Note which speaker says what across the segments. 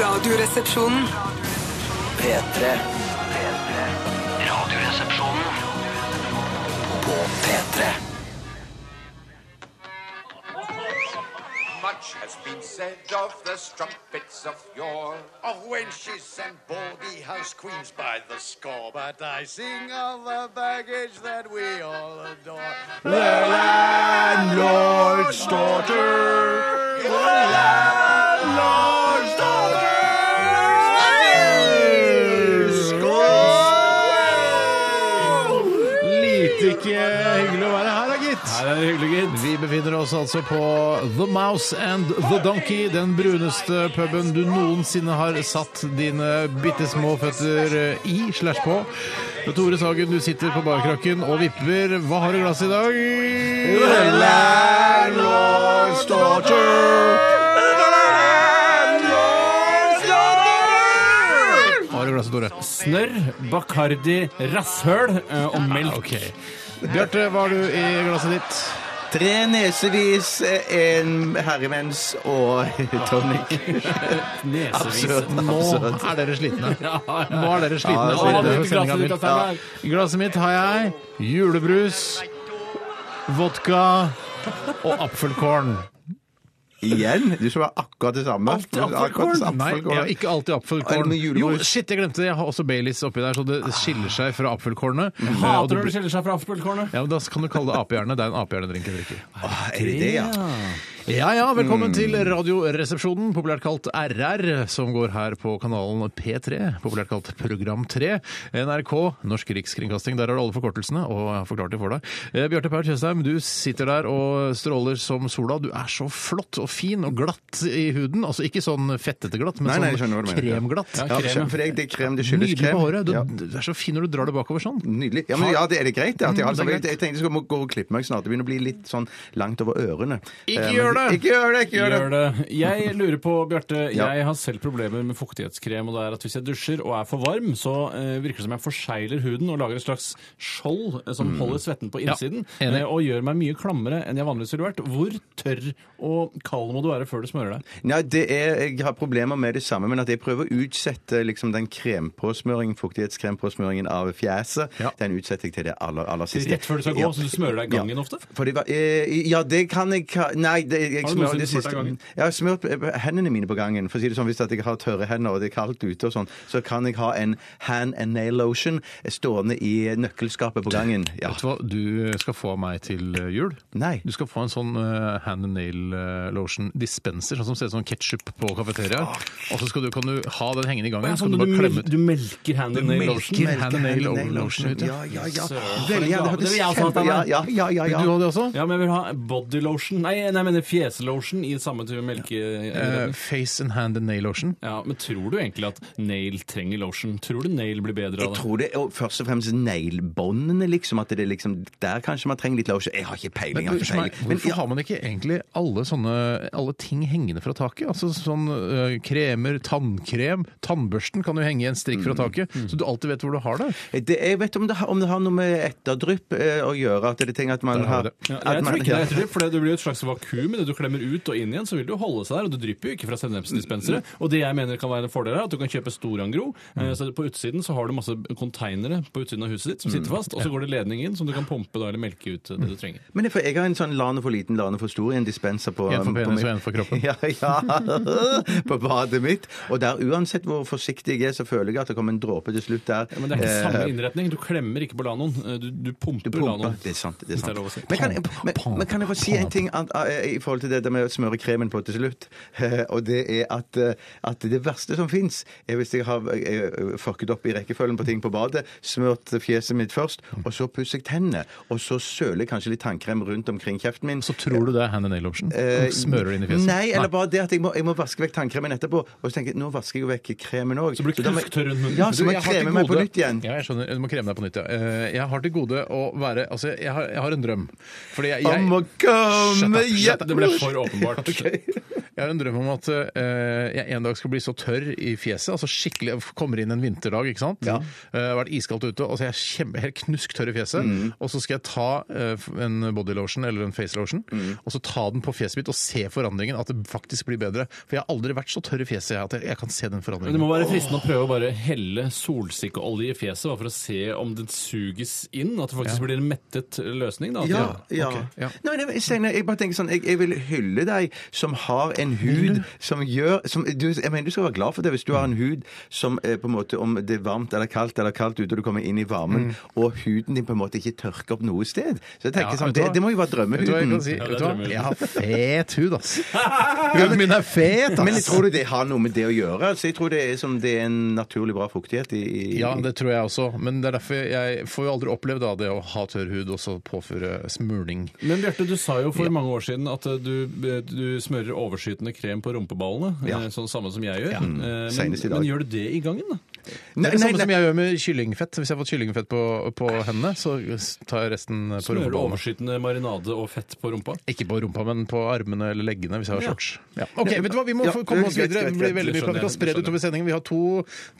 Speaker 1: Radioresepsjonen.
Speaker 2: P3. Radioresepsjonen på P3.
Speaker 3: Much has been said of the strumpets of yore, of wenches and baldy house queens by the score. But I sing of the baggage that we all adore. The landlord's daughter. The landlord's daughter.
Speaker 4: Lite ikke hyggelig å være her, da, gitt.
Speaker 5: Her er det hyggelig, gitt.
Speaker 4: Vi befinner oss altså på The Mouse and The Donkey, den bruneste puben du noensinne har satt dine bitte små føtter eh, i slash på. Tore Sagen, du sitter på barkrakken og vipper. Hva har du i glasset i dag? Hva har du i glasset, Tore?
Speaker 5: Snørr, Bacardi, rasshøl eh, og melk.
Speaker 4: Ok. Bjarte, hva har du i glasset ditt?
Speaker 6: Tre nesevis, eh, en herremens og tonic.
Speaker 5: Nesevis.
Speaker 6: Absolutt.
Speaker 4: Nå
Speaker 6: absolutt.
Speaker 4: er dere slitne.
Speaker 5: Ja, ja.
Speaker 4: Nå er dere slitne.
Speaker 6: Ja,
Speaker 5: Hva har
Speaker 4: Det er
Speaker 5: du i glasset
Speaker 4: sendingen
Speaker 5: ditt,
Speaker 4: min.
Speaker 5: Aslan?
Speaker 4: I glasset mitt har jeg julebrus, vodka og apfelkorn.
Speaker 6: Igjen? Du som er akkurat det samme.
Speaker 5: Alltid
Speaker 6: Akkurat det samme.
Speaker 4: Nei, jeg har ikke alltid
Speaker 6: Er det
Speaker 4: apfelkorn.
Speaker 6: noe
Speaker 4: Jo,
Speaker 6: julebrus?
Speaker 4: shit, jeg glemte det. Jeg har også Baileys oppi der, så det skiller seg fra apfelkornet. Eh, Og
Speaker 5: Hater
Speaker 4: det
Speaker 5: når det
Speaker 4: blir-
Speaker 5: skiller seg fra apfelkornet.
Speaker 4: Ja, men Da kan du kalle det apehjerne. Det er en apehjernedrink jeg drikker.
Speaker 6: Åh, Ah, er det det, ja?
Speaker 4: Ja ja,
Speaker 6: Mm.
Speaker 4: velkommen til Radioresepsjonen, populært kalt RR, som går her på kanalen P3, populært kalt Program 3. NRK, Norsk Rikskringkasting, der har du alle forkortelsene, og jeg har forklart det for deg. Eh, Bjarte Paul Tjøstheim, du sitter der og stråler som sola. Du er så flott og fin og glatt i huden. Altså ikke sånn fettete glatt, men
Speaker 6: Nei, nei, jeg
Speaker 4: sånn
Speaker 6: skjønner hva du mener.
Speaker 4: kremglatt.
Speaker 6: Ja, for deg, det er krem, det skyldes
Speaker 4: Nydelig
Speaker 6: krem.
Speaker 4: på håret. Du,
Speaker 6: Ja.
Speaker 4: du er så fin når du drar det bakover sånn.
Speaker 6: Nydelig. Ja, men ja, det er det greit. det, At jeg, har
Speaker 4: Mm, det er greit.
Speaker 6: det. jeg tenkte jeg skulle må gå og klippe meg snart. Det begynner å bli litt sånn langt over ørene.
Speaker 4: Ikke
Speaker 6: Eh, men-
Speaker 4: gjør det!
Speaker 6: Ikke gjør det! ikke gjør det!
Speaker 5: Gjør det. Jeg lurer på, Bjarte,
Speaker 6: Ja.
Speaker 5: jeg har selv problemer med fuktighetskrem. og det er at Hvis jeg dusjer og er for varm, så eh, virker det som jeg forsegler huden og lager et slags skjold eh, som holder svetten på innsiden.
Speaker 4: enig.
Speaker 5: eh, og gjør meg mye klammere enn jeg vanligvis ville vært. Hvor tørr og kald må du være før du smører deg?
Speaker 6: Nei, det er, jeg har problemer med det samme, men at jeg prøver å utsette liksom, den krempåsmøringen, fuktighetskrempåsmøringen av fjeset,
Speaker 4: Ja.
Speaker 6: den utsetter jeg til det aller, aller siste.
Speaker 5: Rett før du skal gå,
Speaker 6: Ja.
Speaker 5: så du smører deg gangen ofte?
Speaker 6: For det var, eh, ja, det kan jeg ka- Nei, det, jeg
Speaker 5: Har du
Speaker 6: smører
Speaker 5: noensinne
Speaker 6: det
Speaker 5: smurt
Speaker 6: siste.
Speaker 5: deg gangen?
Speaker 6: Jeg har smurt eh, hendene mine på gangen. For å si det sånn, Hvis at jeg har tørre hender og det er kaldt ute, og sånn, så kan jeg ha en hand and nail lotion eh, stående i nøkkelskapet på gangen. Ja.
Speaker 4: Vet du hva du skal få av meg til jul?
Speaker 6: Nei.
Speaker 4: Du skal få en sånn eh, hand and nail eh, lotion dispenser, sånn som ser ut som ketsjup på kafeteriaer. Og så skal du, kan du ha den hengende i gangen, så kan du
Speaker 5: du,
Speaker 4: bare klemme ut.
Speaker 5: melker handen i lotion?
Speaker 4: melker hand and nail lotion, vet du.
Speaker 6: Ja, ja, ja.
Speaker 5: Søren, for en
Speaker 6: Veldig gjerne.
Speaker 5: gave. Det vil jeg også ha,
Speaker 6: Ja,
Speaker 5: Steinar.
Speaker 6: ja, ja, ja,
Speaker 4: Vil du
Speaker 6: ja.
Speaker 4: ha det også?
Speaker 5: Ja, men jeg vil ha body lotion. Nei, nei, jeg mener fjeslotion i samme type melke...
Speaker 4: Eh, face and hand and nail lotion.
Speaker 5: Ja, men tror du egentlig at nail trenger lotion? Tror du nail blir bedre
Speaker 6: Jeg
Speaker 5: av det?
Speaker 6: tror det og først og fremst neglebåndene, liksom. At det er liksom Der kanskje man trenger litt lotion. Jeg har ikke peiling.
Speaker 4: Men,
Speaker 6: Jeg har ikke
Speaker 4: unnskyld meg,
Speaker 6: peiling. Men,
Speaker 4: hvorfor
Speaker 6: ja.
Speaker 4: har man ikke egentlig alle sånne alle ting hengende fra taket? Altså sånn eh, kremer, tannkrem, tannbørsten kan jo henge i en strikk
Speaker 6: Mm.
Speaker 4: fra taket, så du alltid vet hvor du har det.
Speaker 6: Det, jeg vet om det, har- om det har noe med etterdrypp eh, å gjøre. At det er ting at man
Speaker 4: Der har
Speaker 6: har
Speaker 4: vi det.
Speaker 5: Ja, jeg
Speaker 6: at man-
Speaker 5: tror ikke det,
Speaker 6: ja.
Speaker 5: jeg tror, for det blir jo et slags vakuum i det du klemmer ut og inn igjen, så vil det jo holde seg der, og det drypper jo ikke fra sennepsdispensere. Og det jeg mener kan være en fordel, er at du kan kjøpe storangro, eh, så på utsiden så har du masse konteinere på utsiden av huset ditt som sitter fast, og så går det ledning inn som du kan pumpe da, eller melke ut det du trenger.
Speaker 6: Men jeg, får- jeg har en sånn lane for liten, lane for stor i en dispenser på
Speaker 4: En for
Speaker 6: på
Speaker 4: penis
Speaker 6: min-
Speaker 4: og en for kroppen.
Speaker 6: Ja, ja. På badet mitt. Og der, uansett hvor forsiktig jeg er, så føler jeg at det kommer en dråpe til slutt der.
Speaker 5: Men det er ikke samme
Speaker 6: Eh,
Speaker 5: innretning, du klemmer ikke på lanoen, eh, du, du pumper
Speaker 6: Pumpa.
Speaker 5: lanoen.
Speaker 6: Det er sant. det er
Speaker 5: Hvis det er
Speaker 6: sant.
Speaker 5: lov å si.
Speaker 6: Men kan, men, men kan jeg få si en ting an, eh, i forhold til det der med å smøre kremen på til slutt? Eh, Og det er at, eh, at det verste som fins, er hvis jeg har eh, fucket opp i rekkefølgen på ting på badet, smørt fjeset mitt først, og så pusser jeg tennene, og så søler jeg kanskje litt tannkrem rundt omkring kjeften min.
Speaker 4: Så tror du det er hand and nail lotion?
Speaker 6: Eh,
Speaker 4: Smører det inn i fjeset?
Speaker 6: Nei, eller bare det at jeg må, jeg må vaske vekk tannkremen etterpå. Og så tenker jeg, nå vasker jeg jo vekk kremen òg.
Speaker 5: Så blir krefttørr rundt munnen.
Speaker 6: Ja,
Speaker 5: Du,
Speaker 6: så må
Speaker 4: jeg
Speaker 6: jeg
Speaker 4: har til
Speaker 6: kreme meg på
Speaker 4: gode-
Speaker 6: nytt igjen.
Speaker 4: Ja, jeg skjønner. Du må kreme deg på nytt, ja. Eh, Jeg har til gode å være Altså, jeg har, jeg har en drøm. Fordi jeg,
Speaker 6: Om å
Speaker 4: Shut up,
Speaker 6: komme
Speaker 4: shut
Speaker 6: hjem
Speaker 4: up.
Speaker 5: Det ble for åpenbart.
Speaker 4: Jeg har en drøm om at eh, jeg en dag skal bli så tørr i fjeset. altså skikkelig, jeg Kommer inn en vinterdag, ikke sant? Ja. har vært iskaldt ute, og så er jeg kjempe, helt knusktørr i fjeset. Og så skal jeg ta eh, en body lotion eller en face lotion, og så ta den på fjeset mitt og se forandringen, at det faktisk blir bedre. For jeg har aldri vært så tørr i fjeset jeg, at jeg, jeg kan se den
Speaker 5: Men det
Speaker 4: forandringen.
Speaker 5: må være fristende å prøve å bare helle solsikkeolje i fjeset bare for å se om den suges inn, at det faktisk blir en mettet løsning. da. At
Speaker 6: Ja,
Speaker 5: det-
Speaker 6: ja.
Speaker 4: ok, ja.
Speaker 6: Nei, nei, men Steinar, jeg bare tenker sånn jeg, jeg vil hylle deg som har en
Speaker 4: Mm.
Speaker 6: hud som gjør som, du, Jeg mener du skal være glad for det hvis du har en hud som eh, på en måte Om det er varmt eller kaldt eller kaldt ute, og du kommer inn i varmen, og huden din på en måte ikke tørker opp noe sted. Så jeg tenker
Speaker 4: Mm. Ja,
Speaker 6: sånn
Speaker 4: vet du
Speaker 6: det,
Speaker 4: hva?
Speaker 6: det må jo være
Speaker 4: Vet du hva jeg
Speaker 6: drømmehuden.
Speaker 4: kan si?
Speaker 5: Ja, det
Speaker 4: Vet du hva?
Speaker 5: drømmer jeg.
Speaker 4: Jeg har fet hud, ass! Huden min er fet, ass!
Speaker 6: Men jeg tror du det har noe med det å gjøre? Altså, jeg tror det er, som det er en naturlig bra fuktighet i, i
Speaker 4: Ja, det tror jeg også. Men det er derfor jeg får jo aldri opplevd da, det å ha tørr hud og så påføre smurning.
Speaker 5: Men Bjarte, du sa jo for mange år siden at eh, du, du smører overskytende krem på rumpeballene.
Speaker 6: Ja.
Speaker 5: eh, Sånn samme som jeg gjør.
Speaker 6: Ja.
Speaker 5: Eh, Men,
Speaker 6: Senest i dag.
Speaker 5: men gjør du det i gangen, da?
Speaker 6: Nei,
Speaker 4: Det er det
Speaker 6: nei,
Speaker 4: samme som
Speaker 6: nei.
Speaker 4: jeg gjør med kyllingfett. Hvis jeg har fått kyllingfett på, på hendene, så tar jeg resten på
Speaker 5: Smører du
Speaker 4: rumpeballene.
Speaker 5: overskytende marinade og fett på rumpa?
Speaker 4: Ikke på rumpa, men på armene eller leggene hvis jeg har
Speaker 5: Ja.
Speaker 4: shorts. Ja. Ok, vet du hva, Vi må
Speaker 6: Ja,
Speaker 4: få komme oss
Speaker 6: greit,
Speaker 4: videre.
Speaker 6: greit,
Speaker 4: Det blir
Speaker 6: greit.
Speaker 4: veldig mye
Speaker 5: Skjønner,
Speaker 4: prat. Vi kan spre det
Speaker 5: skjønner.
Speaker 4: utover sendingen. Vi har to,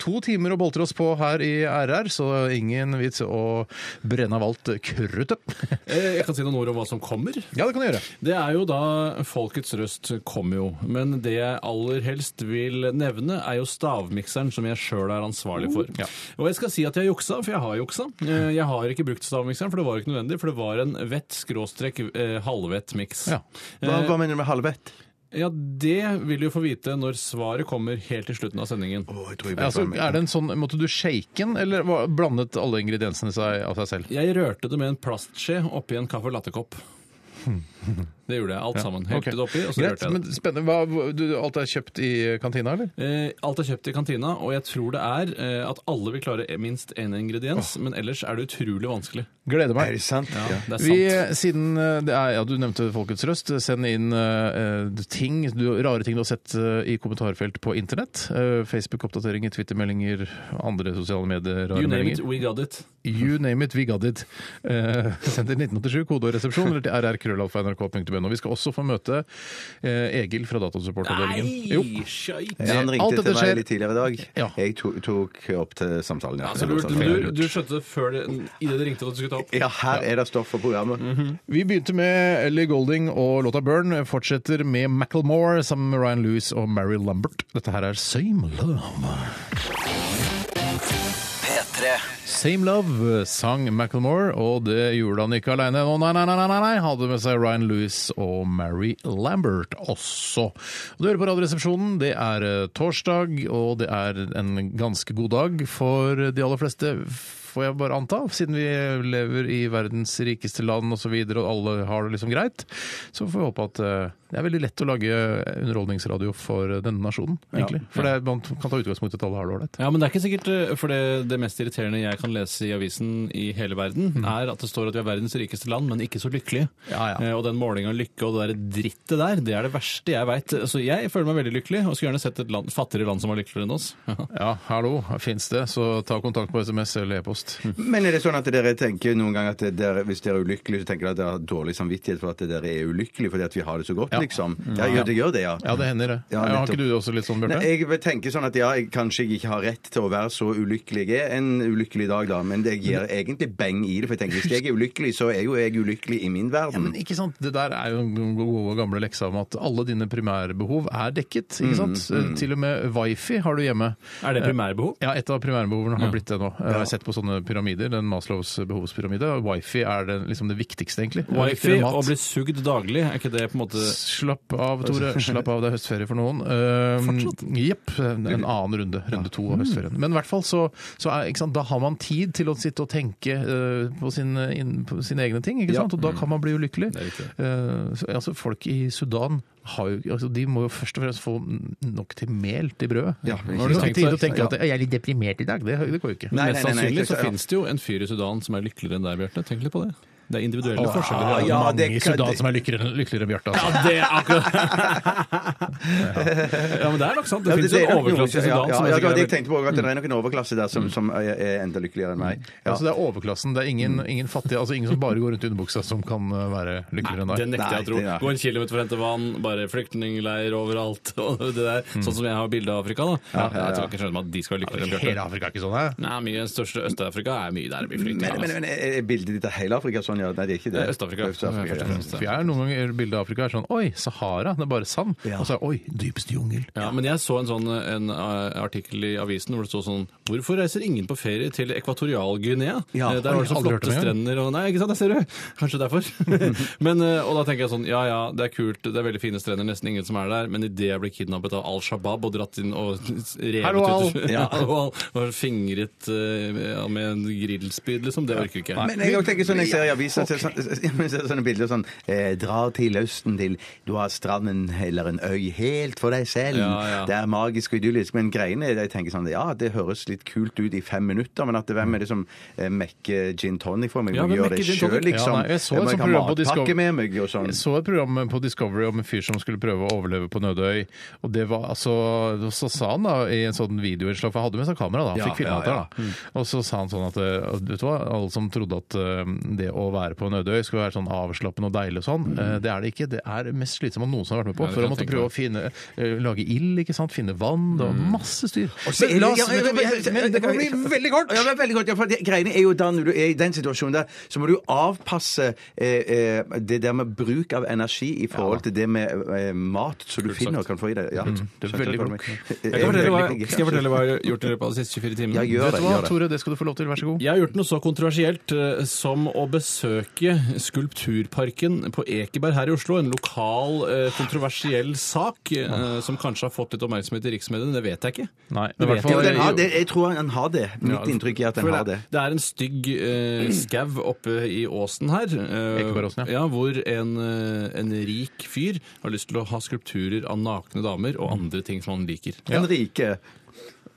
Speaker 4: to timer å boltre oss på her i RR, så ingen vits å brenne av alt kruttet.
Speaker 5: Eh, Jeg kan si noen ord om hva som kommer.
Speaker 4: Ja, det kan du gjøre.
Speaker 5: Det er jo da Folkets røst kommer jo. Men det jeg aller helst vil nevne, er jo stavmikseren som jeg sjøl er ansvarlig for. Og jeg skal si at jeg juksa, for jeg har juksa. Eh, Jeg har ikke brukt stavmikseren, for det var ikke nødvendig. For det var en vett skråstrek eh, halvvett miks.
Speaker 4: Ja.
Speaker 6: Hva, hva mener du med halvvett?
Speaker 5: Ja, det vil du få vite når svaret kommer helt til slutten av sendingen.
Speaker 6: Å, jeg tror
Speaker 4: Ja,
Speaker 6: jeg vet
Speaker 4: Altså,
Speaker 6: hva jeg
Speaker 4: er det en sånn, Måtte du shake den, eller hva- blandet alle ingrediensene seg av seg selv?
Speaker 5: Jeg rørte det med en plastskje oppi en kaffe latte-kopp. Det gjorde jeg. Alt sammen.
Speaker 4: Ok.
Speaker 5: Helte det oppi, og så
Speaker 4: Greit,
Speaker 5: rørte jeg det.
Speaker 4: men spennende. Hva, hva- du, alt er kjøpt i kantina, eller?
Speaker 5: Eh, alt er kjøpt i kantina, og jeg tror det er eh, at alle vil klare minst én ingrediens. Men ellers er det utrolig vanskelig.
Speaker 4: Gleder
Speaker 6: Er
Speaker 4: meg.
Speaker 6: det sant? Ja.
Speaker 5: Det er sant.
Speaker 4: Vi, siden eh, det er, ja, Du nevnte Folkets Røst. Send inn eh, eh, ting, du, rare ting du har sett eh, i kommentarfelt på internett. Eh, Facebook-oppdateringer, Twitter-meldinger, andre sosiale medier. Rare
Speaker 5: You name it,
Speaker 4: meldinger.
Speaker 5: we got it.
Speaker 4: You name it, we got it. Eh, send til 1987, kode og resepsjon, eller til rrkrøllalfa.nrk.no. Vi skal også få møte eh, Egil fra Datasupportavdelingen. Jo.
Speaker 5: skjøyt!
Speaker 6: Ja, Han
Speaker 4: Alt
Speaker 6: ringte
Speaker 4: dette
Speaker 6: til meg
Speaker 4: skjer-
Speaker 6: litt tidligere i dag.
Speaker 4: Ja.
Speaker 6: Jeg tok, tok opp til samtalen. Ja,
Speaker 5: Altså, du, du, du skjønte før det, i det det ringte at du skulle ta opp?
Speaker 6: ja her er det stoff for programmet.
Speaker 4: Vi begynte med Ellie Golding og låta 'Burn'. Fortsetter med Macclemore sammen med Ryan Lewis og Mary Lumbert. Dette her er 'Same Love'.
Speaker 2: P3
Speaker 4: Same Love eh, sang Macclemore, og det gjorde han ikke aleine. Å, nei, nei, nei, nei, nei, hadde med seg Ryan Lewis og Mary Lambert også. Og Du hører på Radioresepsjonen. Det er eh, torsdag, og det er en ganske god dag for de aller fleste. Får jeg bare anta, siden vi lever i verdens rikeste land osv., og, så videre, og alle har det liksom greit, så får vi håpe at eh, det er veldig lett å lage underholdningsradio for eh, denne nasjonen, egentlig. For det er, man kan ta utgangspunkt i at alle har det ålreit.
Speaker 5: Ja, men det er ikke sikkert, eh, for det, det mest irriterende jeg kan lese i avisen i hele verden, er at det står at vi er verdens rikeste land, men ikke så lykkelige.
Speaker 4: Ja, ja.
Speaker 5: Eh, Og den målingen av lykke og det der drittet der, det er det verste jeg veit. Så jeg føler meg veldig lykkelig, og skulle gjerne sett et land, fattigere land som var lykkeligere enn oss.
Speaker 4: Ja, hallo, fins det, så ta kontakt på SMS eller e-post.
Speaker 6: Men er det sånn at dere tenker noen ganger at dere, hvis dere er ulykkelige, så tenker dere at dere har dårlig samvittighet for at dere er ulykkelige fordi at vi har det så godt,
Speaker 4: Ja.
Speaker 6: liksom? Ja, gjør det gjør det, ja.
Speaker 4: Ja, det hender det.
Speaker 6: Ja,
Speaker 4: har
Speaker 6: nettopp.
Speaker 4: ikke du også litt sånn,
Speaker 6: Nei,
Speaker 4: Bjarte?
Speaker 6: jeg vil tenke sånn at ja, jeg, kanskje jeg ikke har rett til å være så ulykkelig jeg er en ulykkelig dag, da. Men det gir egentlig beng i det. For jeg tenker hvis jeg er ulykkelig, så er jo jeg ulykkelig i min
Speaker 4: Ja,
Speaker 6: verden.
Speaker 4: men ikke sant? Det der er jo den gode gamle leksa om at alle dine primærbehov er dekket. ikke sant? Til og med wifi har du hjemme.
Speaker 5: Er det primærbehov?
Speaker 4: Ja, et av primærbehovene har blitt det nå. Jeg har sett på sånne pyramider, den Maslows behovspyramide. og Wifi er det, liksom det viktigste, egentlig. Det er
Speaker 5: Wifi
Speaker 4: viktigere enn mat.
Speaker 5: og bli sugd daglig, er ikke det på en måte
Speaker 4: Slapp av, Tore. Slapp av, det er høstferie for noen. Um, Jepp. En en annen runde. Runde to av høstferien. Men i hvert fall så, så er, ikke sant, da har man tid til å sitte og tenke eh, på, sin, inn- på sine egne ting, ikke sant? og da kan man bli ulykkelig. Eh, så, altså, folk i Sudan har jo, altså, de må jo først og fremst få nok til mel til brødet.
Speaker 6: Ja,
Speaker 4: Nå har du ikke
Speaker 6: ikke sant?
Speaker 4: tid til å tenke
Speaker 6: Ja.
Speaker 4: at jeg er litt deprimert i dag. Det, det går jo ikke.
Speaker 6: Nei,
Speaker 5: Mest
Speaker 6: nei, nei, nei,
Speaker 5: sannsynlig så
Speaker 6: ja.
Speaker 5: finnes det jo en fyr i Sudan som er lykkeligere enn deg, Bjarte. Tenk litt på det. Det er individuelle forskjeller.
Speaker 6: ja,
Speaker 4: ja,
Speaker 6: det
Speaker 4: mange i
Speaker 6: kan-
Speaker 4: Sudan som er lykkeligere, lykkeligere enn Bjarte. Altså.
Speaker 5: Ja, det er akkurat ja, men det er nok sant. Det
Speaker 6: Ja,
Speaker 5: finnes jo
Speaker 6: er
Speaker 5: en
Speaker 6: nok noe-
Speaker 5: overklasse
Speaker 6: ja,
Speaker 5: i Sudan.
Speaker 6: ja,
Speaker 5: som
Speaker 6: ja, det var det jeg
Speaker 5: er sikkert- Mm.
Speaker 6: tenkte på, at det er nok en overklasse der som, som er er enda lykkeligere enn meg. Ja.
Speaker 4: Altså, det er overklassen. Det er ingen, ingen fattige, altså ingen som bare går rundt i underbuksa, som kan eh, være lykkeligere enn
Speaker 5: Nei, det
Speaker 4: deg.
Speaker 5: nekter jeg å tro.
Speaker 6: Nei, det er-
Speaker 5: Gå en kilometer for å hente vann, bare flyktningleir overalt. og det der, Sånn som jeg har bilde av Afrika. da. Jeg tror ikke skjønner meg at de skal være lykkeligere. enn
Speaker 4: Hele
Speaker 5: Bjarte.
Speaker 4: Afrika er ikke sånn, hæ?
Speaker 5: Nei, mye den største Øst-Afrika er mye der det blir altså.
Speaker 6: Men, men,
Speaker 5: flyktninger.
Speaker 6: men er bildet ditt av hele Afrika sånn? Ja, nei, det er ikke det.
Speaker 5: Det er Øst-Afrika.
Speaker 6: Øst-Afrika, ja.
Speaker 5: Ja, først og fremst.
Speaker 4: For jeg er noen ganger bildet av Afrika er sånn Oi, Sahara, det er bare sand. Og så er det, Oi, dypeste jungel.
Speaker 5: Ja, men jeg så en sånn eh, en eh, artikkel i avisen hvor det stod sånn Hvorfor reiser ingen på ferie til Ekvatorial-Guinea?
Speaker 6: Ja,
Speaker 5: Eh, Der var det så
Speaker 4: aldri hørt om
Speaker 5: flotte
Speaker 4: det.
Speaker 5: strender og Nei, ikke sant, der ser du! Kanskje derfor. men, eh, og da tenker jeg sånn Ja ja, det er kult, det er veldig fine strender, nesten ingen som er der, men idet jeg ble kidnappet av Al Shabaab og dratt inn og revet
Speaker 4: Hallo, Al.
Speaker 5: ut ja, og, og fingret eh, med en grillspyd, liksom, det orker ikke jeg.
Speaker 6: Men jeg tenker sånn, jeg ser i aviser ser sånn- ja, men jeg ser sånne bilder sånn eh, Drar til Østen, til du har stranden eller en øy helt for deg selv.
Speaker 5: Ja, ja.
Speaker 6: Det er magisk og idyllisk. Men greiene er jeg tenker sånn Ja, det høres litt kult ut i fem minutter, men at det, hvem er det som eh, mekker gin tonic for meg?
Speaker 5: Ja,
Speaker 6: Ja,
Speaker 5: hvem
Speaker 6: gjør det
Speaker 5: mekker gin
Speaker 6: sjøl,
Speaker 5: tonic?
Speaker 6: liksom.
Speaker 4: Ja, nei, jeg så et
Speaker 6: må
Speaker 4: sånt
Speaker 6: ha
Speaker 4: program på Discovery.
Speaker 6: matpakke med meg og sånn.
Speaker 4: Jeg så et program på Discovery om en fyr som skulle prøve å overleve på Nødøy. Og det var altså Så sa han da i en sånn videoinnslag, for han hadde med seg kamera da, han
Speaker 5: Ja,
Speaker 4: fikk filma
Speaker 5: ja, ja.
Speaker 4: det, da. Og så sa han sånn at eh, vet du hva, alle som trodde at eh, det å være på Nødøy skulle være sånn avslappende og deilig og sånn, eh, det er det ikke. Det er det mest slitsomme noen som har vært med på.
Speaker 5: Ja, det
Speaker 4: for å
Speaker 5: kan
Speaker 4: måtte
Speaker 5: jeg tenke
Speaker 4: prøve å finne eh, lage ild, ikke sant, finne vann. Det var masse styr.
Speaker 6: Men
Speaker 4: Men la oss-
Speaker 6: ja, ja, ja, ja, ja,
Speaker 4: Men det må bli veldig kort!
Speaker 6: Ja, det er veldig kort. Ja, for det, greiene er jo da når du er i den situasjonen der, så må du avpasse eh, eh, det der med bruk av energi i forhold til det med eh, mat som du finner og kan få i deg. Ja,
Speaker 4: Mm. det er veldig klok.
Speaker 5: Jeg kan fortelle hva, skal jeg fortelle hva jeg har gjort i løpet av de siste 24 timene?
Speaker 6: Ja, gjør
Speaker 4: Vet
Speaker 6: det.
Speaker 4: du hva,
Speaker 6: Gjør det.
Speaker 4: Tore, det skal du få lov til. Vær så god.
Speaker 5: Jeg har gjort noe så kontroversielt eh, som å besøke Skulpturparken på Ekeberg her i Oslo. En lokal eh, kontroversiell sak eh, som kanskje har fått litt oppmerksomhet i riksmediene. Det vet jeg ikke.
Speaker 4: Nei,
Speaker 5: det
Speaker 4: men i
Speaker 5: vet
Speaker 4: hvert
Speaker 6: Jo,
Speaker 5: jeg
Speaker 4: fall-
Speaker 5: ikke.
Speaker 6: den har det. Jeg tror han har det. Mitt inntrykk er at den
Speaker 5: For
Speaker 6: har det.
Speaker 5: Det er en stygg eh, skau oppe i åsen her. eh,
Speaker 4: Ekebergåsen, ja.
Speaker 5: ja. Hvor en, eh, en rik fyr har lyst til å ha skulpturer av nakne damer og andre ting som han liker.
Speaker 6: En rike.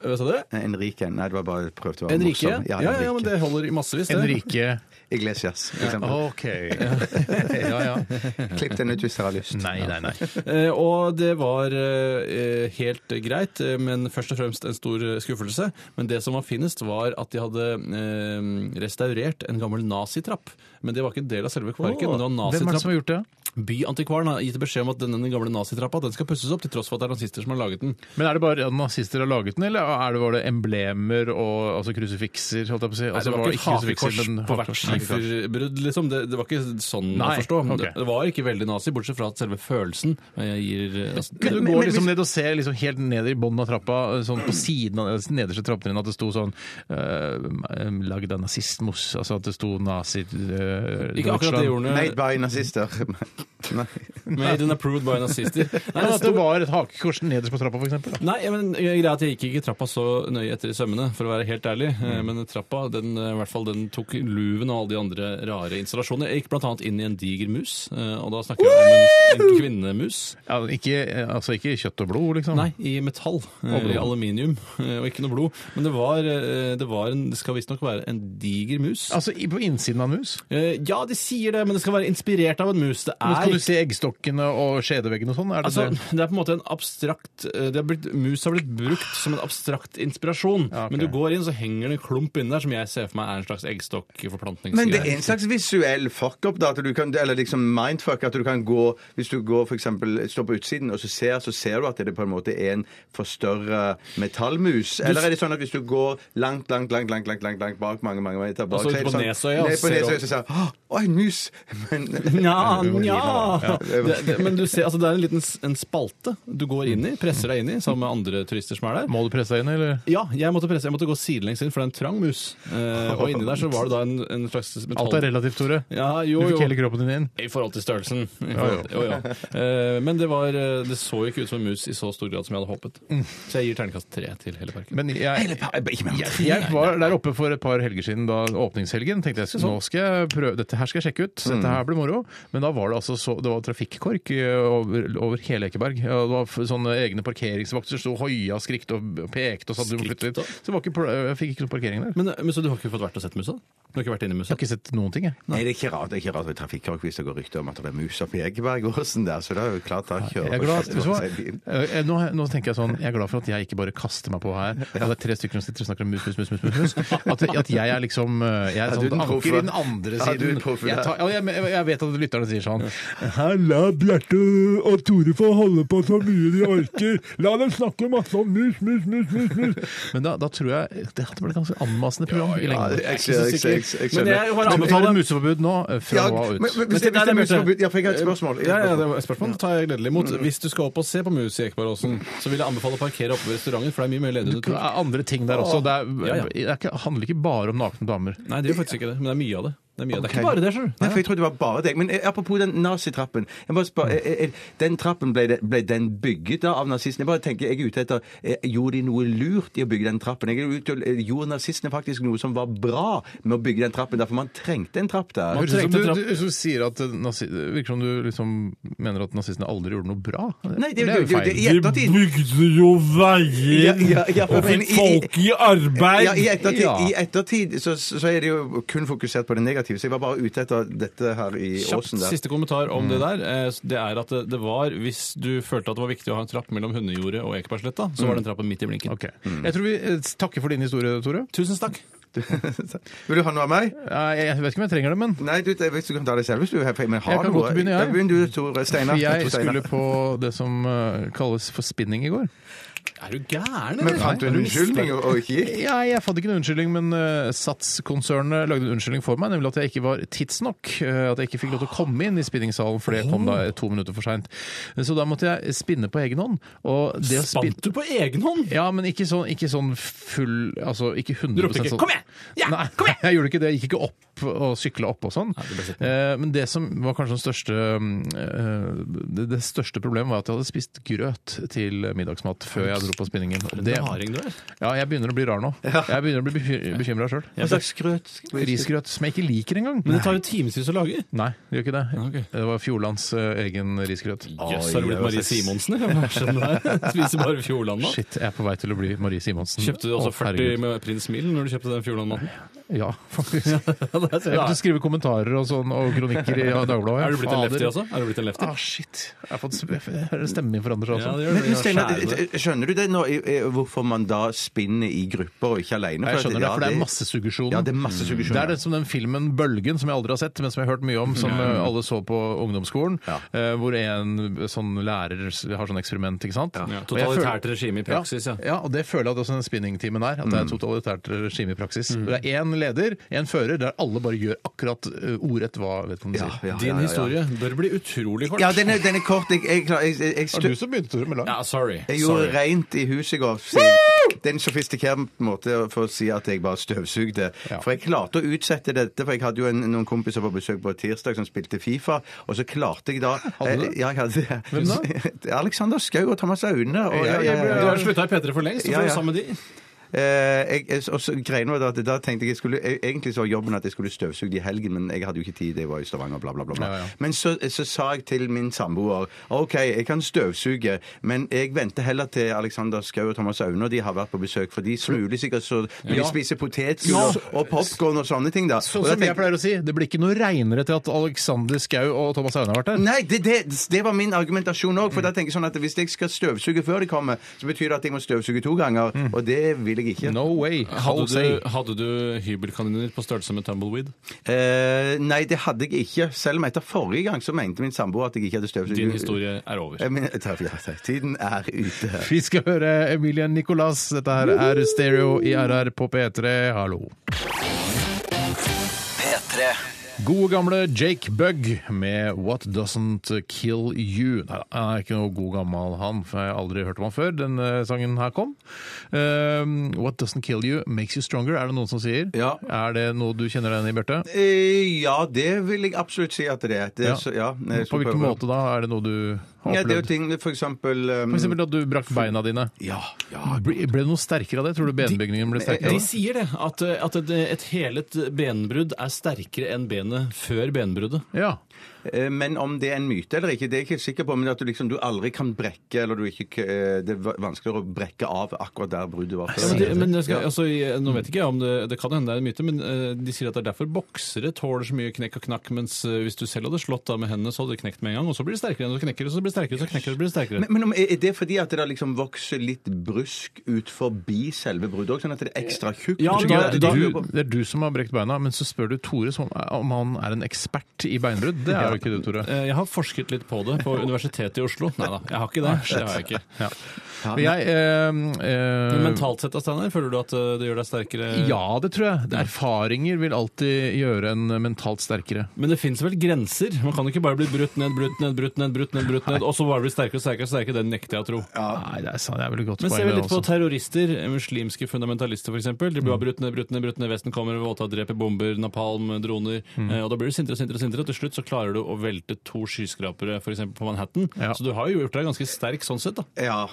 Speaker 5: Hva sa du?
Speaker 6: Nei, En rike. Nei, det var bare jeg prøvde å være
Speaker 5: En rike?
Speaker 6: morsom.
Speaker 5: Ja, ja, ja, men det holder i massevis. det.
Speaker 4: En rike
Speaker 6: Iglesias, for eksempel.
Speaker 4: OK. Ja, ja.
Speaker 6: Klipp den ut hvis dere har lyst.
Speaker 4: Nei, nei, nei.
Speaker 5: Eh, Og det var eh, eh, helt greit, eh, men først og fremst en stor eh, skuffelse. Men det som var finest, var at de hadde eh, restaurert en gammel nazitrapp. Men det var ikke en del av selve parken. men det var en
Speaker 4: Hvem er det som
Speaker 5: nazitrapp.
Speaker 4: har gjort det?
Speaker 5: Byantikvaren har gitt beskjed om at denne gamle nazitrappa den skal pusses opp, til tross for at det er nazister som har laget den.
Speaker 4: Men er det bare nazister har laget den, eller er det, var det emblemer og altså krusifikser, holdt jeg på å si?
Speaker 5: Nei,
Speaker 4: Altså,
Speaker 5: det var ikke hakekors
Speaker 4: krusifikser, men
Speaker 5: på hvert
Speaker 4: hakekors. Nei, ikke sant.
Speaker 5: skiferbrudd, liksom. Det, det var ikke sånn
Speaker 4: Nei,
Speaker 5: å forstå.
Speaker 4: ok.
Speaker 5: Det, det var ikke veldig nazi, bortsett fra at selve følelsen eh, gir eh, altså,
Speaker 4: Kunne du
Speaker 6: Men-
Speaker 4: gå
Speaker 6: men-
Speaker 4: liksom ned og se liksom helt ned i bunnen av trappa, sånn på siden av den nederste trappetrinnet, at det sto sånn uh, Lagd av nazismos, altså at det sto nazi... eh,
Speaker 5: Ikke
Speaker 4: Deutschland.
Speaker 5: akkurat det ordene.
Speaker 6: Made by nazister. Nei.
Speaker 5: Made and approved by nazister. Nei,
Speaker 4: Ja,
Speaker 5: det
Speaker 4: at det var et hakekors nederst på trappa, for eksempel. Da.
Speaker 5: Nei, men eh, greia er at jeg gikk ikke trappa så nøye etter i sømmene, for å være helt ærlig.
Speaker 4: Mm.
Speaker 5: Eh, Men trappa den, eh, i hvert fall, den tok luven av alle de andre rare installasjonene. Jeg gikk bl.a. inn i en diger mus, eh, og da snakker jeg om en, en kvinnemus.
Speaker 4: Ja, ikke, eh, altså ikke kjøtt og blod, liksom.
Speaker 5: Nei, i metall. eh,
Speaker 4: Og blod.
Speaker 5: I aluminium. eh, Og ikke noe blod. Men det var, eh, det, var en, det skal visstnok være en diger mus.
Speaker 4: Altså i- på innsiden av en mus?
Speaker 5: Eh, Ja, de sier det, men det skal være inspirert av en mus. Det
Speaker 4: Men
Speaker 5: er
Speaker 4: skal du se eggstokkene og skjedeveggene og sånn? Er det
Speaker 5: Altså,
Speaker 4: det?
Speaker 5: det er på en måte en abstrakt eh, det har blitt, Mus har blitt brukt som en abstrakt inspirasjon.
Speaker 4: Ja, ok.
Speaker 5: Men du går inn, så henger det en klump inni der som jeg ser for meg er en slags eggstokkforplantningsgreie.
Speaker 6: Men det er en slags visuell fuck-up, da. At du kan, eller liksom mindfuck. At du kan gå Hvis du går for eksempel, står på utsiden og så ser, så ser du at det på en måte er en forstørra metallmus. Eller er det sånn at hvis du går langt, langt, langt langt, langt, langt, langt bak, mange mange meter bak
Speaker 5: Altså,
Speaker 6: så er det
Speaker 5: på
Speaker 6: sånn-
Speaker 5: Nesøya,
Speaker 6: Nei,
Speaker 5: ser
Speaker 6: på
Speaker 5: du-
Speaker 6: Nesøya så ser du Å, en mus! Men
Speaker 5: Nja,
Speaker 6: Ja,
Speaker 5: nja
Speaker 6: det var-
Speaker 5: Det- det- Men du ser, altså, det er en liten s- en spalte du går inn i, presser deg inn i, sammen med andre turister som er der.
Speaker 4: Må du presse deg inn, eller?
Speaker 5: Ja, jeg måtte presse, jeg måtte gå sidelengs inn, for det er en trang mus. Eh, og inni der så var det da en, en slags metall...
Speaker 4: Alt er relativt, Tore.
Speaker 5: Ja,
Speaker 4: Du
Speaker 5: jo,
Speaker 4: fikk
Speaker 5: jo.
Speaker 4: hele kroppen din inn.
Speaker 5: I forhold til størrelsen. I forhold, jo, ja. Eh, Men det, var, eh, det så ikke ut som en mus i så stor grad som jeg hadde håpet. Så jeg gir terningkast tre til hele parken.
Speaker 4: Men jeg,
Speaker 6: Ikke mer enn tre.
Speaker 4: jeg var der oppe for et par helger siden, da åpningshelgen. tenkte
Speaker 5: Sånn.
Speaker 4: jeg, Nå skal jeg prøve, Dette her skal jeg sjekke ut. så Dette
Speaker 5: Mm.
Speaker 4: her blir moro. Men da var det altså så, det var trafikkork eh, over, over hele Ekeberg. Ja, Det var f- sånne egne parkeringsvakter som sto og hoia, skrikte og pekte. og sa du må flytte
Speaker 5: Skrikte?
Speaker 4: dit. Så det var ikke, pl- jeg fikk ikke noe parkering der.
Speaker 5: eh, Men, men Så du har ikke fått vært og sett musa? Du har ikke vært inne i musa?
Speaker 4: Jeg har ikke sett noen ting, jeg.
Speaker 6: Nei, det er ikke rart. Det er ikke rart ved trafikkork hvis det går rykter om at det er mus oppi Ekebergåsen der, så det er jo klart da kjører
Speaker 4: Jeg er glad, vet du hva?
Speaker 6: seg bil.
Speaker 4: Eh, nå, nå tenker jeg sånn, jeg er glad for at jeg ikke bare kaster meg på her. Og det er tre stykker som sitter og snakker om mus, mus, mus, mus, mus. mus. At, at jeg er liksom eh, Jeg er
Speaker 6: Er du
Speaker 4: sånn
Speaker 6: den
Speaker 4: anker
Speaker 6: proffe?
Speaker 4: i den andre
Speaker 6: Er du den
Speaker 4: siden.
Speaker 6: proffe
Speaker 4: Jeg,
Speaker 6: der?
Speaker 4: tar, ja, jeg, jeg vet at lytterne sier sånn Her la Bjarte og Tore få holde på så mye de orker. La dem snakke masse om mus, mus, mus, mus. mus. Men da, da tror jeg det hadde blitt et ganske anmassende program i
Speaker 6: Ja,
Speaker 4: lengden.
Speaker 6: jeg, jeg, jeg, jeg, jeg
Speaker 5: Men
Speaker 6: skjønner.
Speaker 5: jeg bare
Speaker 4: Du tar
Speaker 5: anbefaler
Speaker 4: museforbud nå eh, fra
Speaker 6: Ja,
Speaker 4: nå av og ut.
Speaker 6: men- men hvis det- hvis det er museforbud- Ja, for jeg har et spørsmål. Jeg
Speaker 5: Eh, Ja,
Speaker 6: har et
Speaker 5: ja, det
Speaker 6: spørsmål.
Speaker 5: var et spørsmål tar jeg gledelig imot. Hvis du skal opp og se på mus i Ekebergåsen, så vil jeg anbefale å parkere oppe ved restauranten, for det er mye mer ledig enn du
Speaker 4: Det
Speaker 5: tror.
Speaker 4: er andre ting der også. Det, er,
Speaker 5: Ja, ja.
Speaker 4: det er ikke, handler ikke bare om nakne damer.
Speaker 5: Nei, det er faktisk ikke det, men det er mye av det. Det er, mye av det. det
Speaker 6: Ok.
Speaker 5: er ikke bare det, skjønner du.
Speaker 6: Nei, for jeg trodde det var bare deg. Men eh, apropos den nazitrappen. Jeg må spørre, eh, eh, den trappen, ble, det, ble den bygget da av nazistene? Jeg bare tenker, jeg er ute etter eh, Gjorde de noe lurt i å bygge den trappen? Jeg er ute, eh, gjorde nazistene faktisk noe som var bra med å bygge den trappen? Derfor man trengte en trapp der.
Speaker 5: Man-
Speaker 4: Høres ut som
Speaker 5: Trengte
Speaker 4: du,
Speaker 5: trapp-
Speaker 4: du, du sier at eh, nazi, det Virker som du liksom mener at nazistene aldri gjorde noe bra.
Speaker 6: Nei, det,
Speaker 4: Men
Speaker 6: det, det, det, i ettertid
Speaker 5: bygde jo veier
Speaker 6: Ja, ja, ja, for- og fikk men i- folk
Speaker 5: i arbeid.
Speaker 6: ja, I ettertid,
Speaker 4: Ja.
Speaker 6: i ettertid så, så er det jo kun fokusert på det negative. Så jeg var bare ute etter dette her i
Speaker 5: Kjapt
Speaker 6: åsen der. Mm.
Speaker 5: siste kommentar om det der. Eh, Det er at det- det var, Hvis du følte at det var viktig å ha en trapp mellom Hundejordet og Ekebergsletta, så var
Speaker 6: Mm.
Speaker 5: den trappen midt i blinken.
Speaker 4: Ok. Jeg tror vi eh, takker for din historie, Tore.
Speaker 5: Tusen takk.
Speaker 6: Vil du ha noe av meg?
Speaker 4: Eh, Jeg vet ikke om jeg trenger det, men
Speaker 6: Nei, du, jeg vet du kan ta det selv hvis du er ferdig. Men har
Speaker 4: Jeg kan
Speaker 6: du
Speaker 4: godt
Speaker 6: noe?
Speaker 4: begynne, jeg.
Speaker 6: Da begynner du, Tor Steinar. Tor
Speaker 4: jeg
Speaker 6: Steinar.
Speaker 4: skulle på det som eh, kalles for spinning i går.
Speaker 5: Er du gæren,
Speaker 6: Men
Speaker 5: eller?
Speaker 6: fant du en unnskyldning og og ikke gikk?
Speaker 4: Ja, jeg fant ikke en unnskyldning, men eh, Sats-konsernet lagde en unnskyldning for meg, nemlig at jeg ikke var tidsnok. eh, At jeg ikke fikk lov til å komme inn i spinningsalen, for det kom da to minutter for seint. Så da måtte jeg spinne på egen hånd. Og det å spin-
Speaker 5: Spant du på egen hånd?
Speaker 4: Ja, men ikke sånn, ikke sånn full Altså ikke 100
Speaker 5: Du ropte ikke,
Speaker 4: sånn.
Speaker 5: «Kom igjen! Ja,
Speaker 4: Nei,
Speaker 5: kom igjen!»
Speaker 4: Jeg gjorde ikke det. Jeg gikk ikke opp og sykla opp og sånn.
Speaker 5: det ble sett
Speaker 4: Eh, men det som var kanskje den største eh, det, det største problemet var at jeg hadde spist grøt til middagsmat før jeg dro på spinningen. Og det,
Speaker 5: Raring du er.
Speaker 4: ja, jeg begynner å bli rar nå. Jeg begynner å bli bekymra sjøl.
Speaker 6: Hva slags grøt?
Speaker 4: Risgrøt som jeg ikke liker engang.
Speaker 5: Men det tar jo timevis å lage.
Speaker 4: Nei, det gjør ikke det.
Speaker 5: Ok.
Speaker 4: Det var Fjordlands eh, egen risgrøt.
Speaker 5: Jøss, har du blitt Marie Simonsen? eller? Hva skjønner du her? Spiser bare Fjordland nå.
Speaker 4: Shit, jeg er på vei til å bli Marie Simonsen.
Speaker 5: Kjøpte du
Speaker 4: Å,
Speaker 5: også
Speaker 4: herregud.
Speaker 5: 40 med Prins Milen når du kjøpte den Fjordland-maten?
Speaker 4: Ja, faktisk. Jeg
Speaker 5: Ja,
Speaker 4: begynte å skrive kommentarer og sånn, og kronikker i Dagbladet.
Speaker 5: Er du blitt en lefty
Speaker 4: Fader.
Speaker 5: også? Er du blitt en lefty?
Speaker 4: Ah, shit. Jeg har fått stemmen min forandrer seg
Speaker 5: Ja,
Speaker 4: også.
Speaker 5: det gjør det.
Speaker 6: altså. Men Steinar,
Speaker 5: Skjære det.
Speaker 6: skjønner du det nå, i- i- hvorfor man da spinner i grupper og ikke alene?
Speaker 4: Jeg skjønner det, for det er
Speaker 6: Ja, det er
Speaker 4: massesuggesjonen.
Speaker 6: masse
Speaker 4: Det er
Speaker 6: suggesjoner.
Speaker 4: det som den filmen 'Bølgen', som jeg aldri har sett, men som jeg har hørt mye om, som eh, alle så på ungdomsskolen,
Speaker 6: Ja.
Speaker 4: eh, hvor en sånn lærer s- har sånn eksperiment, ikke sant?
Speaker 5: Ja,
Speaker 4: Og jeg
Speaker 5: Totalitært regime i praksis, ja.
Speaker 4: ja. og det føler jeg at også den spinningtimen er. At det er
Speaker 6: Mm.
Speaker 4: et totalitært regime i praksis. Det er én leder, én fører, der alle bare gjør akkurat eh, ordrett hva vedkommende
Speaker 6: Ja,
Speaker 4: sier.
Speaker 6: ja, ja,
Speaker 5: Din
Speaker 6: ja, ja.
Speaker 5: historie bør bli utrolig kort.
Speaker 6: Ja, den er, den er kort. Jeg, jeg, klar- jeg, jeg, jeg,
Speaker 4: Det
Speaker 6: stø-
Speaker 4: var du som begynte, Tore, med lang.
Speaker 5: Ja, sorry.
Speaker 6: jeg
Speaker 5: sorry.
Speaker 6: gjorde rent i huset i går. sier- Det er en sofistikert måte for å si at jeg bare støvsugde.
Speaker 4: Ja.
Speaker 6: For jeg klarte å utsette dette, for jeg hadde jo en, noen kompiser på besøk på tirsdag som spilte Fifa, og så klarte jeg da
Speaker 4: Hadde du det?
Speaker 6: Eh, Ja, jeg hadde det.
Speaker 4: Hvem da?
Speaker 6: Alexander Skau og Thomas Aune. Og,
Speaker 4: Ja, jeg ble-
Speaker 5: Du har slutta i P3 for lengst, så
Speaker 6: Ja,
Speaker 5: får du
Speaker 6: ja.
Speaker 5: sammen med de.
Speaker 6: Eh, jeg, jeg, og så greiene var da, at da tenkte jeg, jeg skulle, jeg, Egentlig så var jobben at jeg skulle støvsuge i helgen, men jeg hadde jo ikke tid. Jeg var i Stavanger, bla, bla, bla. bla.
Speaker 4: Ja, ja.
Speaker 6: Men så, så sa jeg til min samboer OK, jeg kan støvsuge, men jeg venter heller til Alexander Skau og Thomas Aune, de har vært på besøk, for de smuler sikkert så Men
Speaker 4: Ja.
Speaker 6: de spiser potetgull og, og popkorn og sånne ting, da.
Speaker 4: Sånn
Speaker 6: Og da
Speaker 4: som jeg
Speaker 6: tenkte-
Speaker 4: pleier å si, det blir ikke noe reinere til at Alexander Skau og Thomas Aune har vært der.
Speaker 6: Nei, det, det, det var min argumentasjon òg. For da tenker jeg sånn at hvis jeg skal støvsuge før de kommer, så betyr det at jeg må støvsuge to ganger.
Speaker 4: Mm.
Speaker 6: Og det vil jeg ikke.
Speaker 4: No way.
Speaker 5: Hadde
Speaker 4: How say.
Speaker 5: du, hadde du hybelkaniner på størrelse med tumbleweed?
Speaker 6: Eh, nei, det hadde jeg ikke. Selv om etter forrige gang så mente min samboer at jeg ikke hadde støvsugd.
Speaker 5: Din historie er over.
Speaker 6: Jeg mener- ta- ja, ta- Tiden er ute.
Speaker 4: Vi skal høre Emilie Nicolas. Dette her er Stereo i RR på P3. Hallo.
Speaker 2: P3
Speaker 4: Gode gamle Jake Bugg med What Doesn't Kill You. Nei, han er ikke noe god gammel han, for jeg har aldri hørt om han før. Den eh, sangen her kom. Ehm, What Doesn't Kill You Makes You Stronger, er det noen som sier.
Speaker 6: Ja.
Speaker 4: Er det noe du kjenner deg igjen i, Bjarte?
Speaker 6: Eh, ja, det vil jeg absolutt si at det er. Det,
Speaker 4: Ja.
Speaker 6: er så, ja, jeg
Speaker 4: På
Speaker 6: skal
Speaker 4: hvilken
Speaker 6: prøve.
Speaker 4: måte da? Er det noe du har
Speaker 6: Ja, det er jo
Speaker 4: opplevd?
Speaker 6: ting For eksempel, um,
Speaker 4: For eksempel at du brakk beina dine.
Speaker 6: Ja. ja. eh,
Speaker 4: Ble ble det noe sterkere av det? Tror du benbygningen ble sterkere?
Speaker 5: De
Speaker 4: av det?
Speaker 5: sier det, at, eh, at et, et helet benbrudd er sterkere enn benet før benbruddet.
Speaker 4: Ja.
Speaker 6: Eh, Men om det er en myte eller ikke, det er jeg ikke helt sikker på. Men at du liksom du aldri kan brekke, eller du ikke k- eh, Det er va- vanskeligere å brekke av akkurat der bruddet var
Speaker 5: Ja,
Speaker 6: før.
Speaker 5: men det, men det skal,
Speaker 6: Ja.
Speaker 5: altså, jeg- nå vet ikke jeg om det, det kan hende det er en myte, men eh, de sier at det er derfor boksere tåler så mye knekk og knakk, mens eh, hvis du selv hadde slått da med hendene, så hadde det knekt med en gang, og så blir det sterkere, og så knekker det, og så blir det sterkere, og så knekker det, og så blir det sterkere.
Speaker 6: Men, men om, er er det fordi at det da liksom vokser litt brusk ut forbi selve bruddet òg, sånn at det er ekstra tjukt?
Speaker 5: Ja,
Speaker 6: Sånn
Speaker 5: da-
Speaker 6: at
Speaker 4: det,
Speaker 6: du-
Speaker 4: er
Speaker 5: da-
Speaker 4: du, det er du som har brekt beina, men så spør du Tore som om, om han er en ekspert i beinbrudd. Det er jo ikke du, Tore.
Speaker 5: Eh, Jeg har forsket litt på det på Universitetet i Oslo. Nei da, jeg har ikke det. det har jeg ikke.
Speaker 4: Men jeg eh, eh,
Speaker 5: Men mentalt sett, da, Steinar, føler du at eh, det gjør deg sterkere?
Speaker 4: Ja, det tror jeg. Det- Erfaringer vil alltid gjøre en mentalt sterkere.
Speaker 5: Men det fins vel grenser? Man kan ikke bare bli brutt ned, brutt ned, brutt ned, brutt ned, brutt ned og så bare bli sterkere og sterkere. og sterkere. Det nekter jeg å tro.
Speaker 4: Nei, det er, sant, det er vel et godt
Speaker 5: Men
Speaker 4: poeng.
Speaker 5: ser vi
Speaker 4: det
Speaker 5: litt på
Speaker 4: også.
Speaker 5: terrorister, eh, muslimske fundamentalister f.eks. De blir brutt ned, brutt ned, brutt ned. Vesten kommer, voldtar, dreper, bomber, napalm, droner. Eh, Og da blir du sintere og sintere, og sintere, og til slutt så klarer du å velte to skyskrapere for eksempel på Manhattan.
Speaker 4: Ja.
Speaker 5: Så du har jo gjort deg ganske sterk sånn sett, da.
Speaker 6: Ja.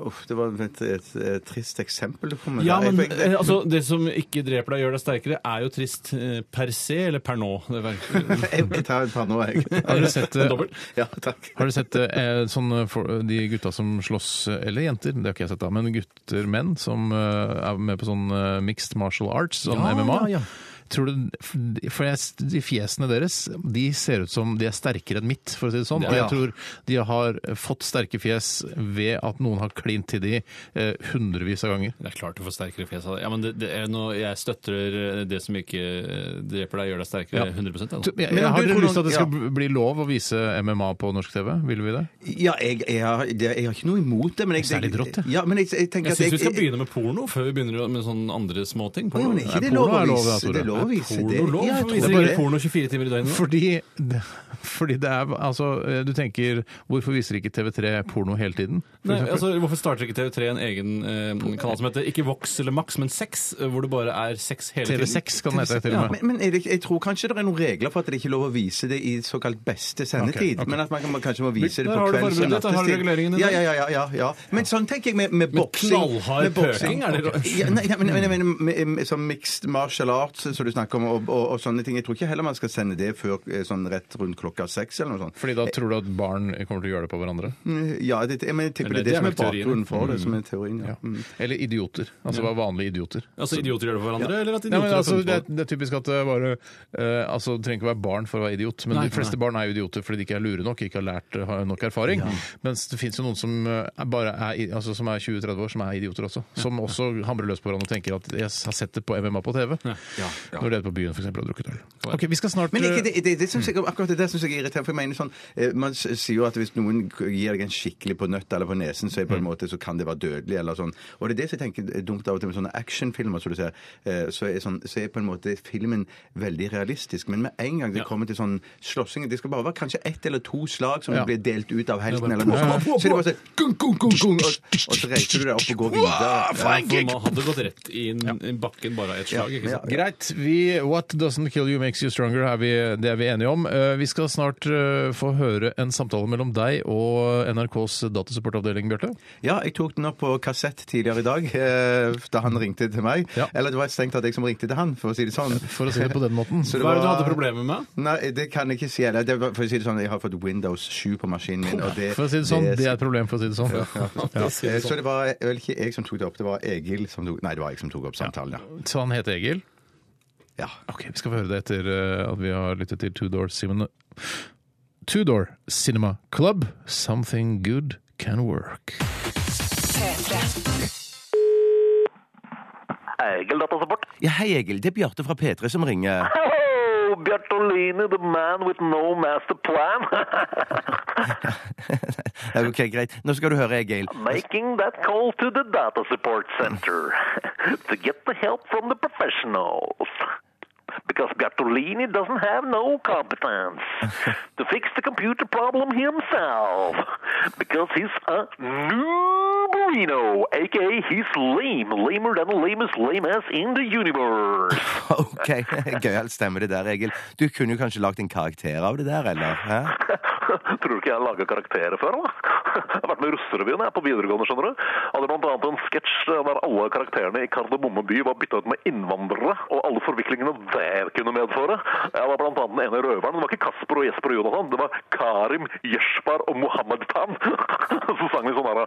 Speaker 6: Uff, det var et, et, et trist eksempel du kom med.
Speaker 5: Ja,
Speaker 6: der. Jeg
Speaker 5: men
Speaker 6: fikk- jeg-
Speaker 5: eh, altså, Det som ikke dreper deg, gjør deg sterkere, er jo trist eh, per se, eller per nå. Det verker-
Speaker 6: jeg, jeg tar et par nå, jeg.
Speaker 4: Har dere sett, eh,
Speaker 5: En dobbelt.
Speaker 6: Ja, takk.
Speaker 4: har dere sett eh, sånn, eh, for, de gutta som slåss, eh, eller jenter, det har ikke jeg sett da, men gutter, menn, som eh, er med på sånn eh, mixed martial arts, sånn
Speaker 5: Ja,
Speaker 4: MMA?
Speaker 5: ja, ja.
Speaker 4: Tror du, for jeg, de fjesene deres de ser ut som de er sterkere enn mitt, for å si det sånn. Og
Speaker 5: Ja.
Speaker 4: jeg tror de har fått sterke fjes ved at noen har klint til de eh, hundrevis av ganger.
Speaker 5: Det er klart du får sterkere fjes av det. Ja, men det, det er noe, jeg støtter eh, det som ikke eh, dreper deg, gjør deg sterkere. altså.
Speaker 4: Ja.
Speaker 5: 100 da.
Speaker 4: Jeg, jeg,
Speaker 6: Men om
Speaker 4: har
Speaker 6: du
Speaker 4: dere
Speaker 6: tror
Speaker 4: lyst til at det
Speaker 6: noen-
Speaker 4: skal bli lov å vise MMA på norsk TV? Vil vi det?
Speaker 6: Ja, jeg, jeg, har, det, jeg har ikke noe imot det, men jeg,
Speaker 4: Det er litt rått, det.
Speaker 6: ja, men jeg, jeg tenker
Speaker 5: Jeg
Speaker 6: at
Speaker 5: syns vi skal
Speaker 6: jeg-
Speaker 5: begynne med porno før vi begynner med sånne andre småting.
Speaker 6: Å, ja, men er ikke det
Speaker 4: Nei,
Speaker 6: lov
Speaker 4: porno
Speaker 6: å
Speaker 4: er lov,
Speaker 6: vise?
Speaker 4: ja, Tore.
Speaker 6: Det er lov å vise det.
Speaker 5: Porno lov?
Speaker 6: Ja, jeg
Speaker 5: Hvorfor
Speaker 6: tror
Speaker 5: viser ikke
Speaker 6: det.
Speaker 5: porno 24 timer i døgnet?
Speaker 4: Fordi, fordi det er Altså, eh, du tenker Hvorfor viser ikke TV3 porno hele tiden? For
Speaker 5: Nei,
Speaker 4: eksempel?
Speaker 5: altså, hvorfor starter ikke TV3 en egen eh, kanal som heter ikke Vox eller Max, men Sex, eh, hvor det bare er sex hele tiden?
Speaker 4: TV6 kan det hete til
Speaker 5: Ja,
Speaker 4: og med.
Speaker 6: Men, men er det, ikke- jeg tror kanskje det er noen regler for at det ikke er lov å vise det i såkalt beste
Speaker 4: Ok,
Speaker 6: sendetid.
Speaker 4: ok.
Speaker 6: Men at man, kan- man kanskje må vise det
Speaker 5: Der
Speaker 6: på
Speaker 5: har du
Speaker 6: kvelds- og
Speaker 5: forberedt deg, har du reguleringen din
Speaker 6: Ja,
Speaker 5: der?
Speaker 6: ja, ja, ja, ja, ja. Men sånn tenker jeg med, med
Speaker 5: Men
Speaker 6: boksing.
Speaker 5: knallhard
Speaker 6: med boksing.
Speaker 5: pøking, er det rart?
Speaker 6: Ja, nei, nei, men jeg mener med- med- sånn mixed martial arts som du snakker om, og, og, og sånne ting. Jeg tror ikke heller man skal sende det før eh, sånn rett rundt klokka seks eller noe sånt.
Speaker 4: Fordi da tror du at barn kommer til å gjøre det på hverandre?
Speaker 6: Ja, det, jeg, men jeg tipper det,
Speaker 5: Eller
Speaker 6: er det
Speaker 5: det
Speaker 6: som
Speaker 5: er
Speaker 6: er
Speaker 5: nok teorien.
Speaker 6: bakgrunnen for det, som er teorien. Ja. Mm.
Speaker 4: Eller idioter. Altså bare vanlige idioter.
Speaker 5: Altså idioter gjør det for hverandre, eller at
Speaker 4: Nei,
Speaker 5: idioter
Speaker 4: men altså,
Speaker 5: har
Speaker 4: det, er,
Speaker 5: funnet på det?
Speaker 4: det er typisk at det bare eh, altså, Det trenger ikke være barn for å være idiot, men
Speaker 5: Nei,
Speaker 4: de fleste
Speaker 5: nei.
Speaker 4: barn er jo idioter fordi de ikke er lure nok, ikke har lært eh, har nok erfaring. Mens det fins jo noen som eh, er bare er, i- altså, som er 20-30 år, som er idioter også. Som også hamrer løs på hverandre og tenker at 'jeg har sett det på MMA på TV'. Når de er på byen for eksempel, og har drukket øl. Ok, vi skal snart
Speaker 6: Men ikke,
Speaker 4: eh,
Speaker 6: det, det, det synes
Speaker 5: Mm.
Speaker 6: jeg, akkurat det der syns jeg er irriterende. For jeg mener sånn, eh, Man s- sier jo at hvis noen k- gir deg en skikkelig på nøtta eller på nesen, så, er det
Speaker 5: Mm.
Speaker 6: på en måte, så kan det være dødelig. eller sånn. Og det er det som jeg tenker er dumt av og til med sånne actionfilmer. som du ser, eh, så er, sånn, så er på en måte filmen veldig realistisk. Men med en gang det
Speaker 5: Ja.
Speaker 6: kommer til sånn slåssing Det skal bare være kanskje ett eller to slag som
Speaker 4: Ja.
Speaker 6: blir delt ut av
Speaker 5: Ja, bare
Speaker 6: helten. eller
Speaker 5: pum,
Speaker 6: noe sånt.
Speaker 5: pum,
Speaker 6: Så
Speaker 5: pum,
Speaker 6: er det bare sånn, gung, gung, gung, gung, og, og så reiser du deg opp og går videre.
Speaker 5: Ja, for man hadde gått rett i en- i bakken bare av ett slag. ikke sant?
Speaker 4: Greit. Vi, what doesn't kill you makes you stronger, er vi, det er vi enige om. Eh, Vi skal snart eh, få høre en samtale mellom deg og NRKs datasupportavdeling, Bjarte.
Speaker 6: Ja, jeg tok den opp på kassett tidligere i dag, eh, da han ringte til meg.
Speaker 4: Ja.
Speaker 6: Eller det var strengt tatt jeg som ringte til han, for å si det sånn.
Speaker 4: For å si det på den måten.
Speaker 6: Så
Speaker 5: Hva er det du
Speaker 6: var-
Speaker 5: hadde problemer med?
Speaker 6: Nei, det kan jeg ikke si. Eller, det var, for å si det sånn, jeg har fått Windows 7 på maskinen min, og det
Speaker 4: For å si det sånn, det er et problem, for å si det sånn.
Speaker 6: Eh, Så det var vel ikke jeg som tok det opp, det var Egil som tok Nei, det var jeg som tok opp samtalen, ja.
Speaker 4: Så han heter Egil.
Speaker 6: ja.
Speaker 4: Ok, Vi skal få høre det etter eh, at vi har lyttet til Two Door Cinema, Two Door Cinema Club. Something good can work.
Speaker 2: Egil Datasupport.
Speaker 1: Ja, hei Egil, det er Bjarte fra P3 som ringer.
Speaker 2: Oh, Bjartolini, the man with no master plan.
Speaker 1: Ja, ok, greit. Nå skal du høre, Egil.
Speaker 2: Making that call to the data support center to get the help from the professionals. Because Bertolini doesn't have no competence to fix the computer problem himself. Because he's a noob. Reno, aka he's lame, lamer than the lamest lame ass in the universe.
Speaker 1: OK. Gøyalt stemmer det der, Egil. Du kunne jo kanskje lagd en karakter av det der, eller? Hæ?
Speaker 2: Tror du ikke jeg har laget karakterer før, da? Jeg har vært med i Russerevyen jeg, på videregående, skjønner du. Hadde blant annet en sketsj der alle karakterene i Kardemomme by var bytta ut med innvandrere, og alle forviklingene det kunne medføre. Jeg var blant annet den ene røveren. Det var ikke Kasper og Jesper og Jonathan, det var Karim, Jesper og Mohammed Tan. Så sang de sånn her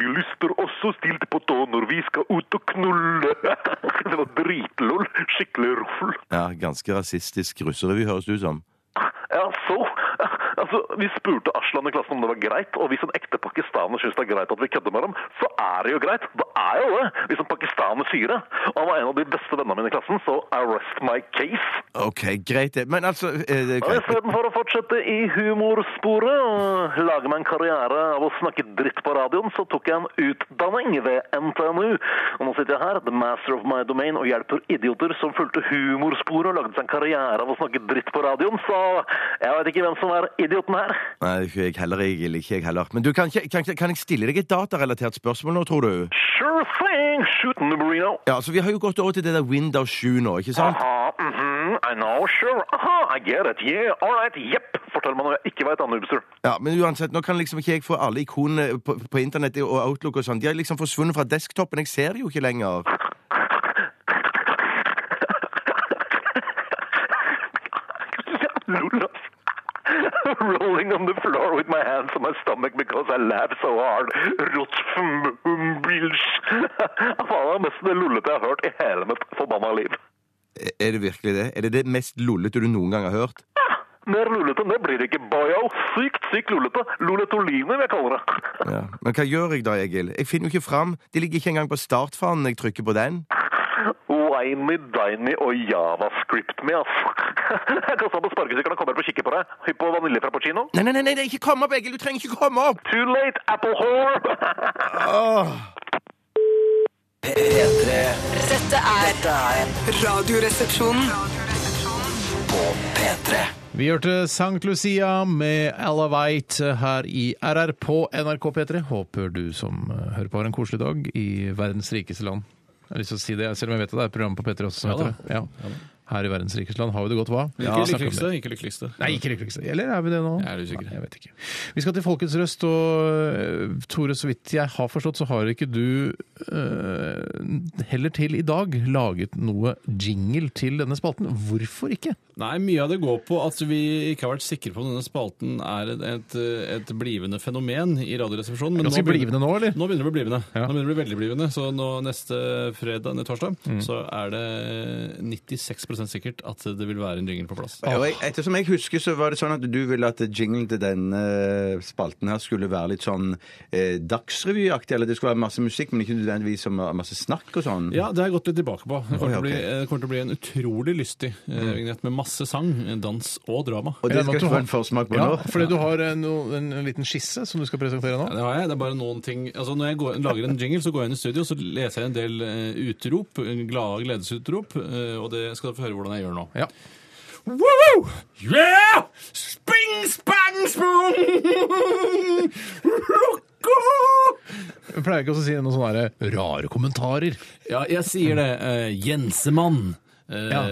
Speaker 2: Vi lyster også stilt på tå når vi skal ut og knulle. Det var dritlol. Skikkelig ruffel.
Speaker 1: Ja, ganske rasistisk russerevy høres det ut som.
Speaker 2: Ja, så? Altså, Vi spurte Aslan i klassen om det var greit, og hvis en ekte pakistaner syns det er greit at vi kødder med dem, så er det jo greit. Det er jo det, hvis en pakistaner sier det. Og han var en av de beste vennene mine i klassen, så I rest my case.
Speaker 1: OK, greit det. Men altså eh, det er
Speaker 2: Men
Speaker 1: greit.
Speaker 2: istedenfor å fortsette i humorsporet og lage meg en karriere av å snakke dritt på radioen, så tok jeg en utdanning ved NTNU. Og nå sitter jeg her, the master of my domain, og hjelper idioter som fulgte humorsporet og lagde seg en karriere av å snakke dritt på radioen, så jeg veit ikke hvem som er idioten her.
Speaker 1: Nei, ikke jeg heller, Egil. Ikke jeg heller. Men du, kan, ikke- kan, ikke- kan jeg stille deg et datarelatert spørsmål nå, tror du?
Speaker 2: Sure thing! Shoot, Numerino.
Speaker 1: Ja, så Vi har jo gått over til det der Windows 7 nå, ikke
Speaker 6: Sånn.
Speaker 1: sant?
Speaker 2: oh. Aha, mhm, I know, sure. Aha, I get it. Yeah, all right, jepp. Fortell meg når jeg ikke veit, Anubster.
Speaker 1: Ja, Men uansett, nå kan liksom ikke jeg få alle ikonene på, på internett og Outlook og sånn. De har liksom forsvunnet fra desktopen. Jeg ser det jo ikke lenger.
Speaker 2: Lol, ass. Rolling on the floor with my hands on my stomach because I laugh so hard. Rottfumbils. Faen, det er mest det lollete jeg har hørt i hele mitt forbanna liv.
Speaker 1: Er- Er det virkelig det? Er det det mest lollete du noen gang har hørt?
Speaker 2: Mer lollete enn det blir det ikke, boyo. Sykt, sykt lollete. Lolletoliner, vil jeg kalle det.
Speaker 1: Ja. Men hva gjør jeg da, Egil? Jeg finner jo ikke fram. De ligger ikke engang på startfanen når jeg trykker på den.
Speaker 2: Winey, diney og javascript med, ass. Jeg kasta på sparkesykkelen og kommer på å kikke på deg. Hypp på vaniljefrappuccino.
Speaker 1: Nei, nei, nei, nei, ikke komme opp, Egil! Du trenger ikke komme opp!
Speaker 2: Too late, apple whore!
Speaker 7: Dette er Radioresepsjonen.
Speaker 4: Vi hørte Sankt Lucia med Alavite her i RR på NRK P3. Håper du som eh, hører på har en koselig dag i verdens rikeste land. Jeg har lyst til å si det, selv om jeg vet at det er et program på P3 også som
Speaker 5: Ja da.
Speaker 4: heter det. Ja. Her i verdens rikeste land har vi det godt, hva?
Speaker 5: Ikke lykkeligste. Ikke lykkeligste.
Speaker 4: Nei, ikke lykkeligste. Eller er vi det nå?
Speaker 5: Jeg er usikker.
Speaker 4: Nei, Jeg vet ikke. Vi skal til Folkets Røst, og eh, Tore, så vidt jeg har forstått, så har ikke du eh, heller til i dag laget noe jingle til denne spalten. Hvorfor ikke?
Speaker 5: Nei, mye av det går på at vi ikke har vært sikre på om denne spalten er et, et, et blivende fenomen i Radioresepsjonen. men
Speaker 4: Ganske
Speaker 5: nå begynner-
Speaker 4: blivende nå, eller?
Speaker 5: Nå begynner det å bli blivende.
Speaker 4: Ja.
Speaker 5: Nå begynner det å bli veldig blivende. Så nå neste fredag, nei, torsdag, så er det 96 sikkert at det vil være en jingle på plass.
Speaker 6: Og jeg, ettersom jeg husker, så var det sånn at du ville at jinglen til denne eh, spalten her skulle være litt sånn eh, dagsrevyaktig, eller det skulle være masse musikk, men ikke nødvendigvis så ma- masse snakk og sånn.
Speaker 5: Ja, det har jeg gått litt tilbake på. Det kommer,
Speaker 6: ja,
Speaker 5: til, å bli,
Speaker 6: ok.
Speaker 5: eh, det kommer til å bli en utrolig lystig eh, vignett med masse sang, dans og drama.
Speaker 6: Og
Speaker 4: Jeg
Speaker 6: det
Speaker 4: regner med at
Speaker 6: skal
Speaker 4: du
Speaker 6: vi få
Speaker 4: har-
Speaker 6: en forsmak på
Speaker 4: Ja,
Speaker 6: nå.
Speaker 4: fordi du har eh, no, en, en liten skisse som du skal presentere nå.
Speaker 5: Ja, det har jeg. Det er bare noen ting Altså, Når jeg går, lager en jingle, så går jeg inn i studio så leser jeg en del eh, utrop. Glade gledesutrop. eh, og det skal dere få høre hvordan jeg gjør nå.
Speaker 4: Ja.
Speaker 5: Woo! Yeah! Sping, spang, spong! Rocko!
Speaker 4: Jeg pleier ikke også å si noen sånne der rare kommentarer.
Speaker 5: Ja, jeg sier det. eh, Jensemann. eh,
Speaker 4: Ja.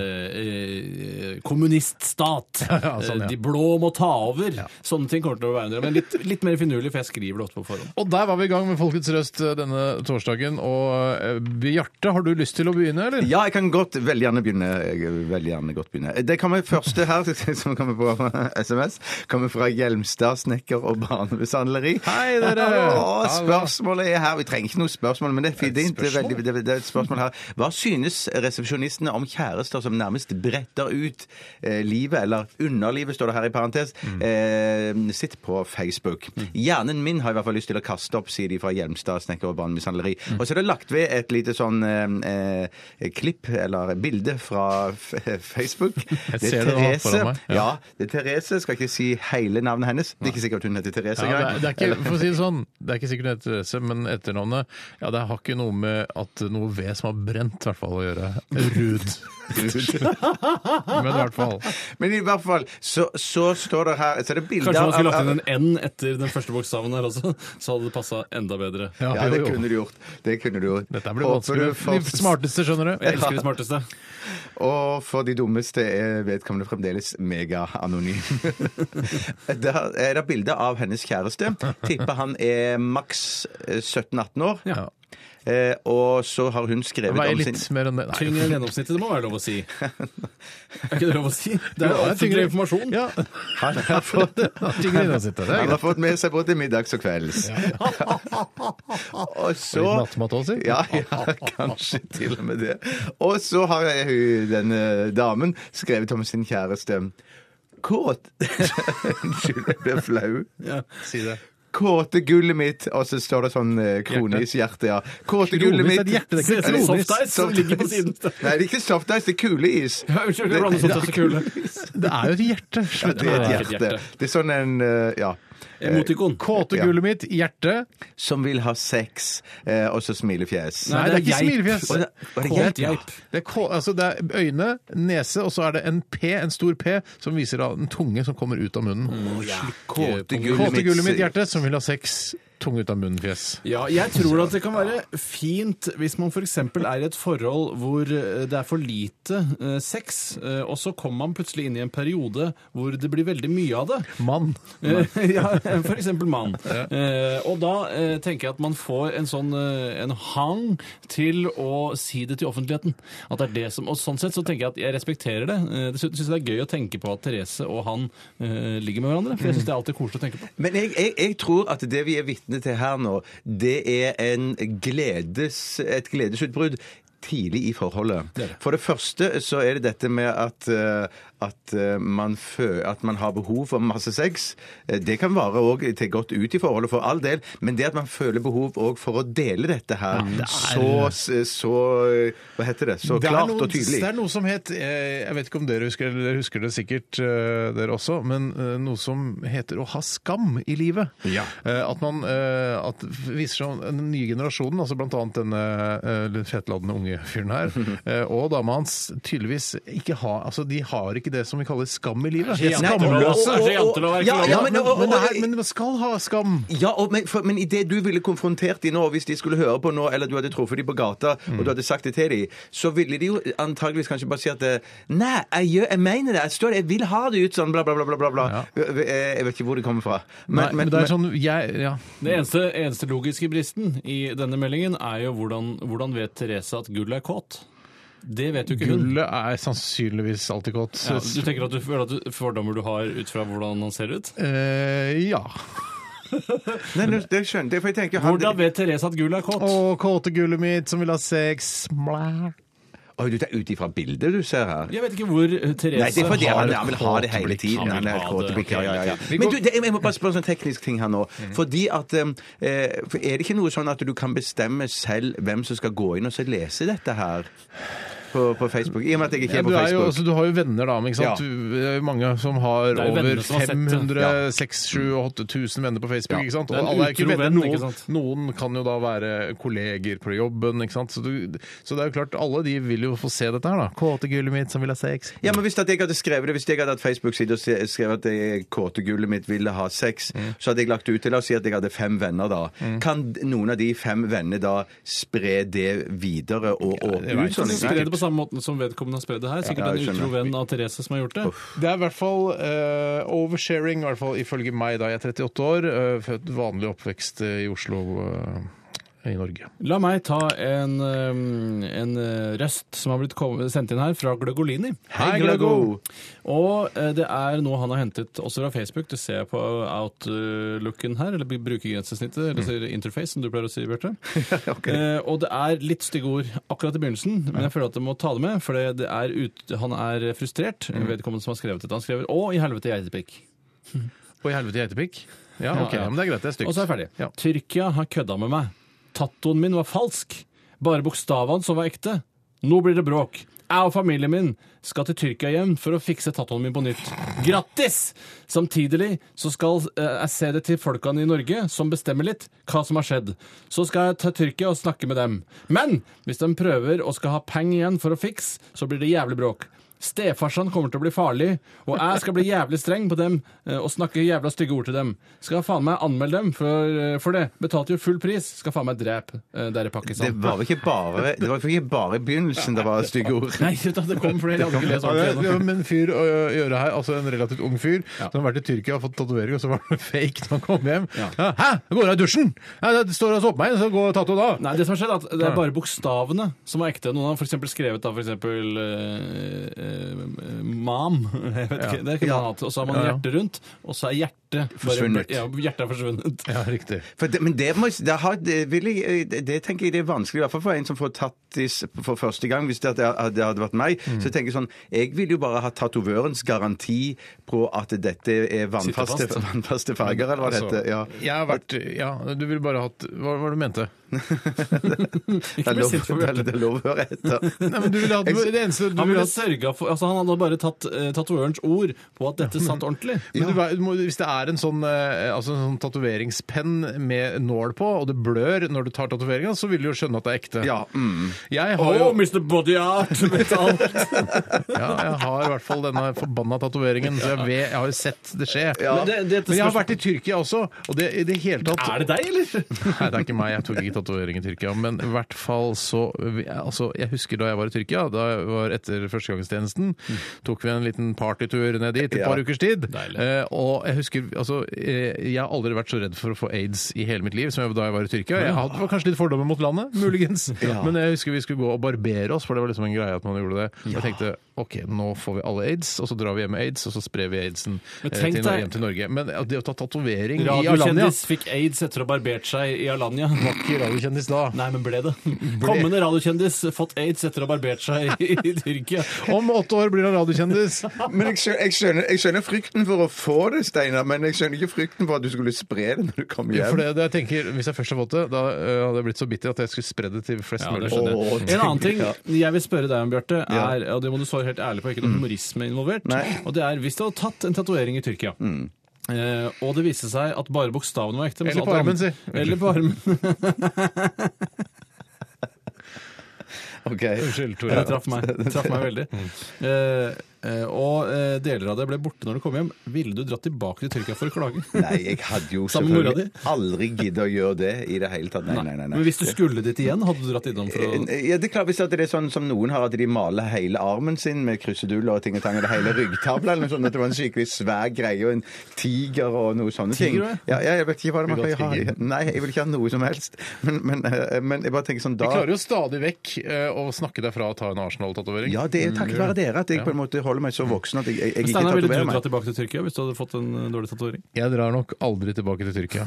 Speaker 5: eh, kommuniststat.
Speaker 4: ja, sånn, ja.
Speaker 5: Eh, De blå må ta over. Sånne ting kommer til å være en del. Men litt, litt mer finurlig, for jeg skriver det ofte på forhånd.
Speaker 4: Og der var vi i gang med Folkets Røst eh, denne torsdagen. Og eh, Bjarte, har du lyst til å begynne, eller?
Speaker 6: Ja, jeg kan godt, veldig gjerne begynne. Jeg vil veldig gjerne godt begynne. Det kommer første her, som kommer på SMS, kommer fra Hjelmstad snekker og barnemishandleri.
Speaker 4: Hei, dere!
Speaker 6: Å, spørsmålet er her. Vi trenger ikke noe spørsmål, men det er fint. Det er, veldig, det, det er et spørsmål her. Hva synes resepsjonistene om kjærester som nærmest bretter ut eh, livet, eller underlivet, står det her i parentes,
Speaker 4: Mm.
Speaker 6: eh, sitt på Facebook? Hjernen min har i hvert fall lyst til å kaste opp, sier de fra Hjelmstad snekker og barnemishandleri.
Speaker 4: Mm.
Speaker 6: Og så er det lagt ved et lite sånn eh, eh, klipp, eller bilde, fra f Facebook. Jeg
Speaker 4: ser det nå foran meg. Ja.
Speaker 6: Ja. det er Therese. Skal ikke si hele navnet hennes. Det er ikke sikkert hun heter Therese.
Speaker 4: Ja, det,
Speaker 6: engang.
Speaker 4: er, det, er ikke, for å si det, sånn, det er ikke sikkert det heter Therese, men etternavnet ja, det har ikke noe med at noe ved som har brent, i hvert fall å gjøre. Ruud. Men i hvert fall.
Speaker 6: Men i hvert fall, så, så står det her Så er det bilder
Speaker 5: Kanskje man skulle
Speaker 6: av-
Speaker 5: lagt inn en N etter den første bokstaven her også, så hadde det passa enda bedre.
Speaker 4: Ja,
Speaker 6: Ja, det
Speaker 4: jo, jo.
Speaker 6: kunne du gjort. Det kunne du gjort.
Speaker 4: Dette blir
Speaker 6: Og
Speaker 4: vanskelig.
Speaker 6: for- for-
Speaker 4: De smarteste, skjønner du.
Speaker 5: Jeg elsker de smarteste.
Speaker 6: Og for de dummeste er vedkommende fremdeles megaanonym. Der er det bilde av hennes kjæreste. Tipper han er maks eh, 17-18 år.
Speaker 5: Ja.
Speaker 6: Eh, og så har hun skrevet
Speaker 4: Veier
Speaker 6: om sin
Speaker 4: litt mer enn det. Nei,
Speaker 5: Tyngre enn gjennomsnittet, det må være lov å si. Er ikke det lov å si? Det er
Speaker 4: Ja,
Speaker 5: jo offentlig
Speaker 4: tyngre-
Speaker 5: informasjon.
Speaker 4: Ja.
Speaker 6: Han har fått,
Speaker 4: Tyngre enn å sitte. Det er
Speaker 6: han har
Speaker 4: greit.
Speaker 6: fått med seg både til middags og kvelds. Og
Speaker 4: Litt
Speaker 6: så
Speaker 4: nattmat også, si.
Speaker 6: Ja, ja, kanskje til og med det. Og så har jeg hun, denne damen skrevet om sin kjæreste. Kåt Unnskyld, jeg blir flau.
Speaker 5: Ja.
Speaker 4: Si det.
Speaker 6: Kåte gullet mitt, og så står det sånn eh, kronis hjerte, ja. Kåte
Speaker 4: Kronis
Speaker 6: gullet
Speaker 4: er
Speaker 6: mitt
Speaker 4: et hjerte, det
Speaker 5: Se
Speaker 4: er ikke
Speaker 5: som
Speaker 4: et kronis.
Speaker 5: softice som ligger på siden.
Speaker 6: Nei, det er ikke softice, det er kuleis.
Speaker 5: Ja, Unnskyld, jeg blander softice og kule.
Speaker 4: Det er jo et hjerte. Slutt
Speaker 6: Det er
Speaker 4: med det.
Speaker 5: Ja,
Speaker 6: et hjerte. Det er sånn en eh, ja.
Speaker 5: Emotikon.
Speaker 4: Kåte
Speaker 6: Ja.
Speaker 4: gullet mitt, hjerte.
Speaker 6: Som vil ha sex, eh, og så smilefjes.
Speaker 4: Nei, det er ikke smilefjes.
Speaker 6: Å, det- å, det er
Speaker 4: Kåt,
Speaker 5: geip?
Speaker 4: ja. Det er, kå- altså, det er øyne, nese, og så er det en P, en stor P, som viser da en tunge som kommer ut av munnen.
Speaker 5: Mm.
Speaker 6: Kåte eh,
Speaker 4: Kåte gullet mitt, hjerte, som vil ha sex, tunge ut av munnen, fjes.
Speaker 5: Ja, jeg tror at det kan være fint hvis man f.eks. er i et forhold hvor eh, det er for lite eh, sex, eh, og så kommer man plutselig inn i en periode hvor det blir veldig mye av det.
Speaker 4: Mann.
Speaker 5: Eh, ja, f.eks. mann. Eh, og da eh, tenker jeg at man får en sånn eh, en hang til å si det til offentligheten. At det er det som, og sånn sett så tenker jeg at jeg respekterer det. Eh, dessuten syns jeg det er gøy å tenke på at Therese og han eh, ligger med hverandre. For jeg syns det er alltid koselig å tenke på.
Speaker 6: Men jeg, jeg, jeg tror at det vi er vitne til her nå, det er en gledes, et gledesutbrudd tidlig i forholdet. For det første så er det dette med at, eh, at, eh, man, fø, at man har behov for masse sex. Eh, Det kan vare òg til godt ut i forholdet, for all del, men det at man føler behov òg for å dele dette her, så, så eh, Hva heter det? Så klart
Speaker 4: noe,
Speaker 6: og tydelig.
Speaker 4: det er noe som het eh, Jeg vet ikke om dere husker det, dere husker det sikkert eh, dere også, men eh, noe som heter å ha skam i livet. Eh, At man eh, at viser seg den nye generasjonen, altså blant annet denne eh, litt fetladende unge fyren her, eh, og dama hans, tydeligvis ikke ha Altså, de har ikke det som vi kaller skam i livet.
Speaker 5: Nei,
Speaker 4: Skamløse.
Speaker 5: og- og- Kanskje jantelov er ikke
Speaker 6: Ja,
Speaker 5: lov.
Speaker 6: ja,
Speaker 4: Men,
Speaker 6: men,
Speaker 4: men,
Speaker 6: og, og,
Speaker 4: det er- men man skal ha skam.
Speaker 6: Ja, og, men, for, men i det du ville konfrontert de nå, hvis de skulle høre på nå, eller du hadde truffet de på gata,
Speaker 4: Mm.
Speaker 6: og du hadde sagt det til de, så ville de jo antageligvis kanskje bare si at eh, Nei, jeg, gjør, jeg mener det. Jeg står det. Jeg vil ha det ut sånn, bla, bla, bla, bla, bla. bla. Eh, Jeg vet ikke hvor det kommer fra.
Speaker 4: Nei, men, det er sånn jeg, ja.
Speaker 5: Den eneste, eneste logiske bristen i denne meldingen er jo hvordan, hvordan vet Therese at gullet er kåt? Det vet jo ikke hun.
Speaker 4: Gullet er sannsynligvis alltid godt.
Speaker 5: Mm. Ja, du tenker at du føler at du, fordommer du har ut fra hvordan han ser ut?
Speaker 4: Eh, ja.
Speaker 6: Nei, nå- det skjønte jeg, for jeg tenker han-
Speaker 5: Hvordan vet Therese at gullet er kåt?
Speaker 4: Og kåte gullet mitt som vil ha sex. Blæ.
Speaker 6: Oi, du, det er ut ifra bildet du ser her.
Speaker 5: Jeg vet ikke hvor eh, Therese
Speaker 6: Nei, det er fordi
Speaker 5: har
Speaker 6: han, han vil ha det hele
Speaker 5: kåtblikk.
Speaker 6: tiden.
Speaker 5: Han
Speaker 6: Han
Speaker 5: vil
Speaker 6: er
Speaker 5: ha
Speaker 6: kåteblikk,
Speaker 5: det.
Speaker 6: ja, ja, ja.
Speaker 5: Ok,
Speaker 6: Men du, det, jeg må bare spørre en sånn teknisk ting her nå.
Speaker 5: Mm.
Speaker 6: Fordi at eh, for Er det ikke noe sånn at du kan bestemme selv hvem som skal gå inn og så lese dette her? På, på Facebook. I og med at jeg ikke
Speaker 4: Ja,
Speaker 6: er
Speaker 4: du,
Speaker 6: på
Speaker 4: er jo,
Speaker 6: Facebook.
Speaker 4: altså, du har jo venner, da. men Ikke sant?
Speaker 6: Ja.
Speaker 4: Du- Det er jo mange som har
Speaker 5: Det er jo
Speaker 4: over
Speaker 5: venner som har sett det.
Speaker 4: 500,
Speaker 6: Ja.
Speaker 4: 6 7 og 8000 venner på Facebook. Ikke sant?
Speaker 5: Det
Speaker 4: Og
Speaker 5: er en
Speaker 4: alle er jo ikke
Speaker 5: utro
Speaker 4: venner.
Speaker 5: venn, ikke
Speaker 4: Noen,
Speaker 5: sant?
Speaker 4: noen kan jo da være kolleger på jobben. Ikke sant? Så, du, så det er jo klart, alle de vil jo få se dette her. da. Kåte gullet mitt som vil ha sex.
Speaker 6: Ja, men Hvis at jeg hadde skrevet det, hvis jeg hadde hatt Facebook-side og se- skrevet at det kåte gullet mitt ville ha sex,
Speaker 5: Mm.
Speaker 6: så hadde jeg lagt det ut til La oss si at jeg hadde fem venner da. Kan d- noen av de fem vennene da spre det videre
Speaker 4: det
Speaker 6: og åpne
Speaker 4: vet
Speaker 6: ut
Speaker 4: jeg
Speaker 6: sånn?
Speaker 5: Hun sprer det på samme måten som vedkommende har spredd det her. Sikkert
Speaker 6: Ja, jeg
Speaker 5: en utro
Speaker 6: skjønner.
Speaker 5: venn av Therese som har gjort det.
Speaker 4: Det er i hvert fall eh, oversharing, i hvert fall ifølge meg da jeg er 38 år. eh, født vanlig oppvekst eh, i Oslo, eh, i Norge.
Speaker 5: La meg ta en, eh, en eh, røst som har blitt kom- sendt inn her fra Gløgolini.
Speaker 6: Hei, Glago!
Speaker 5: Og eh, det er noe han har hentet også fra Facebook. Det ser jeg på outlooken her, eller brukergrensesnittet, eller sier interface, som du pleier å si, Bjarte. Eh, og det er litt stygge ord akkurat i begynnelsen, men jeg føler at jeg må ta det med, for det det er ut, han er frustrert, vedkommende som har skrevet dette. Han skriver 'Å, i helvete, geitepikk'.
Speaker 4: Og i helvete geitepikk. Ja,
Speaker 5: Ja,
Speaker 4: ok,
Speaker 5: ja.
Speaker 4: ja, men det er greit. Det er stygt.
Speaker 5: Og så er jeg ferdig.
Speaker 4: Ja.
Speaker 5: Tyrkia har kødda med meg. Tattoen min var falsk. Bare bokstavene som var ekte. Nå blir det bråk. Jeg og familien min skal til Tyrkia hjem for å fikse tattoen min på nytt. Grattis! Samtidig så skal eh, jeg se det til folkene i Norge, som bestemmer litt hva som har skjedd. Så skal jeg til Tyrkia og snakke med dem. Men hvis de prøver og skal ha penger igjen for å fikse, så blir det jævlig bråk. Stefarsan kommer til å bli farlig, og jeg skal bli jævlig streng på dem eh, og snakke jævla stygge ord til dem. Skal jeg faen meg anmelde dem for, eh, for det. Betalte jo full pris. Skal faen meg drepe eh, der i
Speaker 6: Det
Speaker 5: Pakistan.
Speaker 6: var vel ikke bare, det var vel ikke bare i begynnelsen det var stygge ord.
Speaker 5: Nei, det kom flere. Jeg hadde ikke lest
Speaker 4: Ja, det
Speaker 5: ordentlig
Speaker 4: er-
Speaker 5: ennå.
Speaker 4: det er med en fyr å gjø- gjøre her, altså en relativt ung fyr som har vært i Tyrkia og fått tatovering, og så var det fake da han kom hjem. Ja. Hæ! Jeg går av dusjen! Ja, det står og så på meg, så går tatto da!
Speaker 5: Nei, det som har skjedd er at det er bare bokstavene som er ekte. Noen har for eksempel skrevet da for eksempel eh, eh, mam. Jeg vet ikke, det kunne man hatt. Og så har man
Speaker 4: Ja, ja.
Speaker 5: hjertet rundt, og så er hjertet bare-
Speaker 6: Forsvunnet.
Speaker 5: Ja, hjertet er forsvunnet.
Speaker 4: Ja, riktig.
Speaker 6: For det, men det, må, jeg- det, har, det, vil jeg, eh, det, det tenker jeg det er vanskelig, i hvert fall for en som får tattis for første gang. Hvis det, hadde- det hadde vært meg,
Speaker 4: Mm.
Speaker 6: så tenker jeg sånn Jeg vil jo bare ha tatovørens garanti på at dette er vannfaste,
Speaker 5: Sitter fast.
Speaker 6: vannfaste farger, eller hva
Speaker 5: Altså,
Speaker 6: det heter. Ja.
Speaker 4: Jeg har vært Ja, du ville bare hatt Hva var det du mente?
Speaker 6: Det er
Speaker 5: bli
Speaker 6: lov,
Speaker 5: sint for
Speaker 6: det er- det er lov å høre etter.
Speaker 4: Nei, men du ville hatt Det eneste du
Speaker 5: Han ville
Speaker 4: ville
Speaker 5: ha sørget for, altså han hadde bare tatt eh, tatovørens ord på at dette satt ordentlig.
Speaker 4: Men du, vei- du må, hvis det er en sånn, eh, altså en sånn tatoveringspenn med nål på, og det blør når du tar tatoveringa, så vil du jo skjønne at det er ekte.
Speaker 6: Ja, mm.
Speaker 4: Jeg har jo
Speaker 5: Oh, Mr. Body Art! vet du alt.
Speaker 4: ja, Jeg har i hvert fall denne forbanna tatoveringen, så jeg, vet, jeg har jo sett det skje.
Speaker 5: Men det- det-
Speaker 4: Men jeg har vært i Tyrkia også, og det i det hele tatt
Speaker 5: Er det deg, eller?
Speaker 4: Nei, det er ikke meg. Jeg tok ikke tatovering i Tyrkia. Men i hvert fall så altså, Jeg husker da jeg var i Tyrkia, da jeg var etter førstegangstjenesten, tok vi en liten partytur ned dit et par ukers tid.
Speaker 5: Deilig.
Speaker 4: Eh, og jeg husker altså, eh, jeg har aldri vært så redd for å få aids i hele mitt liv som jeg, da jeg var i Tyrkia. Jeg hadde var kanskje litt fordommer mot landet, muligens. Men jeg husker vi skulle gå og barbere oss, for det var liksom en greie at man gjorde det. Og Jeg tenkte OK, nå får vi alle aids, og så drar vi hjem med aids, og så sprer vi aidsen eh,
Speaker 5: Men
Speaker 4: til,
Speaker 5: tenk deg-
Speaker 4: hjem til Norge. Men ja, det å ta tatovering i Alanya
Speaker 5: Radiokjendis fikk aids etter å ha barbert seg i Alanya.
Speaker 4: Var ikke radiokjendis da.
Speaker 5: Nei, men ble det? Kommende radiokjendis fått aids etter å ha barbert seg i, i Tyrkia.
Speaker 4: Om åtte år blir han radiokjendis.
Speaker 6: Men jeg skjønner, jeg, skjønner, jeg skjønner frykten for å få det, Steinar, men jeg skjønner ikke frykten for at du skulle spre det når du kom
Speaker 4: Ja,
Speaker 6: hjem.
Speaker 4: for det, det jeg tenker, Hvis jeg først har fått det, da eh, hadde jeg blitt så bitter at jeg skulle spre det til flest
Speaker 5: Ja, det
Speaker 4: mulig.
Speaker 5: skjønner jeg.
Speaker 6: Åh,
Speaker 5: En annen ting
Speaker 6: ja.
Speaker 5: jeg vil spørre deg om, Bjarte, er, og det må du svare helt ærlig på, ikke noe humorisme involvert, og det er hvis du hadde tatt en tatovering i Tyrkia eh, og det viste seg at bare bokstavene var ekte. men så
Speaker 4: Eller på
Speaker 5: alt
Speaker 4: armen,
Speaker 5: annet-
Speaker 4: si.
Speaker 5: Eller på armen.
Speaker 6: Ok.
Speaker 4: Unnskyld,
Speaker 5: Det
Speaker 4: Tore.
Speaker 5: traff meg, det traff meg veldig. Eh, eh, og eh, deler av det ble borte når du kom hjem. Ville du dratt tilbake til Tyrkia for å klage?
Speaker 6: Nei, jeg hadde jo
Speaker 5: Sammen med mora
Speaker 6: selvfølgelig aldri giddet å gjøre det i det hele tatt. Nei, nei, Eh, nei. nei.
Speaker 5: Men hvis du skulle dit igjen, hadde du dratt innom for å
Speaker 6: Ja, det er klart Hvis at det er sånn som noen har, at de maler hele armen sin med kruseduller og ting og tang, eller hele ryggtavla, eller noe sånt, at det var en skikkelig svær greie, og en tiger og noe sånne ting.
Speaker 5: Tiger,
Speaker 6: Ja, ja, jeg vet ikke hva det
Speaker 4: Vil du
Speaker 6: man
Speaker 4: ha
Speaker 6: pleier å ha. Nei, jeg vil ikke ha noe som helst. Men, men, eh, men jeg bare tenker sånn
Speaker 4: Du
Speaker 6: da
Speaker 4: klarer jo stadig vekk eh, å snakke deg fra å ta en Arsenal-tatovering.
Speaker 6: Ja, det er takket være dere at jeg på en måte holder meg så voksen at jeg, jeg, jeg ikke
Speaker 5: Steinar, ville du
Speaker 6: tatoverer meg.
Speaker 5: dratt tilbake til Tyrkia hvis du hadde fått en eh, dårlig tatovering?
Speaker 4: Jeg drar nok aldri tilbake til Tyrkia.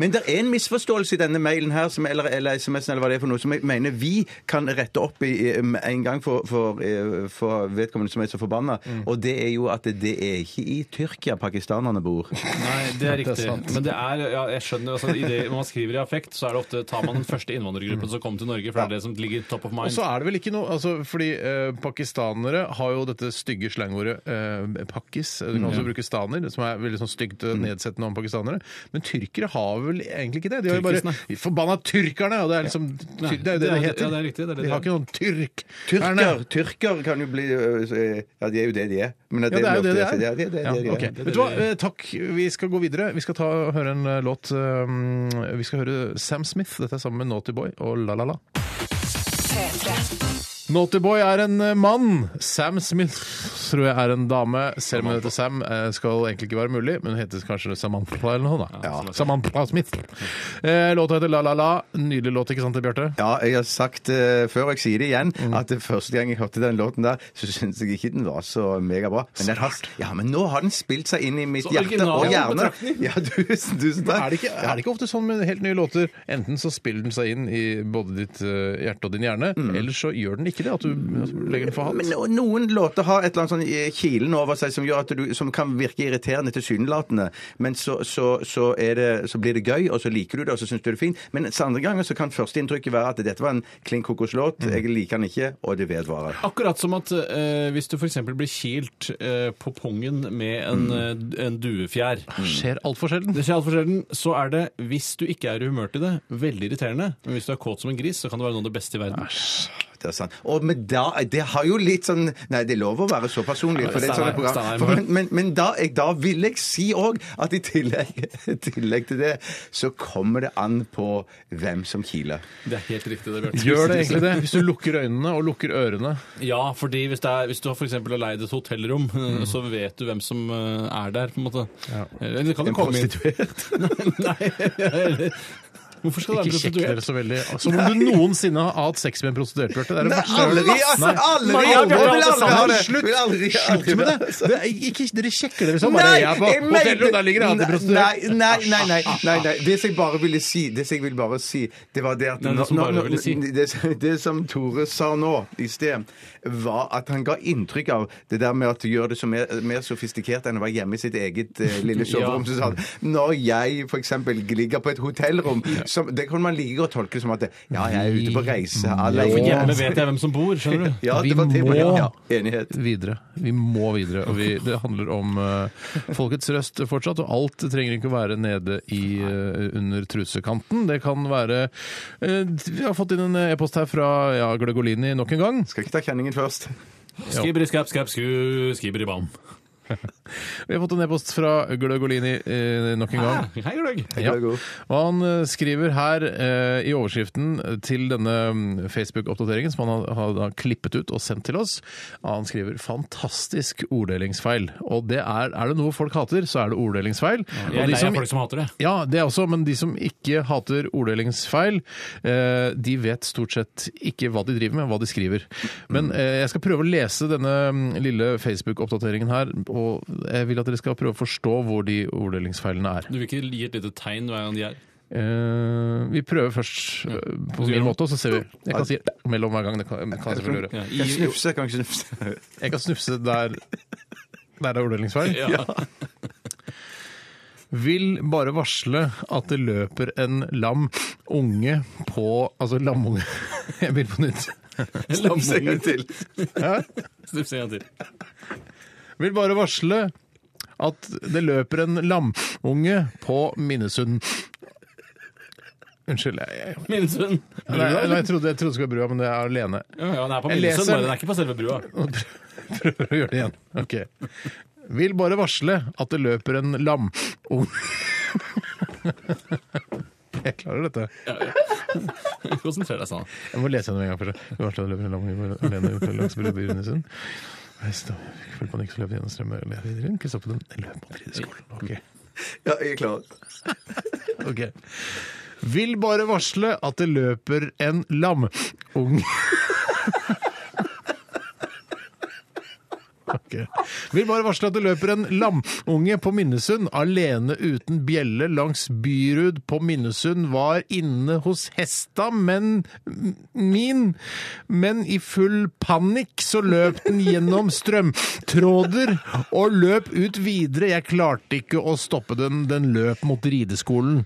Speaker 6: Men det er en misforståelse i denne mailen her, som, eller, eller SMS-en, eller hva det er for noe, som jeg mener vi kan rette opp i i, um, en gang for, for, eh, for vedkommende som er så forbanna.
Speaker 4: Mm.
Speaker 6: Og det er jo at det er ikke i Tyrkia pakistanerne bor.
Speaker 5: Nei, det er
Speaker 4: Det er
Speaker 5: riktig.
Speaker 4: sant.
Speaker 5: men det er, ja, jeg skjønner, altså, i det, når man skriver i affekt, så er det ofte tar man den første innvandrergruppen som kom til Norge, for det er det som ligger top of
Speaker 4: Og
Speaker 5: mind.
Speaker 4: så er det vel ikke noe altså, Fordi eh, pakistanere har jo dette stygge slangordet eh, pakkis. Du
Speaker 5: Mm,
Speaker 4: kan også bruke staner, som er veldig sånn stygt eh, nedsettende om pakistanere. Men tyrkere har vel egentlig ikke det. De har jo bare
Speaker 5: Tyrkisene.
Speaker 4: Forbanna tyrkerne! Og det er liksom
Speaker 5: Nei,
Speaker 4: ty- Det er jo det det
Speaker 5: det er-
Speaker 4: heter.
Speaker 5: ja, det er riktig, det er det
Speaker 4: de har
Speaker 5: det
Speaker 4: ikke noen tyrk.
Speaker 6: Tyrker, tyrker kan jo bli eh, Ja, de er jo det de er. Men at
Speaker 4: Ja, det er jo
Speaker 6: lov
Speaker 4: det det
Speaker 6: til å si.
Speaker 4: er.
Speaker 6: Ja, det er det,
Speaker 4: Ja,
Speaker 6: det, er det.
Speaker 4: ok. Vet du hva, eh, takk. Vi skal gå videre. Vi skal ta, høre en eh, låt. eh, Vi skal høre Sam Smith. Dette er sammen med Naughty Boy og La La La.
Speaker 7: P3.
Speaker 4: Naughty Boy er en eh, mann. Sam Smith tror jeg er en dame. Selv om hun heter Sam, eh, skal egentlig ikke være mulig. Men hun heter kanskje Samantha eller noe. da. Ja. Samantha Smith. Eh, Låta heter La La La. Nydelig låt, ikke sant, Bjarte?
Speaker 6: Ja, jeg har sagt eh, før, og jeg sier det igjen,
Speaker 4: Mm.
Speaker 6: at det første gang jeg hørte den låten der, så syntes jeg ikke den var så megabra. Men, den har, ja, men nå har den spilt seg inn i mitt
Speaker 5: Så
Speaker 6: hjerte og
Speaker 5: original
Speaker 6: hjerne.
Speaker 5: betraktning.
Speaker 6: Ja, tusen, tusen takk.
Speaker 4: Er det, ikke, er det ikke ofte sånn med helt nye låter? Enten så spiller den seg inn i både ditt eh, hjerte og din hjerne, eller så gjør den ikke det? At du legger den for
Speaker 6: Mm. Men
Speaker 4: hatt?
Speaker 6: no, noen låter har et eller annet sånn eh, kilen over seg som, gjør at du, som kan virke irriterende tilsynelatende, men så, så, så, er det, så blir det gøy, og så liker du det, og så syns du det er fint. Men så andre ganger så kan førsteinntrykket være at dette var en klin kokos-låt,
Speaker 4: Mm.
Speaker 6: jeg liker den ikke, og det vedvarer.
Speaker 5: Akkurat som at eh, hvis du f.eks. blir kilt eh, på pungen med en,
Speaker 6: Mm.
Speaker 5: eh, en duefjær
Speaker 6: Ah,
Speaker 4: Skjer altfor sjelden.
Speaker 5: Det skjer altfor sjelden. Så er det, hvis du ikke er i humør til det, veldig irriterende. Men hvis du er kåt som en gris, så kan det være noe av det beste i verden.
Speaker 6: Det er sant. Og men da, det har jo litt sånn Nei, det er lov å være så personlig. For det er sånn et program.
Speaker 5: Steinar, Steinar.
Speaker 6: For, men men, men da, jeg, da vil jeg si òg at i tillegg, i tillegg til det, så kommer det an på hvem som kiler.
Speaker 5: Det er helt riktig, det, Bjarte.
Speaker 4: Gjør det egentlig det? Hvis du lukker øynene og lukker ørene.
Speaker 5: Ja, fordi hvis, det er, hvis du har for eksempel har leid et hotellrom, eh,
Speaker 4: Mm.
Speaker 5: så vet du hvem som eh, er der, på en måte. Eh, Eller det kan jo
Speaker 6: En
Speaker 5: komme inn.
Speaker 6: prostituert.
Speaker 5: Nei, eller- Hvorfor skal det være
Speaker 4: Ikke sjekk dere sånn.
Speaker 5: prostituert?
Speaker 4: så veldig. Som om du noensinne har hatt sex med en prostituert, Bjarte. Det er det
Speaker 6: Nei,
Speaker 4: verste jeg har hørt.
Speaker 6: aldri! altså, Aldri!
Speaker 4: Nei,
Speaker 6: aldri,
Speaker 4: Bjarte,
Speaker 6: Jeg vil aldri ha det!
Speaker 4: Slutt.
Speaker 6: Jeg vil aldri-
Speaker 4: Slutt
Speaker 6: aldri
Speaker 4: med
Speaker 6: ha
Speaker 4: det! det er, ikke, dere sjekker dere sånn.
Speaker 6: Nei,
Speaker 4: Bare jeg er på
Speaker 6: jeg mener-
Speaker 4: hotellet, og der ligger det alltid prostituert.
Speaker 6: Nei, nei, nei, nei, nei, nei. Det som jeg bare ville si, det som jeg ville bare si, det var det at
Speaker 5: Nei, det som
Speaker 6: nå-
Speaker 5: bare
Speaker 6: nå-
Speaker 5: ville si.
Speaker 6: det, som- det som Tore sa nå i sted, var at han ga inntrykk av det der med at du gjør det så mer, mer sofistikert enn å være hjemme i sitt eget eh, lille soverom. Så sa han når jeg f.eks. ligger på et hotellrom, som, det kan man like godt tolke som at ja, jeg er ute på reise
Speaker 5: For hjemme
Speaker 6: alene.
Speaker 5: vet jeg hvem som bor, skjønner du.
Speaker 6: Ja, det var
Speaker 4: Vi
Speaker 6: til,
Speaker 4: må-
Speaker 6: ja, enighet.
Speaker 4: Videre. Vi må videre. Og vi, det handler om eh, folkets røst fortsatt. Og alt trenger ikke å være nede i, eh, under trusekanten. Det kan være eh, Vi har fått inn en e-post her fra ja, Glegolini nok en gang.
Speaker 6: Skal ikke ta kjenningen først.
Speaker 5: Skibri, skap, skap, sku, skibri, bam.
Speaker 4: Vi har fått en e-post fra Glegolini eh, nok en gang.
Speaker 5: Ah, Hei, Gløgg.
Speaker 4: Ja.
Speaker 6: Gløgg.
Speaker 4: Og han eh, skriver her eh, i overskriften til denne mm, Facebook-oppdateringen som han har, har da klippet ut og sendt til oss. Han skriver 'fantastisk orddelingsfeil'. Og det er, er det noe folk hater, så er det orddelingsfeil. Og
Speaker 5: Jeg er
Speaker 4: de
Speaker 5: lei
Speaker 4: som-
Speaker 5: av folk som hater det.
Speaker 4: ja, det også, men de som ikke hater orddelingsfeil, eh, de vet stort sett ikke hva de driver med, hva de skriver. Men
Speaker 5: Mm.
Speaker 4: eh, jeg skal prøve å lese denne mm, lille Facebook-oppdateringen her, og jeg vil at dere skal prøve å forstå hvor de orddelingsfeilene er.
Speaker 5: Du vil ikke gi et lite tegn hver gang de er
Speaker 4: Eh, vi prøver først eh, på min måte, og så ser vi. Jeg kan si mellom hver gang, det kan, kan jeg selvfølgelig gjøre.
Speaker 5: ja,
Speaker 6: Kan
Speaker 5: i,
Speaker 6: snufse, kan ikke snufse.
Speaker 4: Jeg kan snufse der der det er orddelingsfeil.
Speaker 5: ja.
Speaker 4: Vil bare varsle at det løper en lam unge på Altså lamunge. Jeg begynner på nytt.
Speaker 5: Snufse
Speaker 6: En gang til.
Speaker 5: Snips en gang til.
Speaker 4: Vil bare varsle at det løper en lamunge på Minnesund. Unnskyld. Jeg, jeg,
Speaker 5: Minnesund.
Speaker 4: nei, nei, jeg, trodde, jeg trodde det skulle være brua, men det er alene.
Speaker 5: Ja, ja, den er på
Speaker 4: Jeg
Speaker 5: Minnesund,
Speaker 4: leser-
Speaker 5: bare den er ikke på selve brua.
Speaker 4: Prøver å gjøre det igjen. Ok. Vil bare varsle at det løper en lamunge Jeg klarer dette.
Speaker 5: Konsentrer deg sånn.
Speaker 4: Jeg må lese gjennom en gang først. Du har slått løpet langt alene ut på langs brygga i Brunnesund. Jeg stod- jeg fikk full panikk, så løp jeg gjennom strømmen. Jeg løp videre inn, krysset på den. Jeg løp mot rideskolen. Ok.
Speaker 6: Ja, jeg er klar.
Speaker 4: ok. Vil bare varsle at det løper en lam ung Ok. Vil bare varsle at det løper en lamunge på Minnesund alene uten bjelle langs Byrud på Minnesund var inne hos hesta, men m- min Men i full panikk så løp den gjennom strømtråder og løp ut videre. Jeg klarte ikke å stoppe den. Den løp mot rideskolen.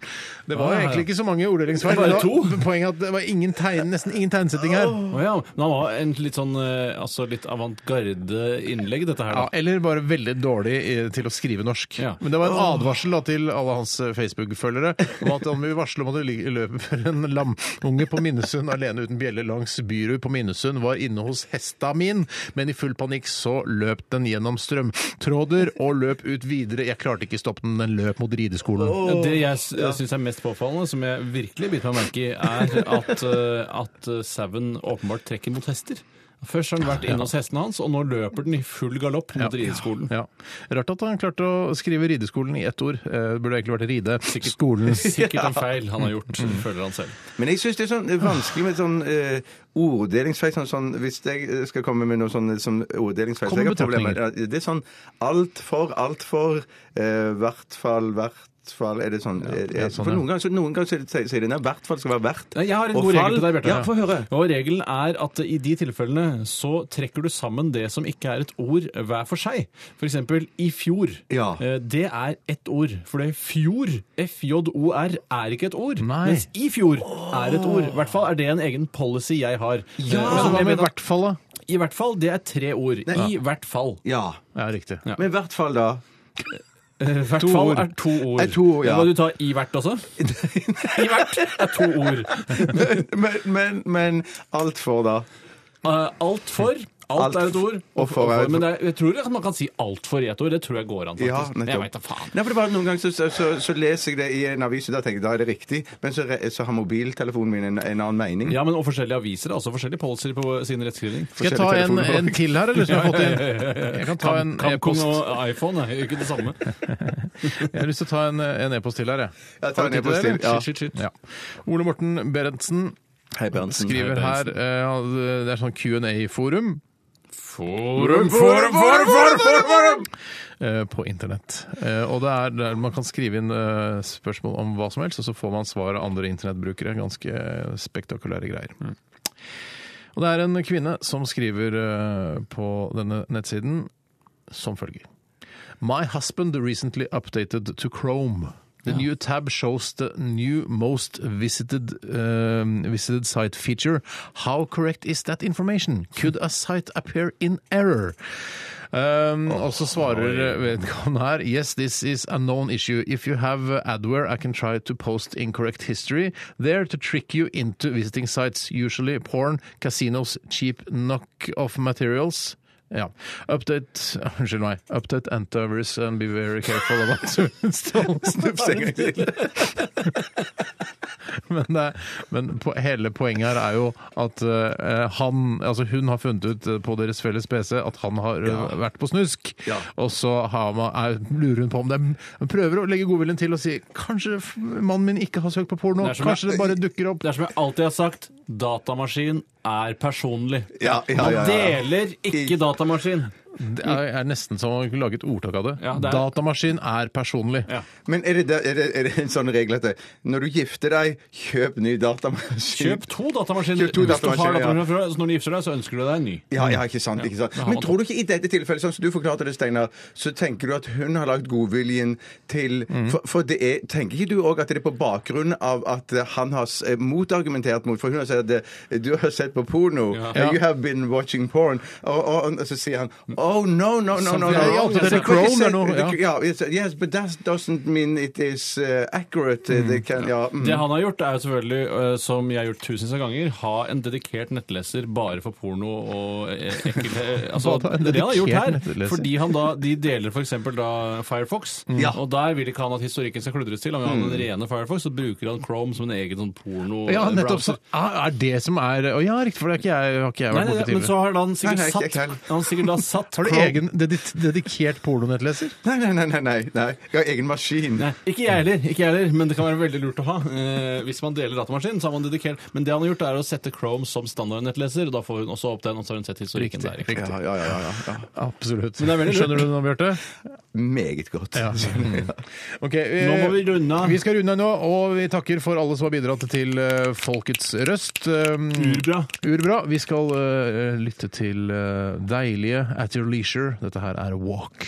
Speaker 4: Det var
Speaker 5: Ah, ja.
Speaker 4: egentlig ikke så mange orddelingsfeil.
Speaker 5: Det var
Speaker 4: men
Speaker 5: to.
Speaker 4: var- Poenget er at det var ingen tegn, nesten ingen tegnsetting her.
Speaker 5: Å ja, men han var en litt sånn eh, altså litt avantgarde innlegg, dette her.
Speaker 4: Ja,
Speaker 5: da.
Speaker 4: eller bare veldig dårlig eh, til å skrive norsk.
Speaker 5: Ja.
Speaker 4: Men det var en advarsel da, til alle hans eh, Facebook-følgere om at han vil varsle om at det li- løper en lamunge på Minnesund alene uten bjelle langs Byrud på Minnesund, var inne hos hesta min, men i full panikk så løp den gjennom strømtråder og løp ut videre. Jeg klarte ikke stoppe den, den løp mot rideskolen.
Speaker 5: Det jeg syns er mest påfallende, som jeg virkelig biter meg merke i, er at, eh, at eh, sauen åpenbart trekker mot hester. Først har den vært inne hos hestene hans, og nå løper den i full galopp mot rideskolen.
Speaker 4: Ja. Rart at han klarte å skrive rideskolen i ett ord. Eh, Det burde egentlig vært rideskolen.
Speaker 5: Sikkert en feil han har gjort,
Speaker 4: Mm.
Speaker 5: føler han selv.
Speaker 6: Men jeg syns det er sånn vanskelig med sånn eh, orddelingsfeil. Sånn, sånn, hvis jeg eh, skal komme med noe sånn, sånn orddelingsfeil
Speaker 4: Kom med
Speaker 6: så jeg har problemer. Ja, Det er sånn altfor, altfor, eh, hvert fall, hvert hvert fall er det sånn, er,
Speaker 4: ja,
Speaker 6: er,
Speaker 4: sånn,
Speaker 6: For
Speaker 4: ja.
Speaker 6: noen ganger, så- noen ganger så sier sier de nei, i hvert fall skal være hvert.
Speaker 5: Jeg har en
Speaker 6: Og fall-
Speaker 5: god regel til deg, Bjarte.
Speaker 6: Ja, få høre.
Speaker 5: Og regelen er at i de tilfellene så trekker du sammen det som ikke er et ord hver for seg. For eksempel i fjor.
Speaker 6: Ja.
Speaker 5: Eh, Det er ett ord. For det fjor, F-J-O-R, er ikke et ord.
Speaker 4: Nei.
Speaker 5: Mens i fjor er et ord. I hvert fall er det en egen policy jeg har.
Speaker 6: Ja.
Speaker 5: Eh,
Speaker 4: Så
Speaker 5: som
Speaker 4: hva
Speaker 5: jeg
Speaker 4: med i
Speaker 5: mener at
Speaker 4: hvert fall, da?
Speaker 5: I hvert fall, det er tre ord. I hvert fall.
Speaker 6: Ja.
Speaker 4: Ja, riktig.
Speaker 5: Ja.
Speaker 6: Men i hvert fall, da.
Speaker 5: Eh, Hvert
Speaker 4: To
Speaker 5: fall
Speaker 4: ord.
Speaker 5: er to ord.
Speaker 6: Er to ord, ja.
Speaker 5: Må du ta i hvert også? I hvert er to ord.
Speaker 6: Men, men, men alt for, da.
Speaker 5: Eh, Alt for.
Speaker 6: Alt
Speaker 5: Alt, er et ord.
Speaker 6: og for er et-
Speaker 5: Men det er, jeg tror det, man kan si alt for i et ord. Det tror jeg går an,
Speaker 6: Ja,
Speaker 5: faktisk.
Speaker 6: nettopp.
Speaker 5: jeg vet da faen.
Speaker 6: Nei, for det er bare Noen ganger så, så, så, så leser jeg det i en avis, og da tenker jeg da er det riktig. Men så, re- så har mobiltelefonen min en, en annen mening.
Speaker 5: Ja, men Og forskjellige aviser har også forskjellige policies på sin rettskrivning.
Speaker 4: Skal jeg ta en,
Speaker 6: telefoner.
Speaker 4: en til her, eller? Som jeg, har fått inn? jeg kan ta en
Speaker 5: Kampkong
Speaker 4: e-post.
Speaker 5: og iPhone er jo ikke det samme.
Speaker 4: Jeg har lyst til å ta en en e-post til her, jeg.
Speaker 6: Ja, ta
Speaker 4: Har du tid
Speaker 6: en
Speaker 4: til
Speaker 6: e-post
Speaker 4: det,
Speaker 6: til,
Speaker 4: eller?
Speaker 6: ja.
Speaker 4: Shit, shit, shit. Ja. Ole Morten Berentsen
Speaker 6: Hei, Berntsen.
Speaker 4: skriver her eh, ja, Det er sånn Q&A-forum.
Speaker 5: Forum, forum, forum, forum, forum!
Speaker 4: eh, på internett. Eh, Og det er der man kan skrive inn eh, spørsmål om hva som helst, og så får man svar av andre internettbrukere. Ganske eh, spektakulære greier. Og det er en kvinne som skriver eh, på denne nettsiden som følger. My husband recently updated to Chrome. The new tab shows the new most visited um, visited site feature. How correct is that information? Could a site appear in error? Um, og så svarer vedkommende her Yes, this is a known issue. If you have uh, adware, I can try to post incorrect history there to trick you into visiting sites, usually porn, casinos, cheap knock-off materials. Ja. Update Unnskyld meg. Update antivirus and be very careful about to install
Speaker 6: Snufsenger.
Speaker 4: men, det er- men po hele poenget her er jo at eh, han, altså hun har funnet ut eh, på deres felles PC at han har eh, vært på snusk. Og så har man, er, lurer hun på om det er Prøver å legge godviljen til og si kanskje f- mannen min ikke har søkt på porno.
Speaker 5: Det er som-
Speaker 4: kanskje det bare dukker opp.
Speaker 5: Det er som jeg alltid har sagt, datamaskin er personlig.
Speaker 6: Ja, ja,
Speaker 5: Man
Speaker 6: ja, ja.
Speaker 5: deler ikke datamaskin.
Speaker 4: Det er, er nesten som å lage et ordtak av det.
Speaker 5: Ja, det er-
Speaker 4: Datamaskin er personlig.
Speaker 5: Ja.
Speaker 6: Men er det, da- er, det, er det en sånn regel at det, når du gifter deg, kjøp ny datamaskin?
Speaker 5: Kjøp to datamaskiner.
Speaker 6: Kjøp to
Speaker 5: Hvis du har
Speaker 6: datamaskiner, ja.
Speaker 5: datamaskiner fra før, så når du gifter deg, så ønsker du deg en ny.
Speaker 6: Ja, ja, ikke sant, ikke sant.
Speaker 5: Ja,
Speaker 6: Men
Speaker 5: han-
Speaker 6: tror du ikke i dette tilfellet, sånn som du forklarte det, Steinar, så tenker du at hun har lagt godviljen til For, for det er, tenker ikke du òg at det er på bakgrunn av at eh, han har s- eh, motargumentert mot For hun har sagt at eh, du har sett på porno.
Speaker 4: Ja.
Speaker 6: You have been watching porn. Og, og, og, så sier han Oh, no, no, no, no. no.
Speaker 4: Something wrong with
Speaker 6: Du
Speaker 4: the
Speaker 6: kan ikke
Speaker 4: Chrome
Speaker 6: se-
Speaker 4: eller noe, ja.
Speaker 6: Ja, yes, yes, but that doesn't mean it is eh, accurate. Det kan, ja, mm.
Speaker 5: Det han har gjort, er jo selvfølgelig, eh, som jeg har gjort tusenvis av ganger, ha en dedikert nettleser bare for porno og eh, ekkel eh, altså,
Speaker 4: Bare ta en
Speaker 5: Det han har gjort
Speaker 4: dedikert
Speaker 5: her,
Speaker 4: nettleser. Mm.
Speaker 5: fordi han da De deler f.eks. da Firefox, og der vil ikke han at historikken skal kludres til. Han vil ha den rene Firefox, så bruker han Chrome som en egen sånn porno
Speaker 4: Ja,
Speaker 5: eh,
Speaker 4: nettopp. Så
Speaker 5: browser.
Speaker 4: er er det som er Å ja, riktig, for det er ikke jeg, har ikke jeg
Speaker 5: Nei,
Speaker 4: vært
Speaker 5: nei,
Speaker 4: borti
Speaker 5: nei, men så
Speaker 4: tidligere.
Speaker 5: har han sikkert
Speaker 6: Nei, nei, ikke-
Speaker 5: satt
Speaker 6: ikke heller.
Speaker 5: Han har sikkert da satt
Speaker 4: Har du
Speaker 5: Chrome-
Speaker 4: egen dedik dedikert pornonettleser?
Speaker 6: Nei, nei, nei, nei, nei, nei. Jeg har egen maskin.
Speaker 5: Nei, ikke jeg heller, ikke jeg heller, men det kan være veldig lurt å ha. Eh, hvis man deler datamaskinen, så har man dedikert. Men det han har gjort, er å sette Chrome som standardnettleser, og da får hun også opp den, og så har hun sett historikken der. ikke sant?
Speaker 6: Ja, ja, ja, ja, ja.
Speaker 4: Absolutt.
Speaker 5: Men det er veldig lurt.
Speaker 4: Skjønner du det nå, Bjarte?
Speaker 6: Meget godt.
Speaker 4: Ja. Ok, vi,
Speaker 5: Nå må vi runde av.
Speaker 4: Vi skal runde av nå, og vi takker for alle som har bidratt til eh, Folkets røst. Um,
Speaker 5: Urbra.
Speaker 4: Urbra. Vi skal eh, lytte til eh, deilige At Your Leisure. Dette her er Walk.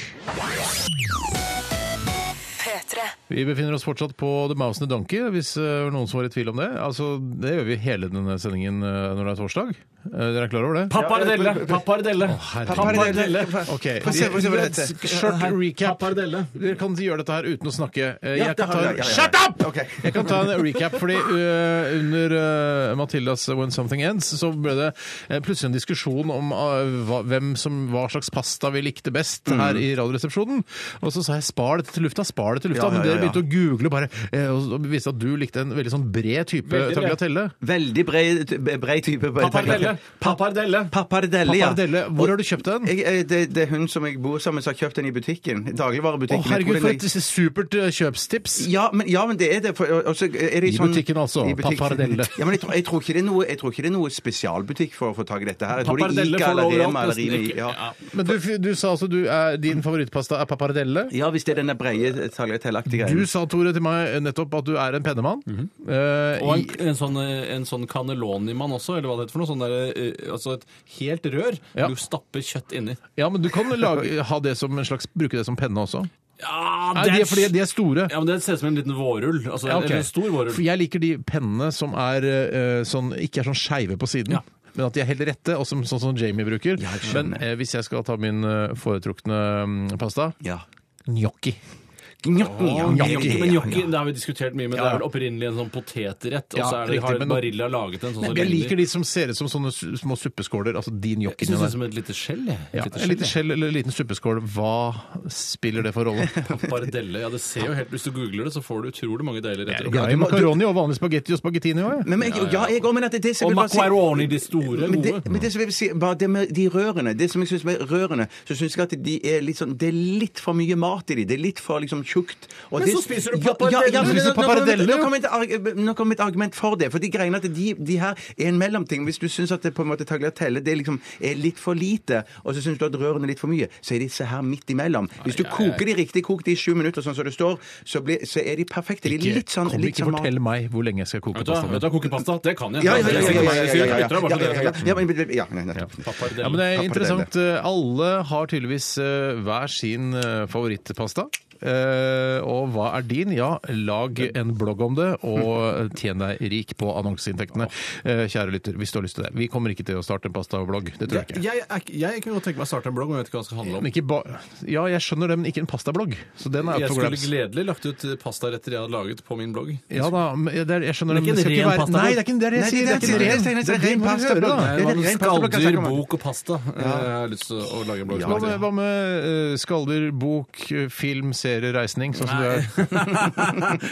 Speaker 7: P3.
Speaker 4: Vi befinner oss fortsatt på The Mouse and the Donkey, hvis eh, noen som var i tvil om det. Altså, Det gjør vi hele denne sendingen eh, når det er torsdag. Eh, Dere er klar over det?
Speaker 5: Pappardelle! Pappardelle!
Speaker 4: herregud.
Speaker 5: Pappardelle!
Speaker 4: Ok,
Speaker 6: Få se, få se hva det heter.
Speaker 4: Short recap.
Speaker 5: Pappardelle.
Speaker 4: Dere kan gjøre dette her uten å snakke. Eh,
Speaker 6: Ja,
Speaker 4: Jeg
Speaker 6: det
Speaker 4: kan
Speaker 6: har
Speaker 4: ta
Speaker 6: vi, ja,
Speaker 4: en
Speaker 6: ja, ja.
Speaker 4: Shut up!
Speaker 6: Ok.
Speaker 4: Jeg kan ta en recap, fordi eh, under eh, Matildas When Something Ends så ble det eh, plutselig en diskusjon om eh, hva, hvem som, hva slags pasta vi likte best
Speaker 6: Mm.
Speaker 4: her i Radioresepsjonen. Og så sa jeg spar dette til lufta, spar det til lufta.
Speaker 6: Ja, ja,
Speaker 4: Men dere
Speaker 6: ja, ja.
Speaker 4: begynte å google bare, eh, og så viste at du likte en veldig sånn bred type
Speaker 5: Veldig bred.
Speaker 4: tagliatelle.
Speaker 6: Veldig bred, bred type.
Speaker 5: Pappardelle! Pappardelle! E,
Speaker 6: Pappardelle, ja.
Speaker 4: Pappardelle, hvor har du kjøpt den?
Speaker 6: Jeg, eh, det, det er hun som jeg bor sammen med, som har kjøpt den i butikken. i
Speaker 4: Å,
Speaker 6: Dagligvarebutikken. Jeg tror
Speaker 4: herregud,
Speaker 6: den
Speaker 4: for
Speaker 6: er-
Speaker 4: et supert eh, kjøpstips!
Speaker 6: ja men, ja, men det er det. For, og- og så er det
Speaker 4: I
Speaker 6: sånn,
Speaker 4: butikken altså, pappardelle.
Speaker 6: Ja, men jeg tror, jeg, tror ikke det er noe, jeg tror ikke det er noe spesialbutikk for å få tak i dette her. Jeg tror det er
Speaker 5: Pappardelle
Speaker 6: Ica
Speaker 5: får
Speaker 6: eller
Speaker 5: lov til
Speaker 6: Rema eller
Speaker 5: alt, nesten
Speaker 6: Rimi.
Speaker 5: ikke.
Speaker 6: Ja.
Speaker 5: Ja.
Speaker 4: Men du, du sa altså du er, din favorittpasta er pappardelle?
Speaker 6: ja, Mhm. hvis det er denne brede tagliatellaktige
Speaker 4: Du sa, Tore, til meg nettopp at du er en pennemann. Eh,
Speaker 5: Og en,
Speaker 4: i-
Speaker 5: en sånn, eh, en sånn cannelloni-mann også, eller hva det heter for noe. Sånn der, eh, altså et helt rør
Speaker 4: Ja.
Speaker 5: du stapper kjøtt inni.
Speaker 4: ja, men du kan lage, ha det som en slags, bruke det som penne også.
Speaker 5: Ja,
Speaker 4: Nei, de er, fordi de er store.
Speaker 5: ja, men Det ser ut som en liten vårrull. Altså,
Speaker 4: Ja, ok.
Speaker 5: eller en stor vårrull.
Speaker 4: For jeg liker de pennene som er, eh, sånn, ikke er sånn skeive på siden.
Speaker 5: Ja.
Speaker 4: Men at de er helt rette, og som, sånn som Jamie bruker. men eh, hvis jeg skal ta min eh, foretrukne mm, pasta
Speaker 6: Ja.
Speaker 4: gnocchi.
Speaker 5: Gnocchi, men gnocchi det har vi diskutert mye, men det er vel opprinnelig en sånn potetrett. Og
Speaker 4: Ja,
Speaker 5: så er det,
Speaker 4: riktig,
Speaker 5: har
Speaker 4: men-
Speaker 5: Barilla laget en sånn som
Speaker 4: Jeg liker
Speaker 5: ligner.
Speaker 4: de som ser ut som sånne su- små suppeskåler. Altså de
Speaker 5: Jeg synes det
Speaker 4: gnocchiene
Speaker 5: er
Speaker 4: der.
Speaker 5: som et lite skjell. jeg. Et
Speaker 4: Ja,
Speaker 5: lite
Speaker 4: en liten
Speaker 5: skjell, jeg.
Speaker 4: skjell eller en liten suppeskål, hva spiller det for rolle?
Speaker 5: Pappardelle. Ja, det ser jo helt Hvis du googler det, så får du utrolig mange deilige retter.
Speaker 4: Jeg har jo makaroni og vanlig spagetti og spagettini òg, jeg.
Speaker 6: Men, men, jeg- ja, jeg går, men at det, det som
Speaker 5: Og
Speaker 6: jeg bare sier-
Speaker 5: macaroni, de store,
Speaker 6: Men
Speaker 5: gode.
Speaker 6: det, men det som jeg vil si, bare det med de rørene Det som jeg syns med rørene, så syns jeg at de er litt sånn Det er litt for mye mat i de. Det er litt for liksom tjukt. og
Speaker 5: Men
Speaker 6: det-
Speaker 5: så spiser du
Speaker 6: Ja,
Speaker 5: pappardelle.
Speaker 6: ja, ja,
Speaker 5: Du
Speaker 6: men
Speaker 4: spiser
Speaker 6: nå- nå kommer-
Speaker 4: pappardelle,
Speaker 6: Nå
Speaker 4: jo.
Speaker 6: kommer et arg- nå kommer et argument for det. For de greiene at de, de her er en mellomting. Hvis du syns at det på en måte tagliatelle det liksom er litt for lite, og så syns du at rørene er litt for mye, så er disse her midt imellom. Hvis du koker de riktig, kok de i sju minutter, sånn som det står, så, blir, så er de perfekte. De er litt sånn
Speaker 4: Kom
Speaker 6: litt
Speaker 4: ikke
Speaker 6: sånn mat-
Speaker 4: fortell meg hvor lenge jeg skal koke
Speaker 5: Vet du hva,
Speaker 4: pastaen min.
Speaker 5: vet du hva, kokepasta, det kan jeg.
Speaker 6: ja, ja, ja, ja, ja, ja, ja, ja, ja, ja,
Speaker 5: Gutter har bare
Speaker 6: ja, ja, ja,
Speaker 5: det.
Speaker 6: ja, men- ja, nei, nettopp.
Speaker 5: Pappardelle.
Speaker 4: Ja, men det er
Speaker 6: Pappardelle.
Speaker 4: interessant. Eh, Alle har tydeligvis eh, hver sin eh, favorittpasta. Eh, og hva er din? Ja, lag en blogg om det, og tjen deg rik på annonseinntektene. Eh, kjære lytter, hvis du har lyst til det. Vi kommer ikke til å starte en pastablogg, det tror jeg ikke.
Speaker 5: Jeg, er ikke- jeg kan godt tenke meg å starte en blogg, men jeg vet ikke hva det skal handle om.
Speaker 4: Men ikke ba ja, jeg skjønner det, men ikke en pastablogg. Så den er
Speaker 5: Jeg
Speaker 4: up for
Speaker 5: skulle
Speaker 4: grabs.
Speaker 5: gledelig lagt ut pastaretter jeg hadde laget på min blogg.
Speaker 4: Ja da, men det er, jeg skjønner det,
Speaker 5: Men
Speaker 4: men det
Speaker 5: ikke
Speaker 4: skal
Speaker 5: en
Speaker 4: ikke
Speaker 5: ren
Speaker 4: være
Speaker 5: pastablogg.
Speaker 4: Nei, det er ikke det er det jeg
Speaker 6: Nei,
Speaker 4: sier. Det er ikke en ren,
Speaker 6: det er en
Speaker 4: det må du høre,
Speaker 6: ren
Speaker 4: da.
Speaker 6: pastablogg.
Speaker 5: Nei,
Speaker 6: det
Speaker 5: hva
Speaker 6: er
Speaker 5: med
Speaker 6: rent pastablogg jeg
Speaker 5: skalldyr,
Speaker 6: snakker om.
Speaker 5: bok og pasta? Jeg har lyst til å lage en blogg.
Speaker 4: Hva
Speaker 5: som
Speaker 4: med,
Speaker 5: heter det.
Speaker 4: hva med eh, skalldyr, bok, eh, film, serie, reisning, sånn som du er?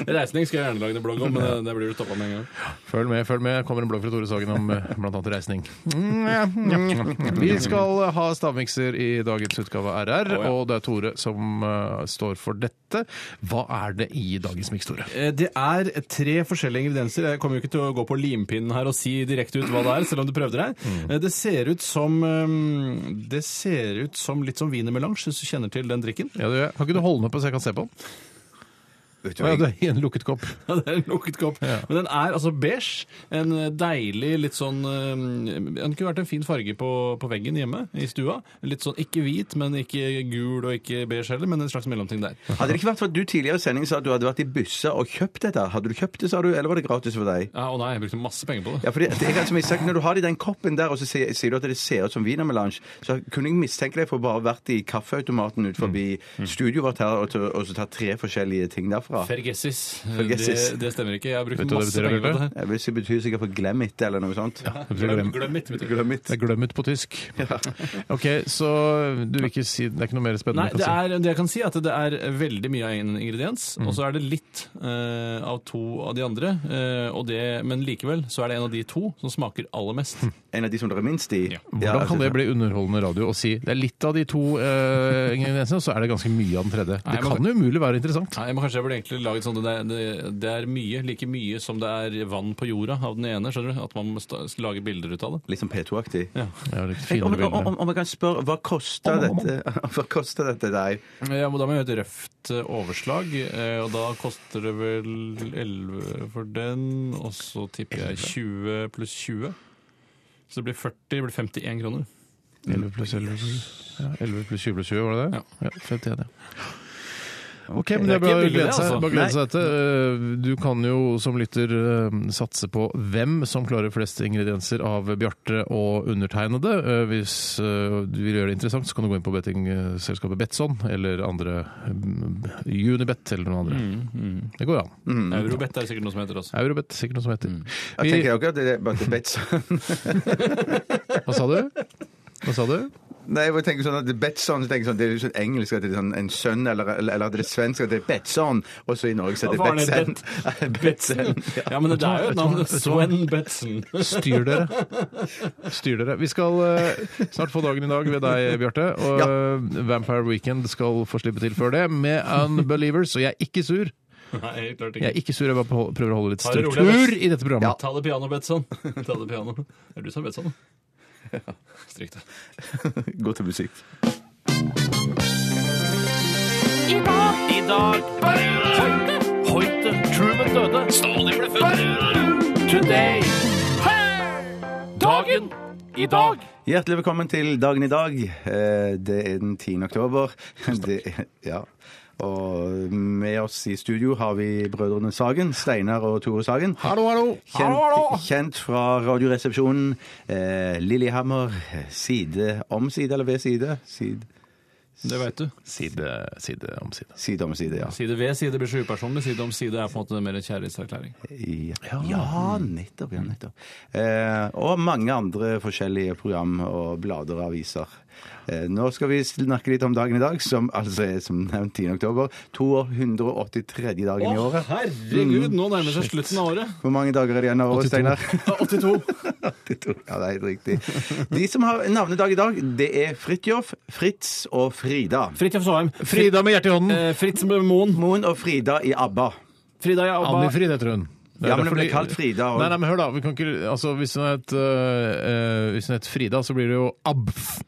Speaker 5: Reisning skal jeg gjerne lage en blogg om, men det- det blir du toppa med en gang.
Speaker 4: Følg med, følg med. Det Kommer en blogg fra Tore Sagen om eh, blant annet reisning.
Speaker 6: Mm,
Speaker 4: Vi skal eh, ha stavmikser i dagens utgave av RR,
Speaker 5: Å, ja.
Speaker 4: og det er Tore som eh, står for dette. Hva er det i dagens miks, Tore?
Speaker 5: Eh, Det er tre forskjellige ingredienser. Jeg kommer jo ikke til å gå på limpinnen her og si direkte ut hva det er, selv om du prøvde deg. Eh, Det ser ut som eh, Det ser ut som litt som wienermelange, hvis du kjenner til den drikken.
Speaker 4: Ja, du, kan ikke du holde den opp så jeg kan se på den?
Speaker 6: Vet du
Speaker 4: Å
Speaker 6: hva,
Speaker 4: Ja,
Speaker 6: jeg-
Speaker 4: det er i en lukket kopp.
Speaker 5: Ja, det er en lukket kopp. Men den er altså beige. En eh, deilig, litt sånn eh, Den kunne vært en fin farge på, på veggen hjemme i stua. Litt sånn ikke hvit, men ikke gul og ikke beige heller, men en slags mellomting der.
Speaker 6: Hadde det ikke vært for at du tidligere i sendingen sa at du hadde vært i Byssa og kjøpt dette? Hadde du kjøpt det, sa du, eller var det gratis for deg?
Speaker 5: Ja, Å nei, jeg brukte masse penger på det.
Speaker 6: Ja, fordi at jeg har som jeg har sagt, Når du har det i den koppen der, og så sier, sier du at det ser ut som wienermelange, så kunne jeg mistenke deg for bare å ha vært i kaffeautomaten ut forbi
Speaker 4: Mm.
Speaker 6: studioet vårt her og, så- og så tatt tre forskjellige ting derfra.
Speaker 5: Fergessis.
Speaker 6: Fergessis.
Speaker 5: Eh, Det, det stemmer ikke. Jeg har brukt
Speaker 4: Vet du hva det
Speaker 5: masse
Speaker 4: betyr,
Speaker 5: penger på
Speaker 4: Bjarte?
Speaker 5: det.
Speaker 6: Jeg vil si det betyr sikkert for glem it eller noe sånt.
Speaker 4: Det betyr glem.
Speaker 5: Glem mitt, mitt.
Speaker 6: Glem it.
Speaker 4: Det er glemmet på tysk. OK, så du vil ikke si Det er ikke noe mer
Speaker 5: Nei,
Speaker 4: spennende du
Speaker 5: det,
Speaker 4: kan si? Mm.
Speaker 5: er, det jeg kan si er at det er veldig mye av en ingrediens, og så er det litt eh, av to av de andre. eh, og det, men likevel så er det en av de to som smaker aller mest.
Speaker 6: En av de som dere er minst i. altså,
Speaker 4: Hvordan kan det bli underholdende radio å si det er litt av de to eh, ingrediensene, og så er det ganske mye av den tredje?
Speaker 5: Nei,
Speaker 4: Det
Speaker 5: men-
Speaker 4: kan jo umulig være interessant.
Speaker 5: Nei, men Kanskje jeg burde egentlig laget sånn at det, er- det, det er mye, like mye som det er vann på jorda av den ene. skjønner du? At man må sta- lage bilder ut av det.
Speaker 6: Litt sånn P2-aktig.
Speaker 4: Ja, det er litt
Speaker 6: Om,
Speaker 4: finere
Speaker 6: om,
Speaker 4: bilder.
Speaker 6: om, om jeg kan spørre, hva kosta dette, hva koster dette deg?
Speaker 5: Ja, men Da må jeg gjøre et røft eh, overslag, eh, og da koster det vel 11 for den. Og så tipper jeg 20 pluss 20. Så det blir 40, det blir 51 kroner.
Speaker 4: 11 pluss 11 pluss ja, 11 pluss 20 pluss 20, var det det? Ja. 51, ja. Ok, men det er
Speaker 5: Det er
Speaker 4: bare
Speaker 5: ikke
Speaker 4: å
Speaker 5: billig,
Speaker 4: glede seg.
Speaker 5: altså.
Speaker 4: Bare glede seg til dette. Du kan jo som lytter eh, satse på hvem som klarer flest ingredienser av Bjarte og undertegnede. Eh, Hvis eh, du vil gjøre det interessant, så kan du gå inn på bettingselskapet Betson eller andre mm, Unibet eller noen andre. Det går an.
Speaker 5: Mm. Eurobet er det sikkert noe som heter også.
Speaker 4: Eurobet, sikkert noe som heter.
Speaker 6: Ja,
Speaker 4: Vi,
Speaker 6: tenker jeg også at det er bare til Betson.
Speaker 4: hva sa du? Hva sa du?
Speaker 6: Nei, jeg bare tenker sånn at det er Betson, så tenker jeg sånn, det er jo sånn engelsk at det er sånn en sønn, eller, eller, eller at det er svensk at det er Betson, og så i Norge så
Speaker 5: Hva var
Speaker 6: heter
Speaker 5: det,
Speaker 6: det Betsen. Betsen.
Speaker 5: Ja, men det er jo et navn.
Speaker 4: Vet du hva?
Speaker 5: Sven Betzen.
Speaker 4: Styr dere. Styr dere. Vi skal eh, snart få dagen i dag ved deg, Bjarte. Og eh, Vampire Weekend skal få slippe til før det med Unbelievers. Og jeg er ikke sur.
Speaker 5: Nei, klart
Speaker 4: Jeg
Speaker 5: ikke.
Speaker 4: er ikke sur, jeg bare på- prøver å holde litt
Speaker 5: Ta det rolig,
Speaker 4: struktur
Speaker 5: Anders.
Speaker 4: i dette programmet.
Speaker 5: Ta det piano, Betzon. Ta det piano. Det er du som er Betzon. Stryk det.
Speaker 6: Gå til musikk.
Speaker 8: I dag. I dag. Hoite. Hoite. Truman døde. Stalin ble født. Today. Dagen. I dag.
Speaker 6: Hjertelig velkommen til dagen i dag. Eh, Det er den 10. oktober. Det, er- ja. Og med oss i studio har vi brødrene Sagen, Steinar og Tore Sagen.
Speaker 4: Hallo, hallo!
Speaker 6: Kjent, kjent fra Radioresepsjonen. Eh, Lillehammer, side om side, eller ved side? Side,
Speaker 5: Det veit du.
Speaker 4: Side, side om side.
Speaker 6: side om side, ja.
Speaker 5: Side ved side blir så upersonlig. Side om side er på en måte mer en kjærlighetserklæring.
Speaker 6: Ja, nettopp. ja, nettopp. Eh, og mange andre forskjellige program og blader og aviser. Eh, nå skal vi snakke litt om dagen i dag, som altså er som nevnt 10. oktober. 283. dagen i året.
Speaker 5: herregud, nå nærmer det seg slutten av året.
Speaker 6: Hvor mange dager er det igjen av året, Steinar?
Speaker 5: 82.
Speaker 6: 82. Ja, det er helt riktig. De som har navnedag i dag, det er Fridtjof, Fritz og Frida.
Speaker 5: Fridtjof Soheim. Fri-
Speaker 4: Frida med hjertet i hånden.
Speaker 5: eh, Fritz Moen.
Speaker 6: Moen og Frida i ABBA.
Speaker 5: Frida Jabba.
Speaker 4: Anni-Frid heter hun. Det er
Speaker 6: Ja, men hun
Speaker 4: derfor
Speaker 6: ble
Speaker 4: de-
Speaker 6: kalt Frida og-
Speaker 4: Nei, nei, men hør da. Vi kan ikke, altså, hvis hun het øh, øh, hvis hun het Frida, så blir det jo Abf.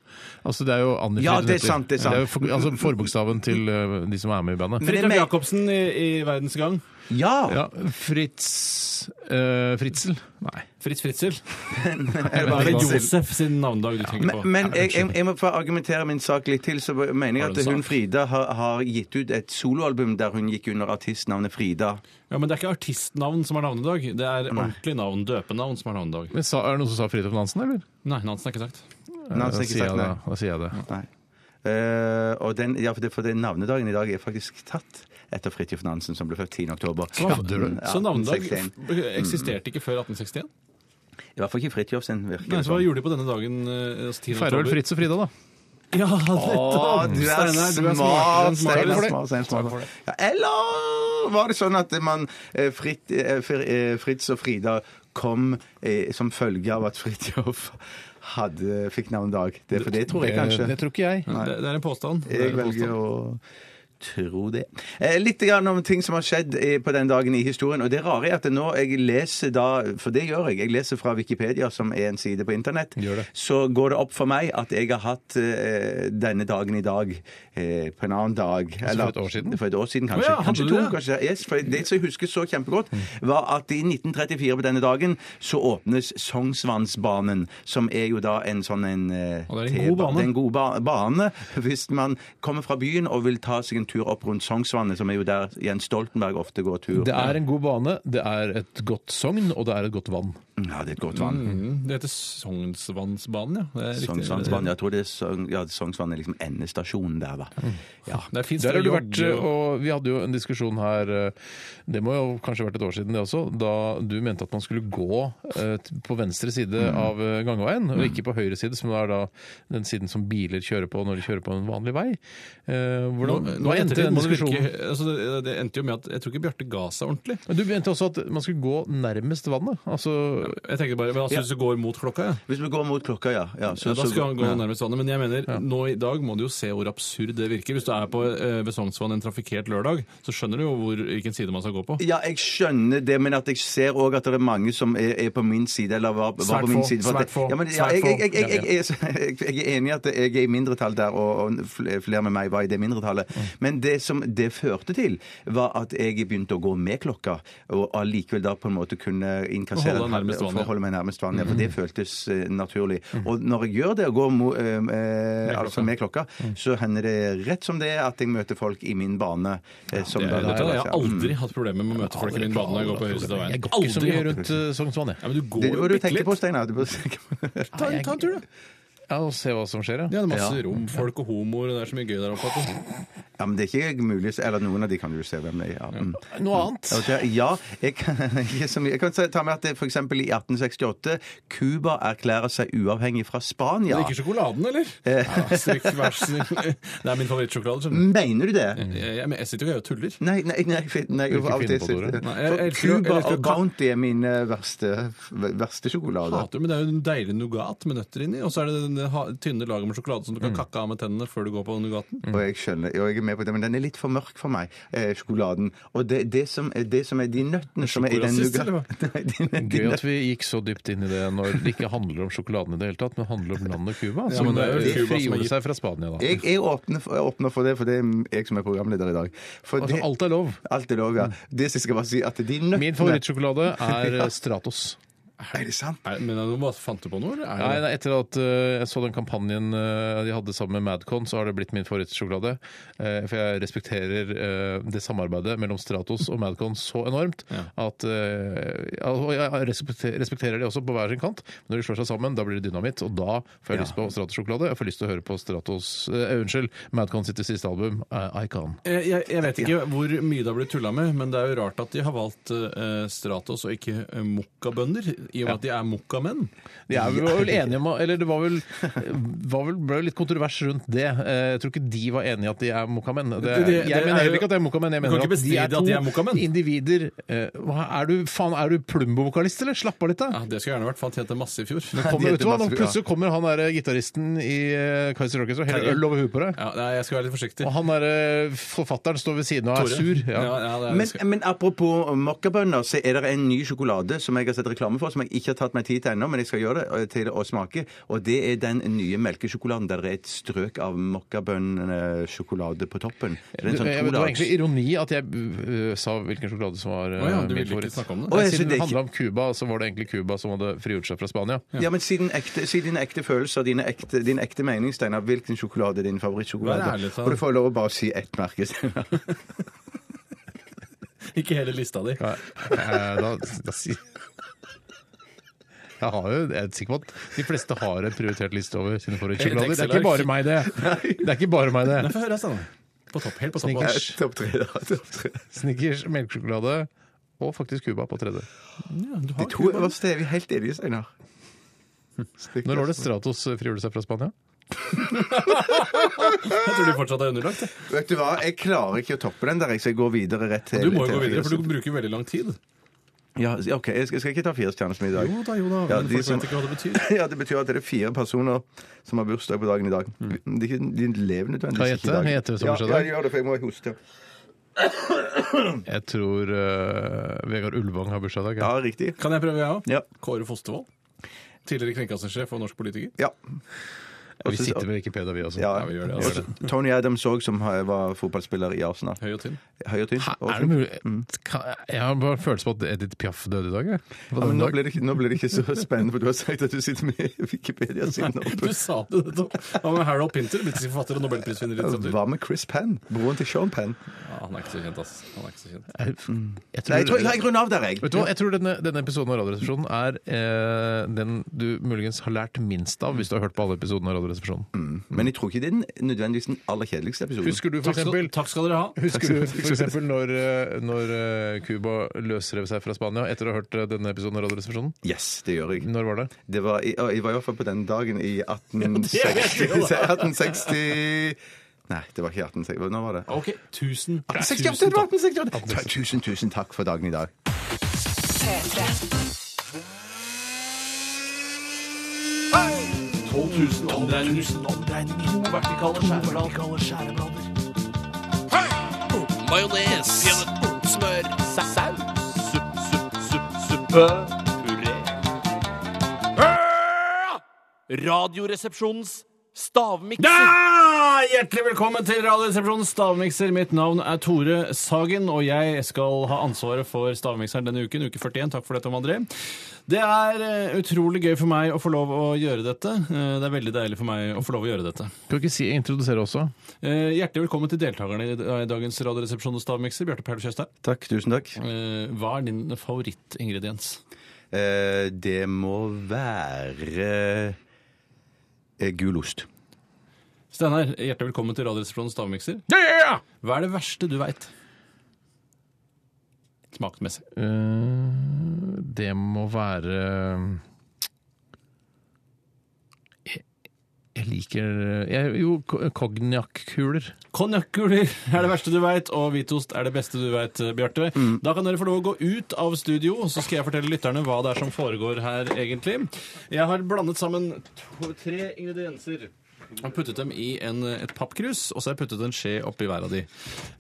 Speaker 4: Altså, det er jo Anni-Frid
Speaker 6: Ja,
Speaker 4: hun
Speaker 6: det er
Speaker 4: heter.
Speaker 6: sant, det er sant.
Speaker 4: jo for, altså, forbokstaven til øh, de som er med i bandet.
Speaker 6: Men-
Speaker 5: Fridtjof Jacobsen i, i Verdens Gang.
Speaker 6: Ja!
Speaker 4: ja, Fritz øh, Fritzel? Nei.
Speaker 5: Fritz Fritzel. Eller er det Josef sin navnedag du tenker på?
Speaker 6: Men, men jeg, jeg, jeg må få argumentere min sak litt til. Så mener jeg
Speaker 5: Har du en
Speaker 6: at hun
Speaker 5: sak?
Speaker 6: Frida har, har gitt ut et soloalbum der hun gikk under artistnavnet Frida.
Speaker 5: Ja, men det er ikke artistnavn som er navnedag. Det er ordentlig navn, døpenavn, som er navnedag.
Speaker 4: Men sa, er det noen som sa Fridtjof Nansen, eller?
Speaker 5: Nei, Nansen er ikke sagt.
Speaker 6: Nei,
Speaker 4: Da
Speaker 6: han har ikke
Speaker 4: sier jeg
Speaker 6: sagt nei.
Speaker 4: det. Da sier jeg det.
Speaker 6: nei. Eh, og den, ja, for, det, for den navnedagen i dag er faktisk tatt etter Fridtjof Nansen, som ble født 10. oktober. Ja,
Speaker 5: Så navnedag
Speaker 6: 1961.
Speaker 5: f- eksisterte ikke før 1861?
Speaker 6: I hvert fall ikke Fridtjof sin, virker
Speaker 5: Nei,
Speaker 6: det
Speaker 5: så hva
Speaker 6: som.
Speaker 5: gjorde de på denne dagen? eh, altså 10.
Speaker 4: Feirer vel
Speaker 5: oktober?
Speaker 4: Fritz og Frida, da.
Speaker 5: Ja,
Speaker 6: Å,
Speaker 5: nettopp!
Speaker 6: du er
Speaker 5: Steinar, du er smartere
Speaker 6: smart!
Speaker 5: enn smart.
Speaker 6: Steinar,
Speaker 5: Takk for det.
Speaker 6: smart, Steinar, smart. Ja, eller var det sånn at man, eh, Fritt, eh, Fr- eh, Fritz og Frida kom eh, som følge av at Fridtjof hadde, fikk navnedag? Det, for det tror jeg
Speaker 4: Det,
Speaker 6: kanskje.
Speaker 4: det tror ikke jeg.
Speaker 5: Det, det er en påstand. Det er
Speaker 6: Jeg
Speaker 5: en
Speaker 6: velger
Speaker 5: påstand.
Speaker 6: å tro det. Eh, litt grann om ting som har skjedd eh, på den dagen i historien. Og det rare er at nå jeg leser da For det gjør jeg. Jeg leser fra Wikipedia, som er en side på internett.
Speaker 4: Gjør det.
Speaker 6: Så går det opp for meg at jeg har hatt eh, denne dagen i dag eh, på en annen dag.
Speaker 5: Altså
Speaker 4: et år siden?
Speaker 6: For et år siden, kanskje.
Speaker 5: Å ja, hadde
Speaker 6: kanskje
Speaker 5: du
Speaker 6: to.
Speaker 5: det?
Speaker 6: kanskje. Yes, for det som jeg husker så kjempegodt, var at i 1934 på denne dagen så åpnes Sognsvannsbanen, som er jo da en sånn en eh,
Speaker 5: Og det er en god
Speaker 6: T-ba-
Speaker 5: bane.
Speaker 6: Det er en god ba bane hvis man kommer fra byen og vil ta seg en tur opp rundt Sognsvannet, som er jo der Jens Stoltenberg ofte går tur.
Speaker 4: Det er en god bane, det er et godt sogn, og det er et godt vann.
Speaker 6: Ja, det er et godt vann.
Speaker 5: Mm, Det heter Sognsvannsbanen, ja. Det er, riktig.
Speaker 6: Sognsvannsvann. Jeg tror det er Sogn ja, Sognsvann er liksom endestasjonen der,
Speaker 5: Mm.
Speaker 6: da. Ja.
Speaker 5: det er fint
Speaker 4: Der
Speaker 5: sted
Speaker 4: har du
Speaker 5: å
Speaker 4: vært, eh,
Speaker 5: jogge og-
Speaker 4: og Vi hadde jo en diskusjon her, eh, det må jo kanskje ha vært et år siden det også, da du mente at man skulle gå eh, t- på venstre side av eh, gangveien, og ikke på høyre side, som er da den siden som biler kjører på når de kjører på en vanlig vei. Eh, Hvordan,
Speaker 5: Nå- nå
Speaker 4: hva
Speaker 5: i
Speaker 4: endte
Speaker 5: ettertid
Speaker 4: den
Speaker 5: må det
Speaker 4: diskusjonen?
Speaker 5: virke- altså, det, det endte jo med at jeg tror ikke Bjarte ga seg ordentlig.
Speaker 4: Men Du mente også at man skulle gå nærmest vannet. altså...
Speaker 5: Jeg tenker bare, men altså, Hvis du går mot klokka, ja.
Speaker 6: Hvis vi går mot klokka, ja. ja, så,
Speaker 5: Ja, da
Speaker 6: så-
Speaker 5: skal han gå
Speaker 6: ja.
Speaker 5: nærmest vannet, men jeg mener, nå i dag må du jo se hvor absurd det virker. Hvis du er på eh, ved Sognsvann en trafikkert lørdag, så skjønner du jo hvor, hvilken side man skal gå på.
Speaker 6: Ja, jeg skjønner det, men at jeg ser òg at det er mange som er, er på min side, eller var, var
Speaker 5: Svært
Speaker 6: på min
Speaker 5: få,
Speaker 6: side. for at
Speaker 5: svært
Speaker 6: det-
Speaker 5: få,
Speaker 6: Ja, men, ja,
Speaker 5: svært
Speaker 6: jeg,
Speaker 5: få.
Speaker 6: jeg, jeg, jeg, jeg, jeg, jeg er enig i at jeg er i mindretall der, og, og fl- flere med meg var i det mindretallet.
Speaker 5: Mm.
Speaker 6: Men det som det førte til, var at jeg begynte å gå med klokka, og allikevel da på en måte kunne
Speaker 5: Og
Speaker 6: innkassere
Speaker 5: holde deg nærmest vann,
Speaker 6: for
Speaker 5: ja.
Speaker 6: å holde meg nærmest vann. Ja,
Speaker 5: Mm.
Speaker 6: for det føltes eh, naturlig. Og når jeg gjør det, og går mo, eh, eh, altså med klokka,
Speaker 5: Mm.
Speaker 6: så hender det rett som det er at jeg møter folk i min bane. eh, som
Speaker 5: Det,
Speaker 6: da-
Speaker 5: er- vet du, jeg har
Speaker 6: Ja. Mm.
Speaker 5: aldri hatt problemer med å møte folk i min bane når jeg går på høyre side av veien.
Speaker 4: Jeg går ikke så
Speaker 5: Aldri
Speaker 4: mye
Speaker 5: hatt det.
Speaker 4: rundt eh, Sognsvann, jeg.
Speaker 5: Ja, men du går
Speaker 6: Det
Speaker 5: jo
Speaker 6: bør du
Speaker 5: bitte
Speaker 6: tenke
Speaker 5: litt.
Speaker 6: på, Steinar. Du bør tenke på-
Speaker 4: Ta, en tur, da. Ja, og se hva som skjer,
Speaker 5: Ja,
Speaker 4: ja.
Speaker 5: det er masse romfolk og homoer, og det er så mye gøy der oppe. at du-
Speaker 6: Ja, men det er ikke mulig Eller noen av de kan du se hvem det er. Ja, mm.
Speaker 4: Noe annet?
Speaker 6: Ja, det- Ja, jeg kan, ikke så mye. jeg kan ta med at det for eksempel i 1868 Cuba erklærer seg uavhengig fra Spania.
Speaker 5: Drikker sjokoladen, eller? Ja, stryk, vær så snill. Det er min favorittsjokolade. skjønner du.
Speaker 6: Mener du det?
Speaker 5: Jeg, jeg, men jeg sitter jo her og tuller.
Speaker 6: Nei, nei, nei, fi- nei
Speaker 4: Du vil ikke
Speaker 6: av
Speaker 4: finne på
Speaker 6: og til
Speaker 4: det,
Speaker 6: sitter-
Speaker 4: Tore.
Speaker 5: Nei, jeg- jeg
Speaker 6: For
Speaker 5: elsker- jeg
Speaker 6: Cuba
Speaker 5: elsker-
Speaker 6: og Bounty er mine verste, verste sjokolader.
Speaker 5: Hater, men Det er jo en deilig nougat med nøtter inni, og så er det den det ha, tynne laget med sjokolade som du kan kakke av med tennene før du går på Nugaten.
Speaker 6: Og jeg skjønner, og jeg er med på det, men den er litt for mørk for meg, eh, sjokoladen. Og det, det, som, det som er de nøttene som er i den
Speaker 5: Sjokolasist, eller
Speaker 6: nougaten
Speaker 4: Gøy at vi gikk så dypt inn i det når det ikke handler om sjokoladen i det hele tatt, men handler om landet Cuba, som
Speaker 5: men det er
Speaker 4: eh,
Speaker 5: jo Cuba som har
Speaker 4: frigjorde
Speaker 5: gitt- Eh,
Speaker 4: seg fra Spania da.
Speaker 6: Jeg, jeg, åpner, for- jeg åpner for det, for det er jeg som er programleder i dag. For
Speaker 4: Altså,
Speaker 6: det-
Speaker 4: alt er lov.
Speaker 6: Alt er lov, ja. Det skal jeg bare si at de nøttene
Speaker 4: Min favorittsjokolade er eh, Stratos.
Speaker 6: Er det sant?
Speaker 5: Er, men er det noe- fant du på noe, eller? Er
Speaker 4: Nei,
Speaker 5: det-
Speaker 4: nei, etter at eh, jeg så den kampanjen eh, de hadde sammen med Madcon, så har det blitt min favorittsjokolade. Eh, for jeg respekterer eh, det samarbeidet mellom Stratos og Madcon så enormt at eh, ja, Og jeg respekter- respekterer det også på hver sin kant. Men når de slår seg sammen, da blir det dynamitt, og da får jeg lyst på Stratos-sjokolade. Jeg får lyst til å høre på Stratos eh, Unnskyld, Madcon sitt siste album, eh, Icon.
Speaker 5: Eh, Jeg, jeg vet ikke hvor mye det har blitt tulla med, men det er jo rart at de har valgt eh, Stratos og ikke eh, mokkabønder, i og med at de er mokkamenn.
Speaker 4: De er vel- var vel enige om, å- eller det var vel, var vel ble litt kontrovers rundt det. Eh, Jeg tror ikke de var enige i at de er mokamenn. Det,
Speaker 5: Det- det- det
Speaker 4: jeg
Speaker 5: er
Speaker 4: mener
Speaker 5: jo-
Speaker 4: heller ikke at de er mokamenn. Jeg
Speaker 5: Du kan
Speaker 4: mener at
Speaker 5: ikke
Speaker 4: de
Speaker 5: bestride
Speaker 4: er to
Speaker 5: at de er mokamenn.
Speaker 4: individer. Eh, hva Er du, faen, er du Plumbo-vokalist, eller? Slapp av litt, da.
Speaker 5: Ja, det skulle gjerne vært, for han tjente masse i fjor.
Speaker 4: Kommer, vet du hva, nå
Speaker 6: masse-
Speaker 4: plutselig kommer han der eh, gitaristen i eh, Kaiser Orchestra og heller øl over huet på deg.
Speaker 5: Ja, nei, jeg skal være litt forsiktig.
Speaker 4: Og han der eh, forfatteren står ved siden av og er sur.
Speaker 5: Ja. Ja,
Speaker 4: Ja.
Speaker 5: ja, det er,
Speaker 6: Men,
Speaker 5: skal-
Speaker 6: men apropos mokkabønner, så er det en ny sjokolade som jeg har sett reklame for, som jeg ikke har tatt meg tid til ennå, men jeg skal gjøre det eh, til å smake. Og det er den nye melkesjokoladen der det er et strøk av mokkabønnsjokolade på toppen. Det er
Speaker 4: Det
Speaker 6: en sånn
Speaker 4: eh, det var
Speaker 6: tolags.
Speaker 4: egentlig ironi at jeg eh, sa hvilken sjokolade som var eh,
Speaker 5: Å ja,
Speaker 4: min
Speaker 5: du ville ikke
Speaker 4: favoritt.
Speaker 5: snakke om
Speaker 6: Å,
Speaker 5: det.
Speaker 4: Nei,
Speaker 6: jeg synes
Speaker 4: Siden
Speaker 6: det
Speaker 4: det
Speaker 6: er
Speaker 4: handla om Cuba, så var det egentlig Cuba som hadde frigjort seg fra Spania.
Speaker 6: Ja, men siden ekte, si dine ekte følelser, dine ekte, din ekte mening, Steinar, hvilken sjokolade er din favorittsjokolade?
Speaker 5: Vær ærlig, Steinar.
Speaker 6: Og du får lov å bare si ett merke, Steinar.
Speaker 5: ikke hele lista di.
Speaker 4: Nei, eh, da, da si- jeg, har jo, jeg er sikker på at de fleste har en prioritert liste over sine favorittsjokolader. Det er ikke bare meg, det. Det er ikke bare meg
Speaker 5: Nei,
Speaker 4: det.
Speaker 5: Få høre, Steinar. På topp, helt på topp.
Speaker 4: Snickers.
Speaker 6: Topp tre, da. Topp tre.
Speaker 4: Snickers, melkesjokolade og faktisk Cuba på tredje.
Speaker 5: Ja, du
Speaker 6: De
Speaker 5: har
Speaker 6: to
Speaker 5: Cuba.
Speaker 6: øverste er vi helt enige, Steinar. altså.
Speaker 4: Når var det Stratos eh, frigjorde seg fra Spania?
Speaker 5: Jeg tror de fortsatt er underlagt. jeg.
Speaker 6: Vet du hva, jeg klarer ikke å toppe den der, jeg, så jeg går videre rett til
Speaker 5: Du må jo
Speaker 6: til-
Speaker 5: gå videre, for du bruker veldig lang tid.
Speaker 6: Ja, s- OK, jeg skal, skal ikke ta fire stjerner som i dag.
Speaker 5: Jo da, jo da,
Speaker 6: Ja,
Speaker 5: men
Speaker 6: de
Speaker 5: folk
Speaker 6: som-
Speaker 5: vet ikke hva det betyr.
Speaker 6: Ja, Det betyr at det er fire personer som har bursdag på dagen i dag. De, de lever
Speaker 4: Kan jeg
Speaker 6: nødvendigvis
Speaker 4: gjette? Kan jeg gjette hva som
Speaker 6: Ja,
Speaker 4: skjedde?
Speaker 6: ja, gjør det, for jeg må hoste.
Speaker 4: Jeg tror eh, Vegard Ulvang har bursdag i dag.
Speaker 6: Ja,
Speaker 4: ja.
Speaker 6: riktig.
Speaker 5: Kan jeg prøve, jeg òg?
Speaker 6: Ja.
Speaker 5: Kåre Fostervoll. Tidligere kringkastingssjef og norsk politiker.
Speaker 6: Ja.
Speaker 4: Vi sitter ved Wikipedia, vi også.
Speaker 6: Ja.
Speaker 5: Ja, vi gjør det,
Speaker 6: Og
Speaker 5: altså.
Speaker 6: så Tony Adams òg, som har- var fotballspiller i Arsenal.
Speaker 5: Høy og tynn.
Speaker 6: Høy og tynn.
Speaker 4: Hæ,
Speaker 6: og
Speaker 4: Er det
Speaker 6: fin.
Speaker 4: mulig?
Speaker 6: Mm.
Speaker 4: Kan- Jeg har bare følelse på at Edith Piaf døde i dag. jeg. På
Speaker 6: Ja, men
Speaker 4: denne
Speaker 6: nå
Speaker 4: dag.
Speaker 6: ble, det, ikke- nå ble det ikke så spennende, for du har sagt at du sitter med Wikipedia-siden
Speaker 5: Du
Speaker 6: oppe.
Speaker 5: sa det nettopp. Hva med Harold Pinter, britisk forfatter og nobelprisvinner i litteratur?
Speaker 6: Hva med Chris Penn? Broren til Sean Penn?
Speaker 5: Ja, han er ikke så kjent, ass. Han er ikke så kjent.
Speaker 4: Jeg
Speaker 6: Nei, jeg tror jeg runder av der, jeg.
Speaker 4: Vet du hva, Jeg tror denne, denne episoden av Radioresepsjonen er eh, den du muligens har lært minst av hvis du har hørt på alle episodene av Radioresepsjonen.
Speaker 5: Mm.
Speaker 6: Men jeg tror ikke det er den, nødvendigvis den aller kjedeligste episoden.
Speaker 4: Husker du for
Speaker 5: Takk skal,
Speaker 4: eksempel,
Speaker 5: takk skal dere ha.
Speaker 4: husker du for eksempel når, eh, når eh, Cuba løsrev seg fra Spania etter å ha hørt eh, denne episoden av Radioresepsjonen?
Speaker 6: Yes, det gjør jeg.
Speaker 4: Når var det?
Speaker 6: Det var, i- jeg var i hvert fall på den dagen i 1860 1860 Nei, det var ikke 1860. Nå var det
Speaker 5: Ok, tusen, tusen
Speaker 6: 68, det var 1868! Tusen, tusen takk for dagen i dag.
Speaker 7: P3.
Speaker 8: Radioresepsjonens stavmikser.
Speaker 5: Ja! Hjertelig velkommen til Radioresepsjonens stavmikser. Mitt navn er Tore Sagen, og jeg skal ha ansvaret for stavmikseren denne uken, uke 41. Takk for det, Tom André. Det er eh, utrolig gøy for meg å få lov å gjøre dette. Eh, Det er veldig deilig for meg å få lov å gjøre dette.
Speaker 4: Kan du ikke si, introdusere også?
Speaker 5: Eh, Hjertelig velkommen til deltakerne i i dagens Radioresepsjonens stavmikser. Bjarte Perle Tjøstheim,
Speaker 6: Takk, tusen takk.
Speaker 5: eh, hva er din favorittingrediens?
Speaker 6: Eh, det må være eh, gulost.
Speaker 5: Steinar, hjertelig velkommen til Radioresepsjonens stavmikser. Hva er det verste du veit? Smaksmessig.
Speaker 4: Eh, det må være Jeg, jeg liker jeg, Jo, ko- konjakkuler.
Speaker 5: Konjakkuler er det verste du veit, og hvitost er det beste du veit, Bjarte. Da kan dere få lov å gå ut av studio, og så skal jeg fortelle lytterne hva det er som foregår her, egentlig. Jeg har blandet sammen to, tre ingredienser. Og puttet dem i en, et pappkrus, og så har jeg puttet en skje oppi hver av de.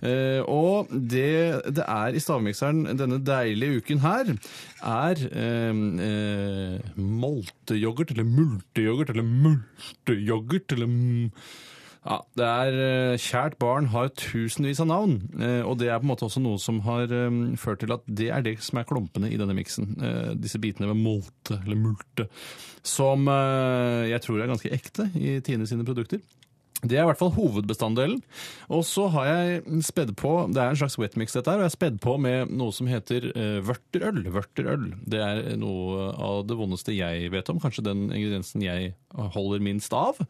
Speaker 5: Eh, og det det er i stavmikseren denne deilige uken her, er eh, eh, molteyoghurt, eller multeyoghurt, eller multeyoghurt, eller mm, ja, det er eh, Kjært barn har tusenvis av navn, eh, og det er på en måte også noe som har eh, ført til at det er det som er klumpene i denne miksen. Eh, Disse bitene med molte, eller multe, som eh, jeg tror er ganske ekte i Tine sine produkter. Det er i hvert fall hovedbestanddelen. Og så har jeg spedd på Det er en slags wetmix, dette her. Og jeg har spedd på med noe som heter eh, vørterøl. Vørterøl. Det er noe av det vondeste jeg vet om. Kanskje den ingrediensen jeg holder minst av.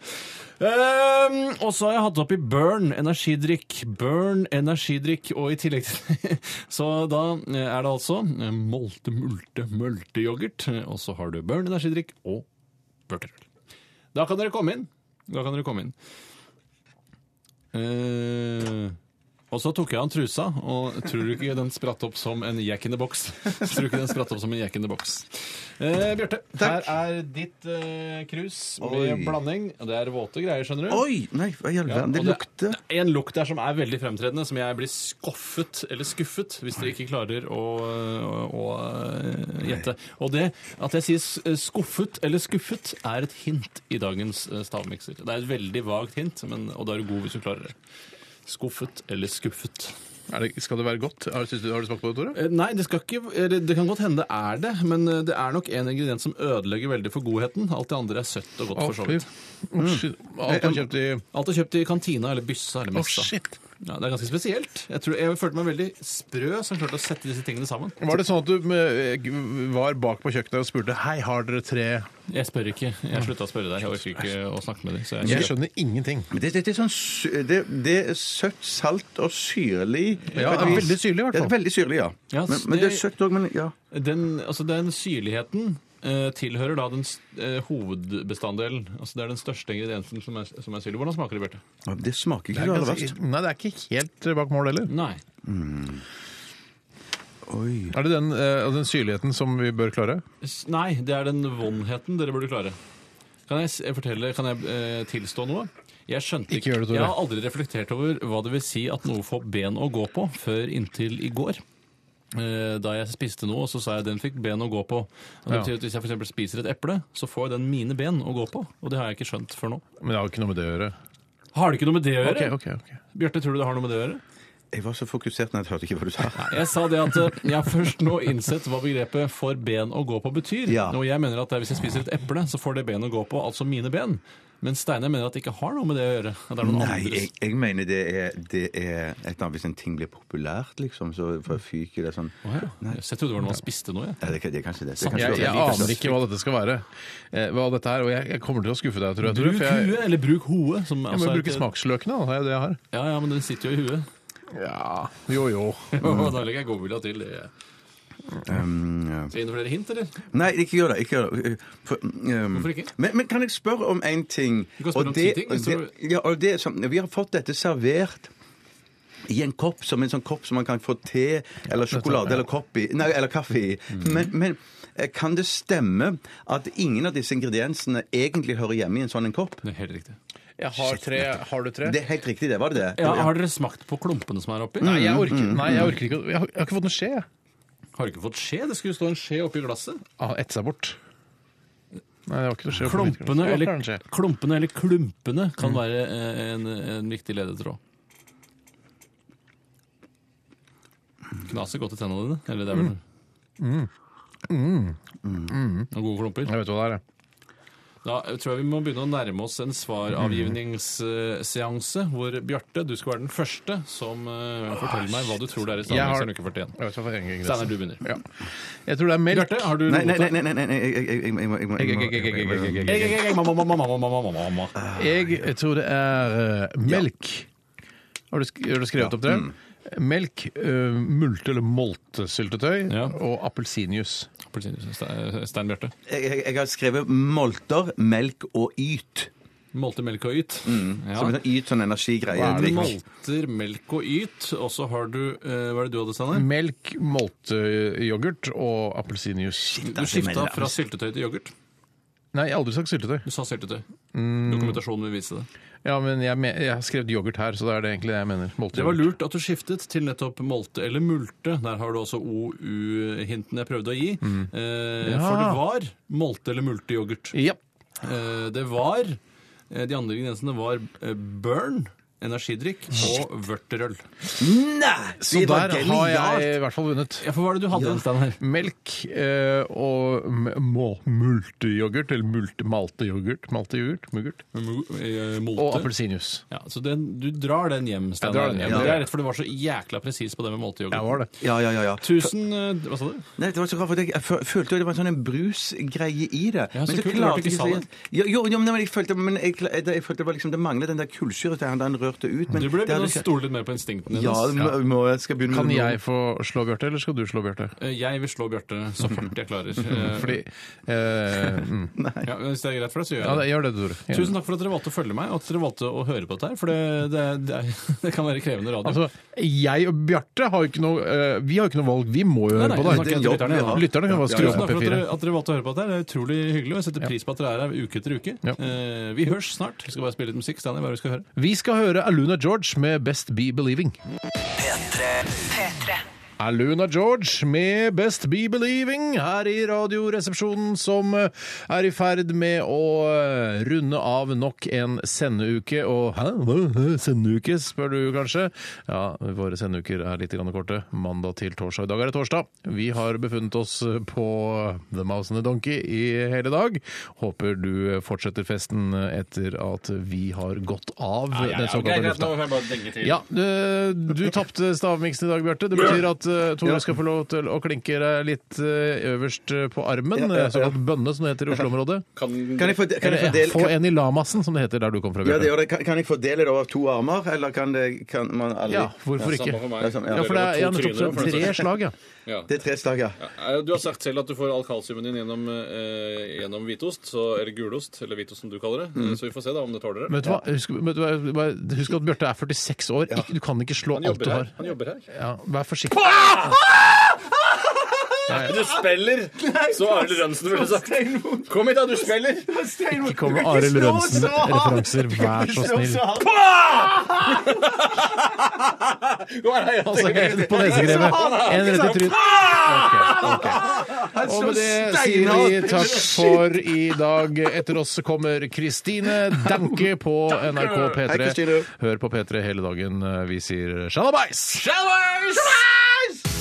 Speaker 5: Ehm, og så har jeg hatt oppi Burn energidrikk. Burn energidrikk. Og i tillegg til Så da er det altså eh, molte, multe, mølteyoghurt. Og så har du Burn energidrikk og vørterøl. Da kan dere komme inn. Da kan dere komme inn. Eh, og så tok jeg han trusa, og tror du ikke den spratt opp som en jack in the box? Tror du ikke den spratt opp som en jack in the box? Eh, Bjarte, her er ditt eh, krus med
Speaker 6: Oi.
Speaker 5: blanding. Det er våte greier, skjønner du.
Speaker 6: Oi! Nei, hva i all
Speaker 5: Ja,
Speaker 6: verden? Det
Speaker 5: og
Speaker 6: lukter
Speaker 5: det er en lukt der som er veldig fremtredende, som jeg blir skuffet eller skuffet hvis dere ikke klarer å, å, å eh, gjette. Og det at jeg sier s- eh, skuffet eller skuffet, er et hint i dagens eh, stavmikser. Det er et veldig vagt hint, men, og da er du god hvis du klarer det. Skuffet eller skuffet.
Speaker 4: Er det, skal det være godt? Har, synes du, har du smakt på det, Tore?
Speaker 5: Eh, Nei, det, skal ikke, eller det kan godt hende det er det, men eh, det er nok en ingrediens som ødelegger veldig for godheten. Alt det andre er søtt og godt for så vidt.
Speaker 4: Å, shit. Alt du har kjøpt i
Speaker 5: Alt er kjøpt i kantina eller byssa eller
Speaker 4: Å,
Speaker 5: messa.
Speaker 4: shit.
Speaker 5: Ja, det er ganske spesielt. Jeg, tror, jeg følte meg veldig sprø som klarte å sette disse tingene sammen.
Speaker 4: Var det sånn at du eh, g- var bak på kjøkkenet og spurte Hei, har dere tre
Speaker 5: Jeg spør ikke. Jeg slutta å spørre deg. Jeg orker ikke å snakke med deg. Så
Speaker 4: Jeg
Speaker 5: jeg
Speaker 4: skjønner ingenting.
Speaker 6: Men det, det, det er sånn sø- det, det er søtt, salt og syrlig.
Speaker 4: Ja,
Speaker 6: På et vis.
Speaker 4: veldig syrlig i hvert
Speaker 6: Det er
Speaker 4: fall.
Speaker 6: Veldig syrlig, ja.
Speaker 5: Ja,
Speaker 6: men, men det er
Speaker 5: det-
Speaker 6: søtt òg, men ja.
Speaker 5: den, altså, den syrligheten eh, tilhører da den s- eh, hovedbestanddelen. Altså, det er den største ingrediensen som er, som er syrlig. Hvordan smaker det, Bjarte?
Speaker 6: Å, Det smaker ikke
Speaker 4: Det er
Speaker 6: det aller
Speaker 4: ganske-
Speaker 6: verst.
Speaker 4: Nei, det er ikke helt eh, bak mål heller.
Speaker 5: Nei.
Speaker 6: altså. Oi.
Speaker 4: Er det den, eh, den syrligheten som vi bør klare?
Speaker 5: S- Nei, det er den vondheten dere burde klare. Kan jeg s- fortelle, kan jeg eh, tilstå noe? Jeg skjønte
Speaker 4: Ikke gjør det, Tore.
Speaker 5: Jeg har aldri reflektert over hva det vil si at noe får ben å gå på, før inntil i går. Eh, Da jeg spiste noe, så sa jeg den fikk ben å gå på. Og det
Speaker 4: Ja.
Speaker 5: betyr at Hvis jeg for eksempel spiser et eple, så får den mine ben å gå på. Og det har jeg ikke skjønt før nå.
Speaker 4: Men det har jo ikke noe med det å gjøre.
Speaker 5: Har det ikke noe med det å gjøre?
Speaker 4: Ok, ok, ok.
Speaker 5: Bjarte, tror du det har noe med det å gjøre?
Speaker 6: Jeg var så fokusert når jeg hørte ikke hva du sa.
Speaker 5: Jeg sa det at eh, jeg har først nå innsett hva begrepet 'får ben å gå på' betyr.
Speaker 6: Ja.
Speaker 5: Og jeg mener at det er hvis jeg spiser et eple, så får det ben å gå på, altså mine ben. Men Steinar mener at det ikke har noe med det å gjøre. At det er noen
Speaker 6: Nei, jeg,
Speaker 5: andres.
Speaker 6: jeg mener det er, det er et eller annet Hvis en ting blir populært, liksom, så fyker det sånn.
Speaker 5: Å, ja. Så jeg trodde det var noe man spiste nå, jeg.
Speaker 6: Nei, det, er- det er kanskje det. det
Speaker 4: Sånn.
Speaker 6: er kanskje
Speaker 5: Jeg-
Speaker 4: Jeg,
Speaker 6: det.
Speaker 4: jeg aner ikke hva dette skal være. Eh, Hva dette er, og jeg, jeg kommer til å skuffe deg, tror jeg. Tore,
Speaker 5: Bruk
Speaker 4: for jeg,
Speaker 5: huet, eller bruk hoet. Som
Speaker 4: jeg må
Speaker 5: altså
Speaker 4: jo
Speaker 5: er
Speaker 4: bruke
Speaker 5: et-
Speaker 4: smaksløkene, da. Det er jo det jeg har.
Speaker 5: Ja, ja, men den sitter jo i huet.
Speaker 4: Ja, jo jo.
Speaker 5: Og da legger jeg godvilja til. det.
Speaker 6: Um, ja.
Speaker 5: Skal jeg gi noen flere hint, eller?
Speaker 6: Nei, ikke gjør det. Ikke gjør det. For, um,
Speaker 5: Hvorfor ikke?
Speaker 6: Men, men kan jeg spørre om én ting?
Speaker 5: Du kan spørre om ti ting,
Speaker 6: og
Speaker 5: hvis du-
Speaker 6: det, ja, og det, er sånn, vi har fått dette servert i en kopp, som en sånn kopp som man kan få te eller sjokolade eller, kopp i, nei, eller kaffe i. Men, men eh, kan det stemme at ingen av disse ingrediensene egentlig hører hjemme i en sånn en kopp?
Speaker 5: Det er helt riktig.
Speaker 4: Jeg har tre. Har du tre?
Speaker 6: Det er helt riktig, det. Var det det?
Speaker 5: Ja, har dere smakt på klumpene som er oppi?
Speaker 6: Mm.
Speaker 4: Nei, jeg orker, nei, jeg orker ikke. å- Jeg har, jeg har ikke fått noe skje. jeg.
Speaker 5: Har dere ikke fått skje? Det skulle jo stå en skje oppi glasset.
Speaker 4: Ah, ett seg bort. Nei, det var ikke noe skje. oppi mitt glass.
Speaker 5: Klumpene
Speaker 4: Ja,
Speaker 5: eller,
Speaker 4: kanskje.
Speaker 5: klumpene eller klumpene kan være eh, en, en viktig ledetråd. Knaser godt i tennene dine. Eller det er vel Noen gode klumper.
Speaker 4: Jeg vet hva det er. jeg.
Speaker 5: Da tror jeg vi må begynne å nærme oss en svaravgivningsseanse, hvor Bjarte, du skal være den første som eh, forteller meg hva du tror det er i
Speaker 4: Jeg har-
Speaker 5: Stavmikseren uke 41.
Speaker 4: Jeg vet hva for en gang
Speaker 5: Steinar, du
Speaker 4: det er.
Speaker 5: begynner.
Speaker 4: Ja. Jeg tror det er melk.
Speaker 5: Bjarte, har du
Speaker 6: Nei,
Speaker 5: noe
Speaker 6: nei, nei,
Speaker 5: mot deg?
Speaker 6: nei, nei, nei, nei, jeg- jeg- jeg- jeg må- jeg må-
Speaker 4: Egg, egg, egg, egg, egg, egg, egg,
Speaker 5: Egg,
Speaker 4: egg, egg.
Speaker 5: egg, egg, mamma, mamma, mamma, mamma, mamma, mamma.
Speaker 4: Jeg tror det er eh, melk. Har du, sk har du skrevet opp det?
Speaker 5: Mm.
Speaker 4: Melk, eh, multe- eller moltesyltetøy
Speaker 5: Ja.
Speaker 4: og appelsinjuice.
Speaker 5: Appelsinjuice. Stein Bjarte.
Speaker 6: Jeg, jeg, jeg har skrevet molter, melk og yt.
Speaker 5: Molter, melk og yt. Ja.
Speaker 6: Som en sånn yt sånn energigreie.
Speaker 5: Hva er det?
Speaker 6: Drikk.
Speaker 5: Molter, melk og yt. Og så har du eh, Hva er det du hadde, Steinar?
Speaker 4: Melk, molteyoghurt og appelsinjuice.
Speaker 5: Du skifta fra syltetøy til yoghurt.
Speaker 4: Nei, jeg har aldri sagt syltetøy.
Speaker 5: Du sa syltetøy. Mm. Dokumentasjonen vil vise det.
Speaker 4: Ja, men jeg, me- jeg har skrevet yoghurt her, så det er det egentlig jeg mener.
Speaker 5: Det var
Speaker 4: Molteyoghurt.
Speaker 5: lurt at du skiftet til nettopp molte eller multe. Der har du også OU-hintene jeg prøvde å gi. Eh,
Speaker 4: Ja.
Speaker 5: For det var molte eller multeyoghurt.
Speaker 4: Ja.
Speaker 5: Eh, det var eh, De andre ingrediensene var eh, burn, energidrikk og vørterøl.
Speaker 6: Nei!
Speaker 4: Så der har jeg i hvert fall vunnet.
Speaker 5: Ja, for hva er det du hadde? Steinar?
Speaker 4: Melk eh, og m- må- multeyoghurt, eller multe, malteyoghurt, malteyoghurt, muggurt,
Speaker 5: Mo- eh, Molte.
Speaker 4: og appelsinjuice.
Speaker 5: Ja, så den, du drar den hjem, Steinar.
Speaker 4: drar den hjem,
Speaker 5: Det
Speaker 4: ja.
Speaker 5: er rett for du var så jækla presis på det med molteyoghurt.
Speaker 4: Jeg var det.
Speaker 6: Ja, ja, ja, ja.
Speaker 5: Tusen eh, Hva sa du?
Speaker 6: Nei, det var så rart, for jeg fø- følte jo det var en sånn en brusgreie i det.
Speaker 5: Ja, så
Speaker 6: Men
Speaker 5: kult,
Speaker 6: klarte
Speaker 5: rart du ikke
Speaker 6: jeg
Speaker 5: sa
Speaker 6: så-
Speaker 5: det.
Speaker 6: Jo, jo, jo, men jeg følte, men jeg, kla- det- jeg følte det, var liksom, det manglet den der kullsyret da han da han rørte ut. Men
Speaker 5: Du burde
Speaker 6: det hadde
Speaker 5: begynne å
Speaker 6: ikke-
Speaker 5: stole litt mer på instinktene dine.
Speaker 6: Ja,
Speaker 5: ass.
Speaker 6: det må, må, jeg skal begynne
Speaker 4: Kan
Speaker 6: med
Speaker 4: jeg få slå Bjarte, eller skal du slå Bjarte?
Speaker 5: Eh, Jeg vil slå Bjarte så fort jeg klarer. Eh,
Speaker 4: Fordi eh, mm.
Speaker 5: ja, Hvis det er greit for deg, så gjør
Speaker 4: Ja,
Speaker 5: jeg
Speaker 4: det-
Speaker 5: det.
Speaker 4: gjør det, Tore. Gjør
Speaker 5: Tusen
Speaker 4: det.
Speaker 5: takk for at dere valgte å følge meg og at dere valgte å høre på dette. her, For det, det, er- det, er, det kan være krevende radio.
Speaker 4: Altså, jeg og Bjarte har jo ikke noe eh, Vi har jo ikke noe valg, vi må jo
Speaker 5: Nei,
Speaker 4: høre
Speaker 5: nei,
Speaker 4: på
Speaker 5: nå snakker
Speaker 4: det.
Speaker 5: jeg til lytterne, ja.
Speaker 4: Lytterne kan bare skru
Speaker 5: Tusen
Speaker 4: opp
Speaker 5: takk for at
Speaker 4: P4.
Speaker 5: dere, at dere valgte å høre på dette. her. Det er utrolig hyggelig. og Jeg setter pris på at dere er her uke etter uke. Eh, vi høres snart. Vi skal bare spille litt musikk. Steinar, hva er det vi skal høre?
Speaker 4: Vi skal høre Aluna George med Best Be Believing.
Speaker 7: P3.
Speaker 4: Aluna George med Best Be Believing her i Radioresepsjonen, som eh, er i ferd med å eh, runde av nok en sendeuke. Og hæ, hva, Hæ? sendeuke, spør du kanskje? Ja, våre sendeuker er litt grann korte. Mandag til torsdag. I dag er det torsdag. Vi har befunnet oss på The Mouse and the Donkey i hele dag. Håper du fortsetter festen etter at vi har gått av den såkalte lufta. Ja, du, du tapte stavmiksen i dag, Bjarte. Det betyr at eh, Tore skal få lov til å klinke deg litt eh, øverst eh, på armen.
Speaker 6: ja, ja.
Speaker 4: eh, Såkalt bønne, som det heter i Oslo-området.
Speaker 6: Kan jeg få, kan jeg få
Speaker 4: Eller, eh,
Speaker 6: del-
Speaker 4: Få
Speaker 6: kan,
Speaker 4: en i lamasen, som det heter der du kom fra,
Speaker 6: ja, det
Speaker 4: Bjarte.
Speaker 6: gjør det. Kan, kan jeg fordele det over to armer, eller kan, det, kan man aldri
Speaker 4: Ja, hvorfor ikke?
Speaker 6: Det er sånn,
Speaker 4: Ja, for det er altså. ja, nettopp så tre slag, ja.
Speaker 6: Det er tre slag, ja.
Speaker 5: Eh, Du har sagt selv at du får all kalsiumen din gjennom, eh, hvitost, eller gulost, eller hvitost som du kaller det.
Speaker 8: Mm.
Speaker 5: Så vi får se da om det tåler
Speaker 4: Men Vet du hva? Husk, vet du, hva? Bare husk at Bjarte er 46 år. Ikke, du kan ikke slå alt du har.
Speaker 5: Han jobber her.
Speaker 4: Ja, vær forsiktig.
Speaker 8: Du spiller! Så Arild Rønsen ville sagt. Kom hit, da, du spiller!
Speaker 4: Ikke kom med Arild Rønsen-referanser, vær så snill. Altså helt på nesegrevet. En rett i trynet. Og med det sier vi takk for i dag. Etter oss kommer Kristine Danke på NRK P3. Hør på P3 hele dagen. Vi sier sjalabais!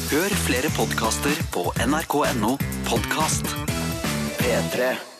Speaker 9: Hør flere podkaster på nrk.no podkast. P3.